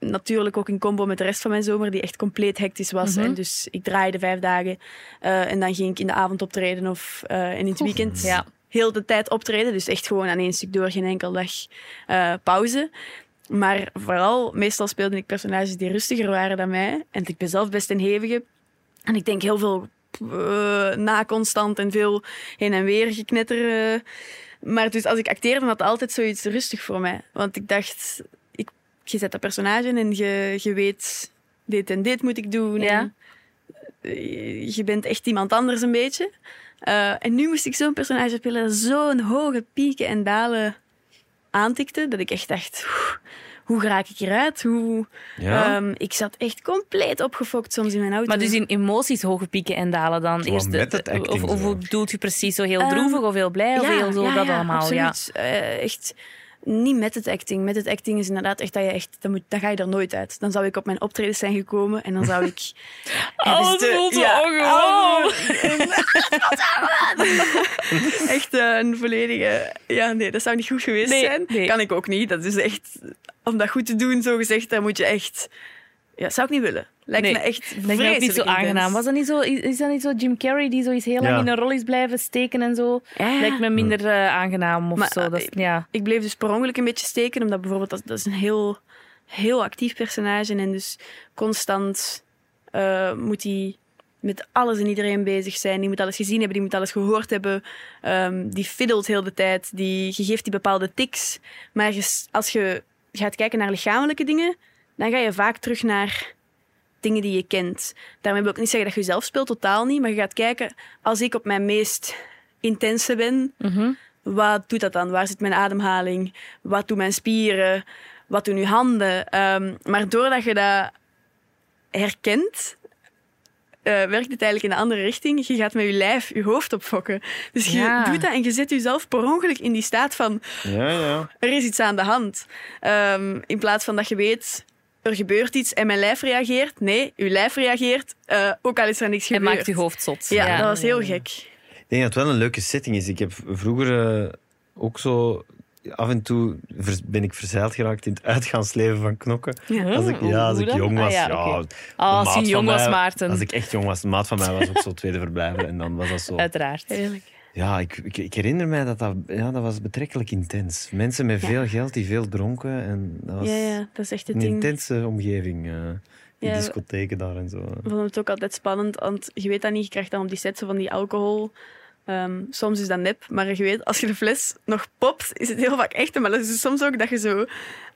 [SPEAKER 3] natuurlijk ook in combo met de rest van mijn zomer, die echt compleet hectisch was. En dus ik draaide vijf dagen. eh, en dan ging ik in de avond optreden of eh, en in het weekend
[SPEAKER 4] Ja.
[SPEAKER 3] heel de tijd optreden. Dus echt gewoon aan één stuk door, geen enkel dag eh, pauze. Maar vooral, meestal speelde ik personages die rustiger waren dan mij. En ik ben zelf best een hevige. En ik denk heel veel eh, na constant en veel heen en weer geknetter. eh. Maar dus als ik acteerde, had het altijd zoiets rustig voor mij. Want ik dacht, ik, je zet dat personage in en je, je weet, dit en dit moet ik doen.
[SPEAKER 4] Ja.
[SPEAKER 3] En, eh, je bent echt iemand anders een beetje. Eh, en nu moest ik zo'n personage spelen dat zo'n hoge pieken en dalen aantikte, dat ik echt dacht, "Oeh, hoe raak ik hieruit? Hoe...
[SPEAKER 2] Ja?
[SPEAKER 3] Ehm, ik zat echt compleet opgefokt soms in mijn auto.
[SPEAKER 4] Maar dus in emoties hoge pieken en dalen dan eerst. de-
[SPEAKER 2] met het acting
[SPEAKER 4] of, of
[SPEAKER 2] zo.
[SPEAKER 4] hoe doet je precies zo heel
[SPEAKER 3] Ehm,
[SPEAKER 4] droevig of heel blij of heel zo dat allemaal? Ja.
[SPEAKER 3] absoluut. Eh, echt niet met het acting. Met het acting is inderdaad echt dat je echt, dan, moet, dan ga je er nooit uit. Dan zou ik op mijn optredens zijn gekomen en dan zou ik. Oh!
[SPEAKER 4] Alles
[SPEAKER 3] dus de-
[SPEAKER 4] voelt zo
[SPEAKER 3] ja,
[SPEAKER 4] ongewoon.
[SPEAKER 2] Oh,
[SPEAKER 3] alles voelt- echt eh, een volledige. Ja, nee, dat zou niet goed geweest
[SPEAKER 4] Nee,
[SPEAKER 3] zijn.
[SPEAKER 4] nee.
[SPEAKER 3] Kan ik ook niet. Dat is echt. Om dat goed te doen, zo gezegd, dan moet je echt. Ja, dat zou ik niet willen. Lijkt
[SPEAKER 4] Nee,
[SPEAKER 3] me echt
[SPEAKER 4] Denk je dat
[SPEAKER 3] vreselijk
[SPEAKER 4] ook niet zo
[SPEAKER 3] intens.
[SPEAKER 4] aangenaam? Was dat niet zo, is, is dat niet zo Jim Carrey die zoiets heel
[SPEAKER 2] Ja.
[SPEAKER 4] lang in een rol is blijven steken en zo?
[SPEAKER 3] Ja.
[SPEAKER 4] Lijkt me minder eh, aangenaam of
[SPEAKER 3] Maar,
[SPEAKER 4] zo. Dat, is-
[SPEAKER 3] eh,
[SPEAKER 4] ja.
[SPEAKER 3] ik bleef dus per ongeluk een beetje steken, omdat bijvoorbeeld dat, dat is een heel, heel actief personage en dus constant eh, moet hij met alles en iedereen bezig zijn. Die moet alles gezien hebben, die moet alles gehoord hebben. Ehm, die fiddelt heel de tijd, die, je geeft die bepaalde tics. Maar je s- als je gaat kijken naar lichamelijke dingen, dan ga je vaak terug naar dingen die je kent. Daarmee wil ik niet zeggen dat je zelf speelt, totaal niet. Maar je gaat kijken, als ik op mijn meest intense ben,
[SPEAKER 4] Mhm.
[SPEAKER 3] wat doet dat dan? Waar zit mijn ademhaling? Wat doen mijn spieren? Wat doen uw handen? Ehm, maar doordat je dat herkent, eh, werkt het eigenlijk in een andere richting. Je gaat met je lijf je hoofd opfokken. Dus je
[SPEAKER 4] Ja.
[SPEAKER 3] doet dat en je zet jezelf per ongeluk in die staat van
[SPEAKER 2] Ja, ja.
[SPEAKER 3] er is iets aan de hand. Ehm, in plaats van dat je weet, er gebeurt iets en mijn lijf reageert. Nee, uw lijf reageert, eh, ook al is er niks
[SPEAKER 4] En
[SPEAKER 3] gebeurd.
[SPEAKER 4] maakt je hoofd zot.
[SPEAKER 3] Ja, dat was heel gek.
[SPEAKER 2] Ik denk dat het wel een leuke setting is. Ik heb vroeger eh, ook zo... Af en toe vers- ben ik verzeild geraakt in het uitgaansleven van knokken.
[SPEAKER 3] Ja.
[SPEAKER 2] Als ik,
[SPEAKER 4] Hm? Hoe-
[SPEAKER 2] ja, als
[SPEAKER 4] hoe
[SPEAKER 2] ik
[SPEAKER 4] dan?
[SPEAKER 2] jong
[SPEAKER 4] Ah,
[SPEAKER 2] was,
[SPEAKER 4] ja,
[SPEAKER 2] ja.
[SPEAKER 4] oké.
[SPEAKER 2] de
[SPEAKER 4] Ah, als
[SPEAKER 2] maat
[SPEAKER 4] je
[SPEAKER 2] van
[SPEAKER 4] jong was,
[SPEAKER 2] mij-
[SPEAKER 4] Maarten.
[SPEAKER 2] Als ik echt jong was, de maat van mij was ook zo tweede verblijver. En dan was dat zo...
[SPEAKER 4] Uiteraard.
[SPEAKER 3] Heerlijk.
[SPEAKER 2] Ja, ik, ik, ik herinner mij dat dat, ja, dat was betrekkelijk intens. Mensen met
[SPEAKER 3] Ja.
[SPEAKER 2] veel geld die veel dronken. En dat was
[SPEAKER 3] Ja, ja, dat is echt het
[SPEAKER 2] een
[SPEAKER 3] ding.
[SPEAKER 2] intense omgeving. eh die
[SPEAKER 3] Ja, we-
[SPEAKER 2] discotheken daar en zo.
[SPEAKER 3] Ik vond het ook altijd spannend, want je weet dat niet. Je krijgt dan op die set zo van die alcohol. Ehm, soms is dat nep, maar je weet, als je de fles nog popt, is het heel vaak echt. Maar dat is dus soms ook dat je zo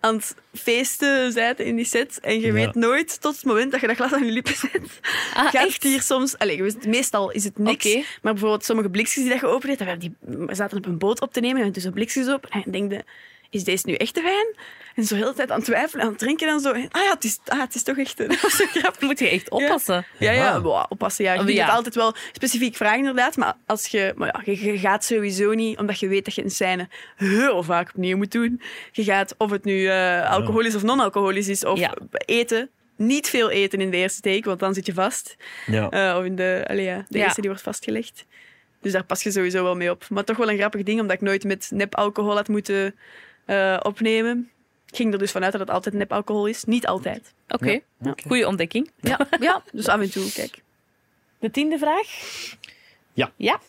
[SPEAKER 3] aan het feesten bent in die set. En je
[SPEAKER 2] Ja.
[SPEAKER 3] weet nooit tot het moment dat je dat glas aan je lippen zet.
[SPEAKER 4] Ah,
[SPEAKER 3] gaat
[SPEAKER 4] echt?
[SPEAKER 3] het hier soms... Allee, we- meestal is het niks.
[SPEAKER 4] Oké.
[SPEAKER 3] Maar bijvoorbeeld sommige blikjes die dat je opent, dat we, die, we zaten op een boot op te nemen en we doen zo blikjes op. En ik denk, is deze nu echte wijn? En zo heel de tijd aan het twijfelen, aan het drinken en zo. En, ah ja, het is, ah, het is toch echt. Dat was zo grappig.
[SPEAKER 4] Moet je echt oppassen.
[SPEAKER 3] Ja, ja,
[SPEAKER 2] Ja.
[SPEAKER 3] wow, oppassen. Ja. Je
[SPEAKER 4] Oh,
[SPEAKER 3] kunt
[SPEAKER 4] ja.
[SPEAKER 3] het altijd wel specifiek vragen, inderdaad. Maar, als je, maar ja, je, je gaat sowieso niet, omdat je weet dat je een scène heel vaak opnieuw moet doen. Je gaat, of het nu eh, alcoholisch of non-alcoholisch is, of
[SPEAKER 4] Ja.
[SPEAKER 3] eten. Niet veel eten in de eerste take, want dan zit je vast.
[SPEAKER 2] Ja.
[SPEAKER 3] Eh, of in de, allee, ja, de
[SPEAKER 4] Ja.
[SPEAKER 3] eerste die wordt vastgelegd. Dus daar pas je sowieso wel mee op. Maar toch wel een grappig ding, omdat ik nooit met nep alcohol had moeten eh, opnemen. Ik ging er dus vanuit dat het altijd nep alcohol is. Niet altijd.
[SPEAKER 4] Oké, goede ontdekking.
[SPEAKER 3] Ja, ja. dus af en toe, kijk.
[SPEAKER 4] De tiende vraag.
[SPEAKER 2] Ja.
[SPEAKER 4] Ja.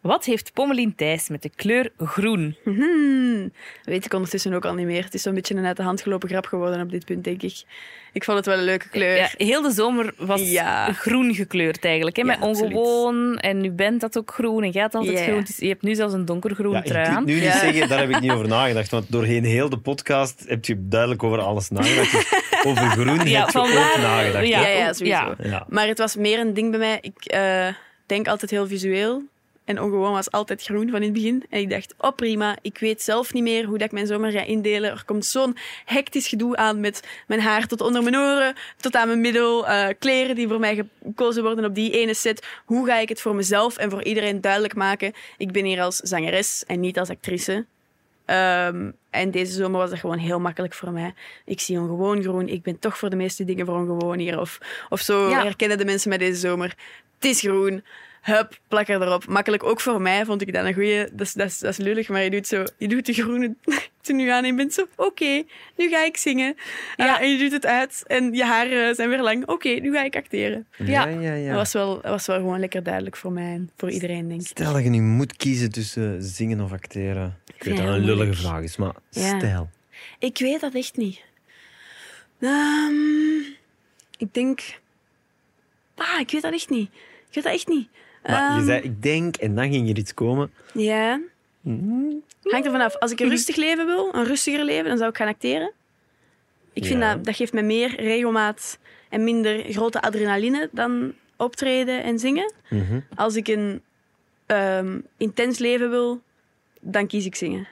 [SPEAKER 4] Wat heeft Pommelien Thijs met de kleur groen?
[SPEAKER 3] Hmm, weet ik ondertussen ook al niet meer. Het is zo'n beetje een uit de hand gelopen grap geworden op dit punt, denk ik. Ik vond het wel een leuke kleur.
[SPEAKER 4] Ja, heel de zomer was
[SPEAKER 3] Ja.
[SPEAKER 4] groen gekleurd eigenlijk. Hè?
[SPEAKER 3] Ja,
[SPEAKER 4] Met ongewoon. En nu bent dat ook groen. En jij had altijd
[SPEAKER 3] Ja.
[SPEAKER 4] groen. Dus je hebt nu zelfs een donkergroen
[SPEAKER 2] Ja, ik
[SPEAKER 4] trui
[SPEAKER 2] kan
[SPEAKER 4] aan.
[SPEAKER 2] nu niet
[SPEAKER 3] Ja.
[SPEAKER 2] zeggen, daar heb ik niet over nagedacht. Want doorheen heel de podcast heb je duidelijk over alles nagedacht. Dus over groen heb je ook
[SPEAKER 4] vanwaar-
[SPEAKER 2] nagedacht.
[SPEAKER 3] Ja,
[SPEAKER 2] Ja.
[SPEAKER 3] ja,
[SPEAKER 4] ook-
[SPEAKER 3] sowieso.
[SPEAKER 2] Ja.
[SPEAKER 3] Maar het was meer een ding bij mij. Ik eh, denk altijd heel visueel. En ongewoon was altijd groen van in het begin. En ik dacht, oh prima, ik weet zelf niet meer hoe dat ik mijn zomer ga indelen. Er komt zo'n hectisch gedoe aan met mijn haar tot onder mijn oren, tot aan mijn middel. eh, kleren die voor mij gekozen worden op die ene set. Hoe ga ik het voor mezelf en voor iedereen duidelijk maken? Ik ben hier als zangeres en niet als actrice. Ehm, en deze zomer was dat gewoon heel makkelijk voor mij. Ik zie ongewoon groen. Ik ben toch voor de meeste dingen voor ongewoon hier. Of, of zo
[SPEAKER 4] Ja.
[SPEAKER 3] herkennen de mensen mij deze zomer. Het is groen. Hup, plak er erop. Makkelijk ook voor mij vond ik dat een goeie. Dat is, dat is, dat is lullig, maar je doet, zo, je doet de groene tenue aan en je bent zo... Oké, nu ga ik zingen. Ja. en je doet het uit en je haren zijn weer lang. Oké, nu ga ik acteren.
[SPEAKER 2] Ja, ja, ja.
[SPEAKER 3] Dat, was wel, dat was wel gewoon lekker duidelijk voor mij en voor iedereen, denk ik.
[SPEAKER 2] Stel dat je nu moet kiezen tussen zingen of acteren. Ik weet
[SPEAKER 3] Ja,
[SPEAKER 2] dat dat een
[SPEAKER 3] moeilijk.
[SPEAKER 2] lullige vraag is, maar
[SPEAKER 3] Ja.
[SPEAKER 2] stel.
[SPEAKER 3] Ik weet dat echt niet. Ehm, ik denk. Ah, ik weet dat echt niet. Ik weet dat echt niet.
[SPEAKER 2] Maar je
[SPEAKER 3] Ehm,
[SPEAKER 2] zei, ik denk, en dan ging er iets komen.
[SPEAKER 3] Ja.
[SPEAKER 4] Mhm.
[SPEAKER 3] Hangt er vanaf. Als ik een rustig leven wil, een rustiger leven, dan zou ik gaan acteren. Ik vind
[SPEAKER 2] Ja.
[SPEAKER 3] dat, dat geeft me meer regelmaat en minder grote adrenaline dan optreden en zingen.
[SPEAKER 2] Mhm.
[SPEAKER 3] Als ik een ehm, intens leven wil, dan kies ik zingen.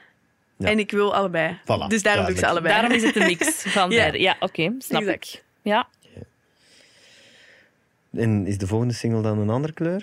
[SPEAKER 2] Ja.
[SPEAKER 3] En ik wil allebei.
[SPEAKER 2] Voilà,
[SPEAKER 3] dus daarom doe ik
[SPEAKER 2] duidelijk.
[SPEAKER 3] ze allebei.
[SPEAKER 4] Daarom is het een mix van
[SPEAKER 3] Ja.
[SPEAKER 4] beide. Ja, oké. snap
[SPEAKER 3] Exact.
[SPEAKER 4] ik. Ja.
[SPEAKER 2] En is de volgende single dan een andere kleur?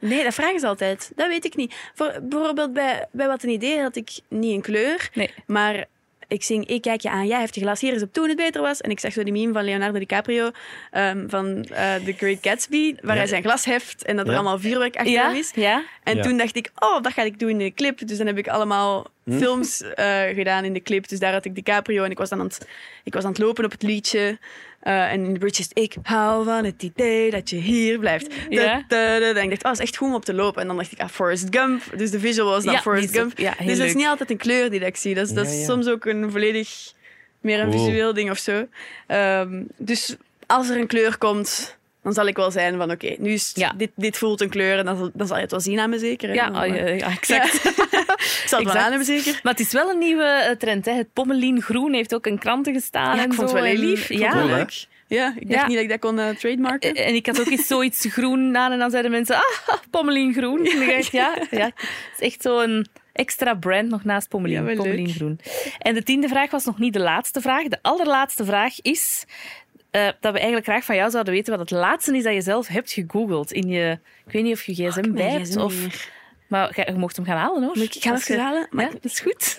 [SPEAKER 3] Nee, dat vragen ze altijd. Dat weet ik niet. Voor, bijvoorbeeld bij, bij Wat een Idee had ik niet een kleur,
[SPEAKER 4] Nee.
[SPEAKER 3] maar ik zing Ik kijk je aan, jij heeft je glas hier eens op toen het beter was. En ik zag zo die meme van Leonardo DiCaprio ehm, van eh, The Great Gatsby, waar
[SPEAKER 2] Ja.
[SPEAKER 3] hij zijn glas heft en dat er
[SPEAKER 2] Ja.
[SPEAKER 3] allemaal vuurwerk achter
[SPEAKER 4] Ja?
[SPEAKER 3] hem is.
[SPEAKER 4] ja?
[SPEAKER 3] En
[SPEAKER 2] Ja.
[SPEAKER 3] toen dacht ik, oh, dat ga ik doen in de clip. Dus dan heb ik allemaal
[SPEAKER 4] Hm?
[SPEAKER 3] films eh, gedaan in de clip. Dus daar had ik DiCaprio en ik was dan aan het, ik was aan het lopen op het liedje. Eh, en in de bridge is het, ik hou van het idee dat je hier blijft. Da,
[SPEAKER 4] Ja.
[SPEAKER 3] da, da, da. En ik dacht, oh, het is echt goed om op te lopen. En dan dacht ik, ah, Forrest Gump. Dus de visual was dan
[SPEAKER 4] Ja,
[SPEAKER 3] Forrest
[SPEAKER 4] die is-
[SPEAKER 3] Gump.
[SPEAKER 4] ja, heel
[SPEAKER 3] dus dat is
[SPEAKER 4] leuk.
[SPEAKER 3] niet altijd een kleur die dat ik zie. Dat is, dat
[SPEAKER 2] Ja,
[SPEAKER 3] is
[SPEAKER 2] ja.
[SPEAKER 3] soms ook een volledig, meer een
[SPEAKER 2] Cool.
[SPEAKER 3] visueel ding of zo. Ehm, dus als er een kleur komt, Dan zal ik wel zijn van, oké, nu is het-
[SPEAKER 4] Ja.
[SPEAKER 3] dit, dit voelt een kleur en dan zal, dan zal je het wel zien aan me zeker. hè.
[SPEAKER 4] Ja,
[SPEAKER 3] Maar-
[SPEAKER 4] ah, ja, ja, exact.
[SPEAKER 3] Ik zal het wel
[SPEAKER 4] Exact.
[SPEAKER 3] aan hebben zeker.
[SPEAKER 4] Maar het is wel een nieuwe eh, trend. Hè. Het Pommelien Groen heeft ook in kranten gestaan.
[SPEAKER 3] Ja, ik
[SPEAKER 4] en
[SPEAKER 3] vond
[SPEAKER 4] Ah, zo.
[SPEAKER 3] het wel heel
[SPEAKER 4] En-
[SPEAKER 3] lief. Ik vond
[SPEAKER 4] ja.
[SPEAKER 3] het wel
[SPEAKER 2] Cool, hè?
[SPEAKER 3] leuk. Ja, ik dacht
[SPEAKER 4] Ja.
[SPEAKER 3] niet dat ik dat kon eh, trademarken.
[SPEAKER 4] Eh, En ik had ook eens zoiets groen aan en dan zeiden mensen, ah, Pommelien Groen. En ik dacht, ja, ja. Het is echt zo'n extra brand nog naast Pommelien,
[SPEAKER 3] Ja, wel leuk.
[SPEAKER 4] Pommelien Groen. En de tiende vraag was nog niet de laatste vraag. De allerlaatste vraag is eh, dat we eigenlijk graag van jou zouden weten wat het laatste is dat je zelf hebt gegoogeld in je... Ik weet niet of je eh, gsm bij
[SPEAKER 3] heb mijn
[SPEAKER 4] hebt
[SPEAKER 3] gsm
[SPEAKER 4] of...
[SPEAKER 3] niet meer.
[SPEAKER 4] Maar ga- je mocht hem gaan halen, hoor.
[SPEAKER 3] Ik ga
[SPEAKER 4] Als
[SPEAKER 3] het
[SPEAKER 4] je-
[SPEAKER 3] halen, maar
[SPEAKER 4] Ja, dat is goed.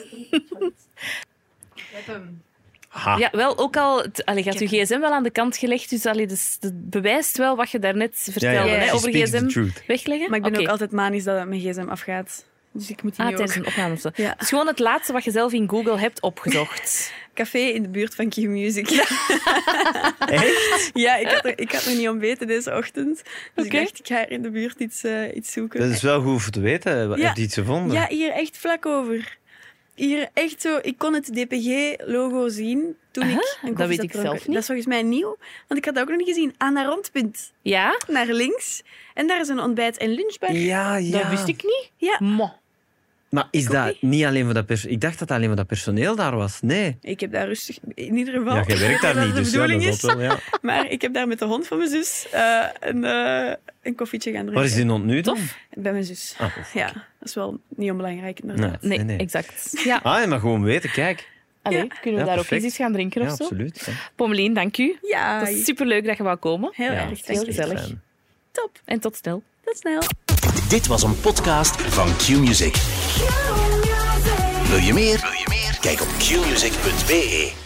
[SPEAKER 2] Ha.
[SPEAKER 4] Ja, wel, ook al... t- Allee, je had je
[SPEAKER 3] heb
[SPEAKER 4] gsm wel aan de kant gelegd, dus allee, dus dat bewijst wel wat je daarnet vertelde
[SPEAKER 3] ja,
[SPEAKER 4] hè,
[SPEAKER 3] she
[SPEAKER 4] over
[SPEAKER 2] speaks the
[SPEAKER 4] gsm.
[SPEAKER 2] truth.
[SPEAKER 4] Wegleggen?
[SPEAKER 3] maar ik ben
[SPEAKER 4] Oké.
[SPEAKER 3] ook altijd manisch dat het mijn gsm afgaat. Dus ik moet die
[SPEAKER 4] Ah,
[SPEAKER 3] nu ook.
[SPEAKER 4] tijdens een opname of zo.
[SPEAKER 3] Ja.
[SPEAKER 4] Dus gewoon het laatste wat je zelf in Google hebt opgezocht.
[SPEAKER 3] Café in de buurt van Q-Music. Ja,
[SPEAKER 2] Echt?
[SPEAKER 3] ik, had er, ik had er niet ontbeten deze ochtend. Dus
[SPEAKER 4] Oké.
[SPEAKER 3] ik dacht, ik ga er in de buurt iets, eh, iets zoeken.
[SPEAKER 2] Dat is wel goed voor te weten. Wat
[SPEAKER 3] Ja.
[SPEAKER 2] Heb je iets gevonden?
[SPEAKER 3] Ja, hier echt vlak over. Hier echt zo, ik kon het DPG-logo zien toen ik een
[SPEAKER 4] dat weet ik
[SPEAKER 3] dronk.
[SPEAKER 4] zelf niet.
[SPEAKER 3] Dat is volgens mij nieuw, want ik had dat ook nog niet gezien. Aan haar rondpunt,
[SPEAKER 4] Ja?
[SPEAKER 3] naar links. En daar is een ontbijt- en lunchbar.
[SPEAKER 2] ja. ja.
[SPEAKER 4] Dat wist ik niet.
[SPEAKER 3] Ja.
[SPEAKER 4] Mo.
[SPEAKER 2] Maar is dat
[SPEAKER 3] Koffie?
[SPEAKER 2] niet alleen voor dat personeel? Ik dacht dat dat alleen voor dat personeel daar was. Nee.
[SPEAKER 3] Ik heb daar rustig, in ieder geval...
[SPEAKER 2] Ja, je werkt daar
[SPEAKER 3] dat
[SPEAKER 2] niet,
[SPEAKER 3] de
[SPEAKER 2] dus ja, dat
[SPEAKER 3] bedoeling
[SPEAKER 2] is
[SPEAKER 3] is.
[SPEAKER 2] wel, ja.
[SPEAKER 3] Maar ik heb daar met de hond van mijn zus eh, een, eh, een koffietje gaan drinken.
[SPEAKER 2] Waar is die hond nu dan?
[SPEAKER 3] Bij mijn zus.
[SPEAKER 2] Ah, oef.
[SPEAKER 3] Ja, dat is wel niet onbelangrijk inderdaad.
[SPEAKER 2] Nee,
[SPEAKER 4] Nee,
[SPEAKER 2] nee, nee.
[SPEAKER 4] exact. Ja.
[SPEAKER 2] Ah, je mag gewoon weten, kijk.
[SPEAKER 4] Allee,
[SPEAKER 3] Ja.
[SPEAKER 4] kunnen we
[SPEAKER 2] Ja,
[SPEAKER 4] daar ook
[SPEAKER 2] perfect.
[SPEAKER 4] eens iets gaan drinken
[SPEAKER 2] Ja,
[SPEAKER 4] of zo?
[SPEAKER 2] absoluut. Ja.
[SPEAKER 4] Pommelien, dank u.
[SPEAKER 3] Ja,
[SPEAKER 4] Het is superleuk dat je wou komen.
[SPEAKER 3] heel
[SPEAKER 2] Ja,
[SPEAKER 3] erg.
[SPEAKER 4] heel
[SPEAKER 3] Heel
[SPEAKER 4] gezellig.
[SPEAKER 2] Fijn.
[SPEAKER 3] Top,
[SPEAKER 4] En tot snel.
[SPEAKER 3] tot snel.
[SPEAKER 1] Dit was een podcast van Q-Music. Wil je meer? Wil je meer? Kijk op qmusic.be.